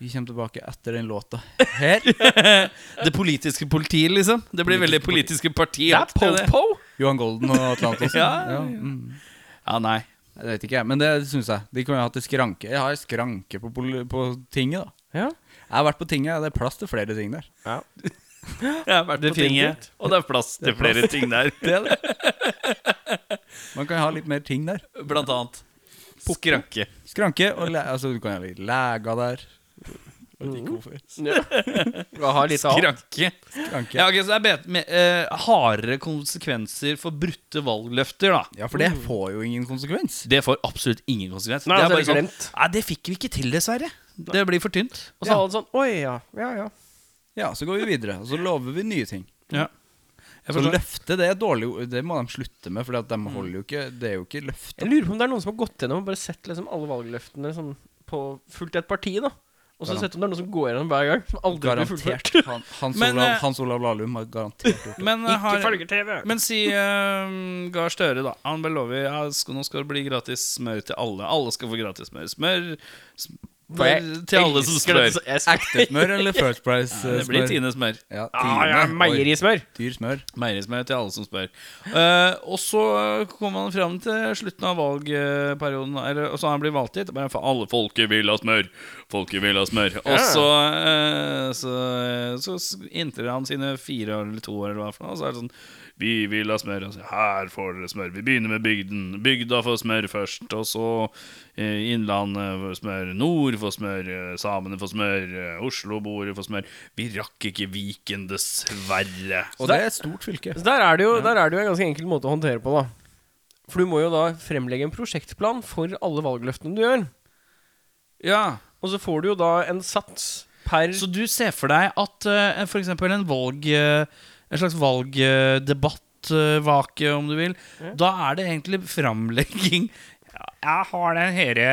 S3: Vi kommer tilbake etter den låta. Her.
S2: Det politiske politiet, liksom. Det blir veldig politiske partier.
S1: det er po-po!
S3: Johan Golden og Atlantis.
S2: Ja, ja.
S3: mm.
S2: Ja, nei.
S3: Jeg vet ikke, jeg, men det syns jeg. De kunne jo hatt en skranke. Jeg har en skranke på, poli- på tinget, da.
S1: Ja.
S3: Jeg har vært på tinget, det er plass til flere ting der.
S2: Jeg har vært på tinget, og det er plass til flere ting der.
S3: Man kan ha litt mer ting der.
S2: Blant annet skranke.
S3: Skranke og le altså, du kan ha litt leger der.
S1: Skal ha litt av.
S2: Skranke.
S3: Skranke.
S2: Ja, ok, Så det er bet med, eh, hardere konsekvenser for brutte valgløfter, da.
S3: Ja, for det får jo ingen konsekvens.
S2: Det får absolutt ingen konsekvens.
S1: Nei,
S2: det sånn,
S1: altså, det er glemt.
S2: Nei, det fikk vi ikke til, dessverre. Det blir for tynt.
S1: Og så har alle sånn Oi, ja. Ja, ja.
S3: Ja, så går vi videre, og så lover vi nye ting.
S2: Ja. Jeg
S3: Så
S2: forstår. Mm.
S3: løfte, det er dårlig ord. Det må de slutte med, for de holder jo ikke Det er jo ikke løfte.
S1: Jeg lurer på om det er noen som har gått gjennom og bare sett liksom alle valgløftene sånn, på fullt i et parti, da. Og så
S3: Garant-
S1: sett om det er noen som går gjennom hver gang. Som aldri blir
S3: Garantert.
S1: fullført.
S3: Han, Hans,
S2: Men,
S3: Olav,
S2: eh,
S3: Hans Olav Lahlum har garantert gjort det.
S2: Men, eh, har-
S1: TV.
S2: Men si eh, Gahr Støre, da. Han bare lover ja, skal, nå skal det bli gratis smør til alle. Alle skal få gratis smør. Smør, smør til alle som spør.
S1: Ekte
S3: Smør eller First Price? eh,
S2: Det blir
S3: smør?
S2: Tine smør.
S3: Ja,
S1: Ah,
S3: Tine.
S1: ja,
S3: Oi,
S1: meierismør.
S3: Dyr smør.
S2: Meierismør til alle som spør. Eh, og så kommer han fram til slutten av valgperioden, eller, og så han blir valgt hit. Bare, for alle folket vil ha smør! Folket vil ha smør. Og så, eh, så, så s- inntil han sine fire år eller to år, eller hva for noe, og så er det sånn Vi vil ha smør. Og så, her får dere smør. Vi begynner med bygden. Bygda får smør først. Og så eh, Innlandet får smør. Nord får smør. eh, Samene får smør. eh, Oslo-boere får smør. Vi rakk ikke Viken, dessverre.
S3: Og det er et stort fylke.
S1: Så der er, det jo, der er det jo en ganske enkel måte å håndtere på, da. For du må jo da fremlegge en prosjektplan for alle valgløftene du gjør.
S2: Ja,
S1: Og så får du jo da en sats per
S2: Så eh, du ser for deg at uh, f.eks. en valg eh, En slags valgdebatt debattvake, om du vil. Da er det egentlig framlegging.
S4: Jeg har den herre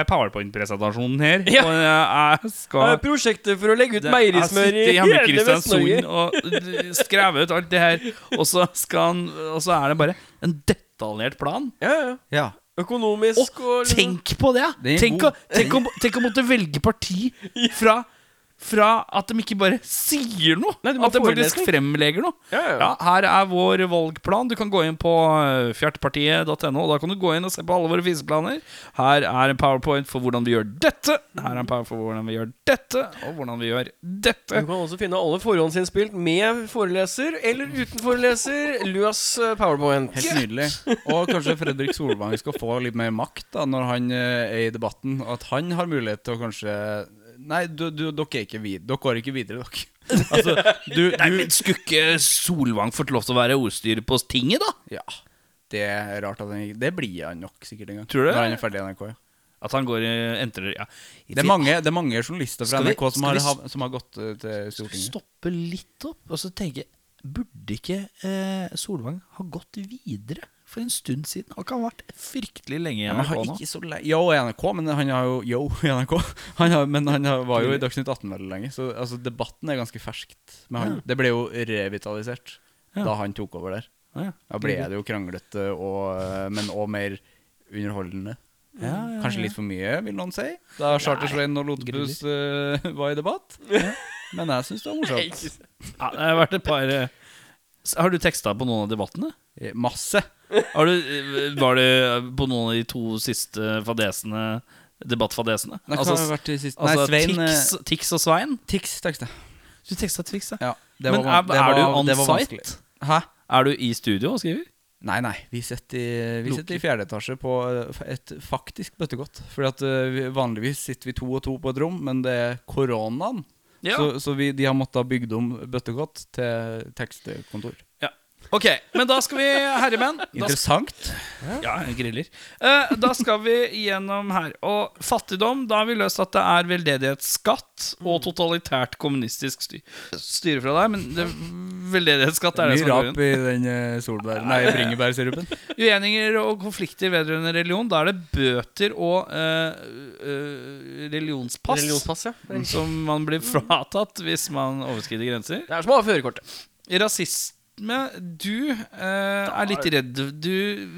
S2: eh,
S4: powerpoint-presentasjonen her.
S1: Ja.
S4: Og jeg skal
S1: Prosjektet for å legge ut
S2: Jeg
S1: meierismør
S2: sitter
S1: i
S2: hjemme i
S1: hele Vest-Norge.
S2: Kristiansund og d- skrev ut alt det her, og så, skal han, og så er det bare en detaljert plan.
S1: Ja, ja.
S3: Ja.
S1: Økonomisk og liksom-
S2: Tenk på det!
S3: Den er
S2: Tenk,
S3: god.
S2: å, tenk, om, tenk å måtte velge parti fra, fra at de ikke bare sier noe.
S1: Nei, du må
S2: at de
S1: ha
S2: faktisk
S1: forelesning.
S2: fremlegger noe.
S1: Ja, ja.
S2: her er vår valgplan. Du kan gå inn på eh, fjertpartiet.no. og Da kan du gå inn og se på alle våre fiseplaner. Her er en powerpoint for hvordan vi gjør dette. Her er en powerpoint for hvordan vi gjør dette, og hvordan vi gjør dette.
S1: Du kan også finne alle forhåndsinnspilt med foreleser eller uten foreleser. Løs eh, powerpoint.
S3: Helt nydelig. Og kanskje Fredrik Solvang skal få litt mer makt da når han eh, er i debatten. Og at han har mulighet til å kanskje Nei, du, du, dere er ikke vid Dere går ikke videre, dere. Altså,
S2: Du, du skulle ikke Solvang fått lov til å være ordstyrer på tinget, da?
S3: Ja. Det er rart at han ikke Det blir han nok sikkert en gang.
S2: Tror du det?
S3: Når han er ferdig i NRK. ja.
S2: At han går i entrer ja.
S3: Det er mange, det er mange journalister fra
S2: Skal vi-
S3: NRK som
S2: skal
S3: har,
S2: vi
S3: hav- som har gått eh, til Stortinget.
S2: Stoppe litt opp og så tenke Burde ikke eh, Solvang ha gått videre for en stund siden? Har ikke han vært fryktelig lenge i
S3: Ja, men
S2: NRK
S3: han
S2: nå?
S3: ikke så le Yo i NRK, men han har jo Yo i NRK. Han har, men han har, var jo i Dagsnytt 18 veldig lenge, så altså, debatten er ganske ferskt. Men han, det ble jo revitalisert
S2: Ja.
S3: da han tok over der.
S2: Ja, ja.
S3: Da ble det jo kranglete, og, eh, men òg mer underholdende. Kanskje litt for mye, vil noen si. Da Chartersveien og Lotepus eh, var i debatt. Men jeg syns det var morsomt.
S2: Ja, det har vært et par eh, s- Har du teksta på noen av debattene?
S3: Eh, Masse.
S2: Har du, eh, var du på noen av de to siste fadesene debattfadesene?
S3: Nei, hva
S2: Altså,
S3: har det vært i sist?
S2: altså
S3: Nei, Svein eh,
S2: Tix, Tix og Svein?
S3: Tix, tenkte jeg.
S2: Du teksta Tix, ja.
S3: Ja, det
S2: Men
S3: var,
S2: er,
S3: van- det
S2: er
S3: var,
S2: du on
S3: det var vanskelig.
S2: site?
S3: Hæ?
S2: Er du i studio og skriver?
S3: Nei, nei. Vi sitter i, vi
S2: Loki.
S3: sitter i fjerde etasje på eh, et faktisk bøttegott. Fordi at eh, vi- vanligvis sitter vi to og to på et rom, men det er koronaen.
S2: Så,
S3: Så, så vi, de har måttet ha bygd om bøttegott til tekstkontor.
S2: ok, men da skal vi, herremenn da, sk-
S3: Interessant.
S2: Ja, jeg griller. Eh, da skal vi gjennom her. Og fattigdom, da har vi løst at det er veldedighetsskatt og totalitært kommunistisk sty styre fra deg, men det, veldedighetsskatt er det
S3: Mye
S2: som går
S3: rap
S2: inn.
S3: i den eh, solbær... Nei, bringebærsirupen.
S2: Ueninger og konflikter vedrørende religion, da er det bøter og eh, eh, religionspass,
S1: Religionspass, ja.
S2: som man blir fratatt hvis man overskrider grenser.
S1: Det er som å ha førerkortet.
S2: Rasisme Du eh, er litt redd du,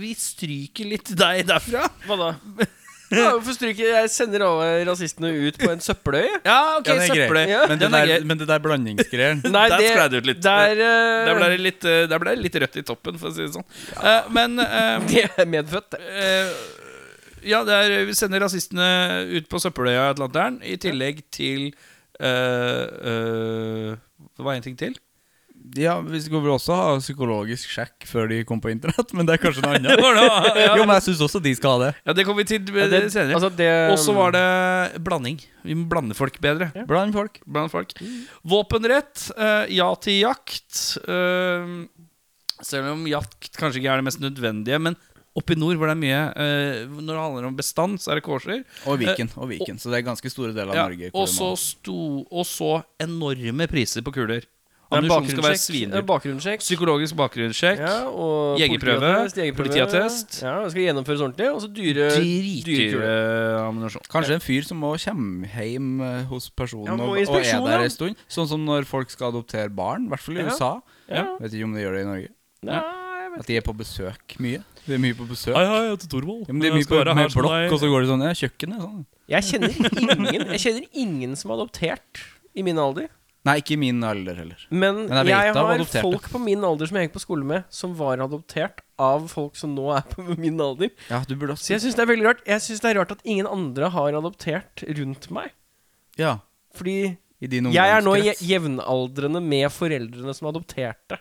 S2: Vi stryker litt deg derfra
S1: Hva da? Ja, Hvorfor stryker jeg Jeg sender alle rasistene ut på en søppeløye?
S2: Ja, ok,
S3: Ja, det er
S2: søppeløy.
S1: Ja.
S3: Men, det
S2: Den er
S3: der-
S2: grei.
S3: men det der blandingsgreier
S1: Nei,
S2: Der
S1: det-
S2: sklei det ut litt.
S1: Der, eh,
S2: Der ble det litt, eh, der ble det litt rødt i toppen For å si det sånn Eh, Men eh,
S1: det er medfødt. det.
S2: eh, Ja, det er Vi sender rasistene ut på søppeløya i Atlanteren I tillegg til eh, eh, Det var en ting til
S3: Ja, vi skulle vel også ha psykologisk sjekk før de kom på internett, men det er kanskje noe annet.
S2: Var det- ja.
S3: Jo, men jeg syns også de skal ha det.
S2: Ja, det kommer vi til eh,
S1: Ja, det-
S2: senere
S1: altså, det-
S2: Og så var det blanding Vi må blande folk bedre
S3: Bland folk.
S2: blant folk. Våpenrett, eh, ja til jakt. eh, selv om jakt kanskje ikke er det mest nødvendige, men oppe i nord hvor det er mye eh, Når det handler om bestand, så er det kåser.
S3: Og Viken. og Viken, Så det er ganske store deler av
S2: Ja,
S3: Norge. hvor
S2: og,
S3: det
S2: så
S3: må-
S2: sto, og så enorme priser på kuler.
S1: Det er
S2: Ammunisjon skal
S1: bakgrunnssjekk.
S2: være
S1: Det er
S2: svindyr.
S1: bakgrunnssjekk.
S2: Psykologisk bakgrunnssjekk.
S1: Ja, og
S2: Jegerprøve,
S1: politiattest, jegerprøve.
S2: politiattest.
S1: Ja, det skal gjennomføres ordentlig. Og så dyre dyre kuler.
S2: Dritdyre ammunisjon.
S3: Kanskje en fyr som må komme hjem eh, hos personen
S1: Ja, må
S3: og, og er
S1: inspeksjon,
S3: der
S1: ja.
S3: en stund. Sånn som når folk skal adoptere barn, i hvert fall i
S1: Ja.
S3: USA.
S1: Ja.
S3: Vet ikke om de gjør det i Norge.
S1: Nei, jeg vet
S3: At de er på besøk mye. De er mye på besøk.
S2: Hei, hei, jeg heter Torvald.
S3: Ja, men de er mye på med blokk, og så går de sånn Ja, kjøkkenet. Sånn.
S1: Jeg kjenner ingen Jeg kjenner ingen som er adoptert i min alder.
S3: Nei, ikke i min alder heller.
S1: Men,
S3: Men jeg
S1: jeg,
S3: vet av
S1: har
S3: adopterte.
S1: folk på min alder som jeg gikk på skole med, som var adoptert av folk som nå er på min alder.
S3: Ja, du burde
S1: Så
S3: også
S1: jeg syns det er veldig rart Jeg synes det er rart at ingen andre har adoptert rundt meg.
S3: Ja,
S1: Fordi
S3: i din
S1: jeg er nå je-
S3: ungdomskrets.
S1: jevnaldrende med foreldrene som adopterte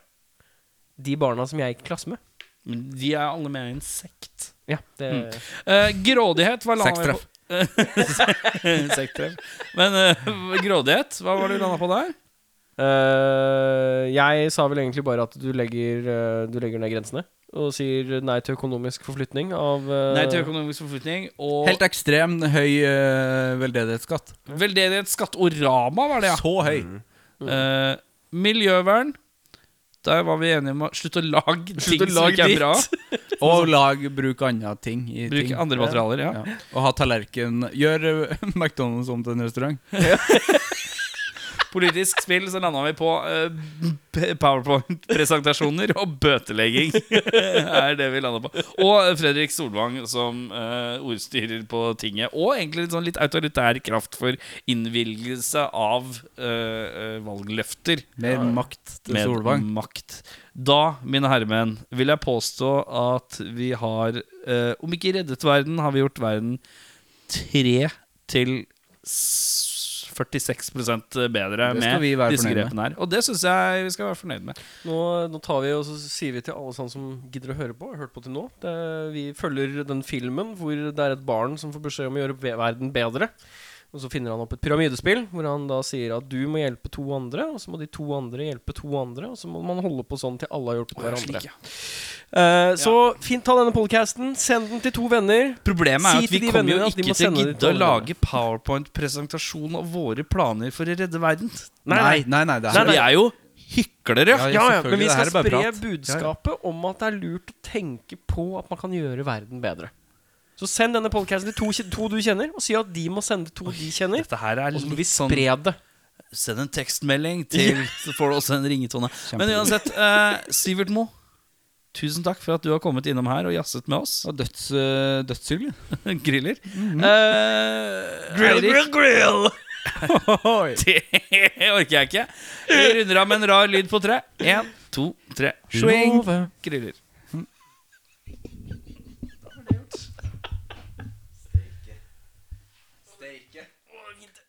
S1: de barna som jeg gikk i klasse med.
S2: Men de er alle med i en sekt.
S1: Ja, det
S2: Eh, grådighet var landa
S3: Sekstreff.
S2: Sekktreff. Men eh, grådighet, hva var det du landa på der?
S1: Eh, Jeg sa vel egentlig bare at du legger, eh, du legger ned grensene. Og sier nei til økonomisk forflytning av eh,
S2: Nei til økonomisk forflytning og
S3: Helt ekstrem høy eh, veldedighetsskatt. Mm.
S2: veldedighetsskatt og Rama, var det, ja.
S3: Så høy.
S2: Eh, miljøvern. der var vi enige om å slutte å lage
S1: Slutt å
S2: ting som
S1: lage
S2: ikke er
S1: dritt.
S2: bra.
S3: Og lag, bruk andre ting. I
S2: Bruk
S3: ting.
S2: andre materialer, ja.
S3: Ja. Og ha tallerken Gjør eh, McDonald's om til en restaurant.
S2: Politisk spill, så landa vi på eh, p- Powerpoint-presentasjoner og bøtelegging. er det vi landa på. Og Fredrik Solvang som eh, ordstyrer på tinget. Og egentlig litt sånn litt autoritær kraft for innvilgelse av eh, eh, valgløfter.
S3: Mer makt til
S2: med
S3: Solvang.
S2: makt. Da, mine herremenn, vil jeg påstå at vi har eh, Om ikke reddet verden, har vi gjort verden 3 til s- 46 bedre
S3: Det skal
S2: med
S3: vi være
S2: disse
S3: fornøyd med.
S2: grepene her. Og det syns jeg vi skal være fornøyd med.
S1: Nå, nå tar vi og så sier vi til alle sånne som gidder å høre på, har hørt på til nå. Det, vi følger den filmen hvor det er et barn som får beskjed om å gjøre ve- verden bedre. Og så finner han opp et pyramidespill hvor han da sier at du må hjelpe to andre, og så må de to andre hjelpe to andre, og så må man holde på sånn til alle har hjulpet hverandre. Eh, Så fint, ta denne podcasten, send den til to venner. Si
S2: Problemet er at
S1: til
S2: vi
S1: de
S2: kommer jo
S1: vennene at de
S2: ikke
S1: må
S2: til å
S1: sende de
S2: gidde å
S1: tallene.
S2: lage powerpoint-presentasjon av våre planer for å redde verden.
S3: Nei, nei, nei. det
S2: Så
S3: her
S1: nei.
S2: vi er jo hyklere.
S3: Ja,
S1: Ja, ja,
S3: selvfølgelig,
S1: men vi
S3: det her
S1: skal
S3: er bare
S1: spre
S3: prat.
S1: budskapet om at det er lurt å tenke på at man kan gjøre verden bedre. Så send denne podcasten til to, kje- to du kjenner, og si at de må sende to de kjenner.
S2: Dette her er
S1: Og så må vi
S2: litt sånn
S1: spre det.
S2: Send en tekstmelding til Så får du også en ringetone Men uansett, eh, Sivert Mo Tusen takk for at du har kommet innom her og jasset med oss
S3: Og døds, eh, Mhm. dødshyggelig.
S2: Griller eh, Eirik, Det orker jeg ikke Vi runder av med en rar lyd på tre En, to, tre Swing Griller
S3: Steike.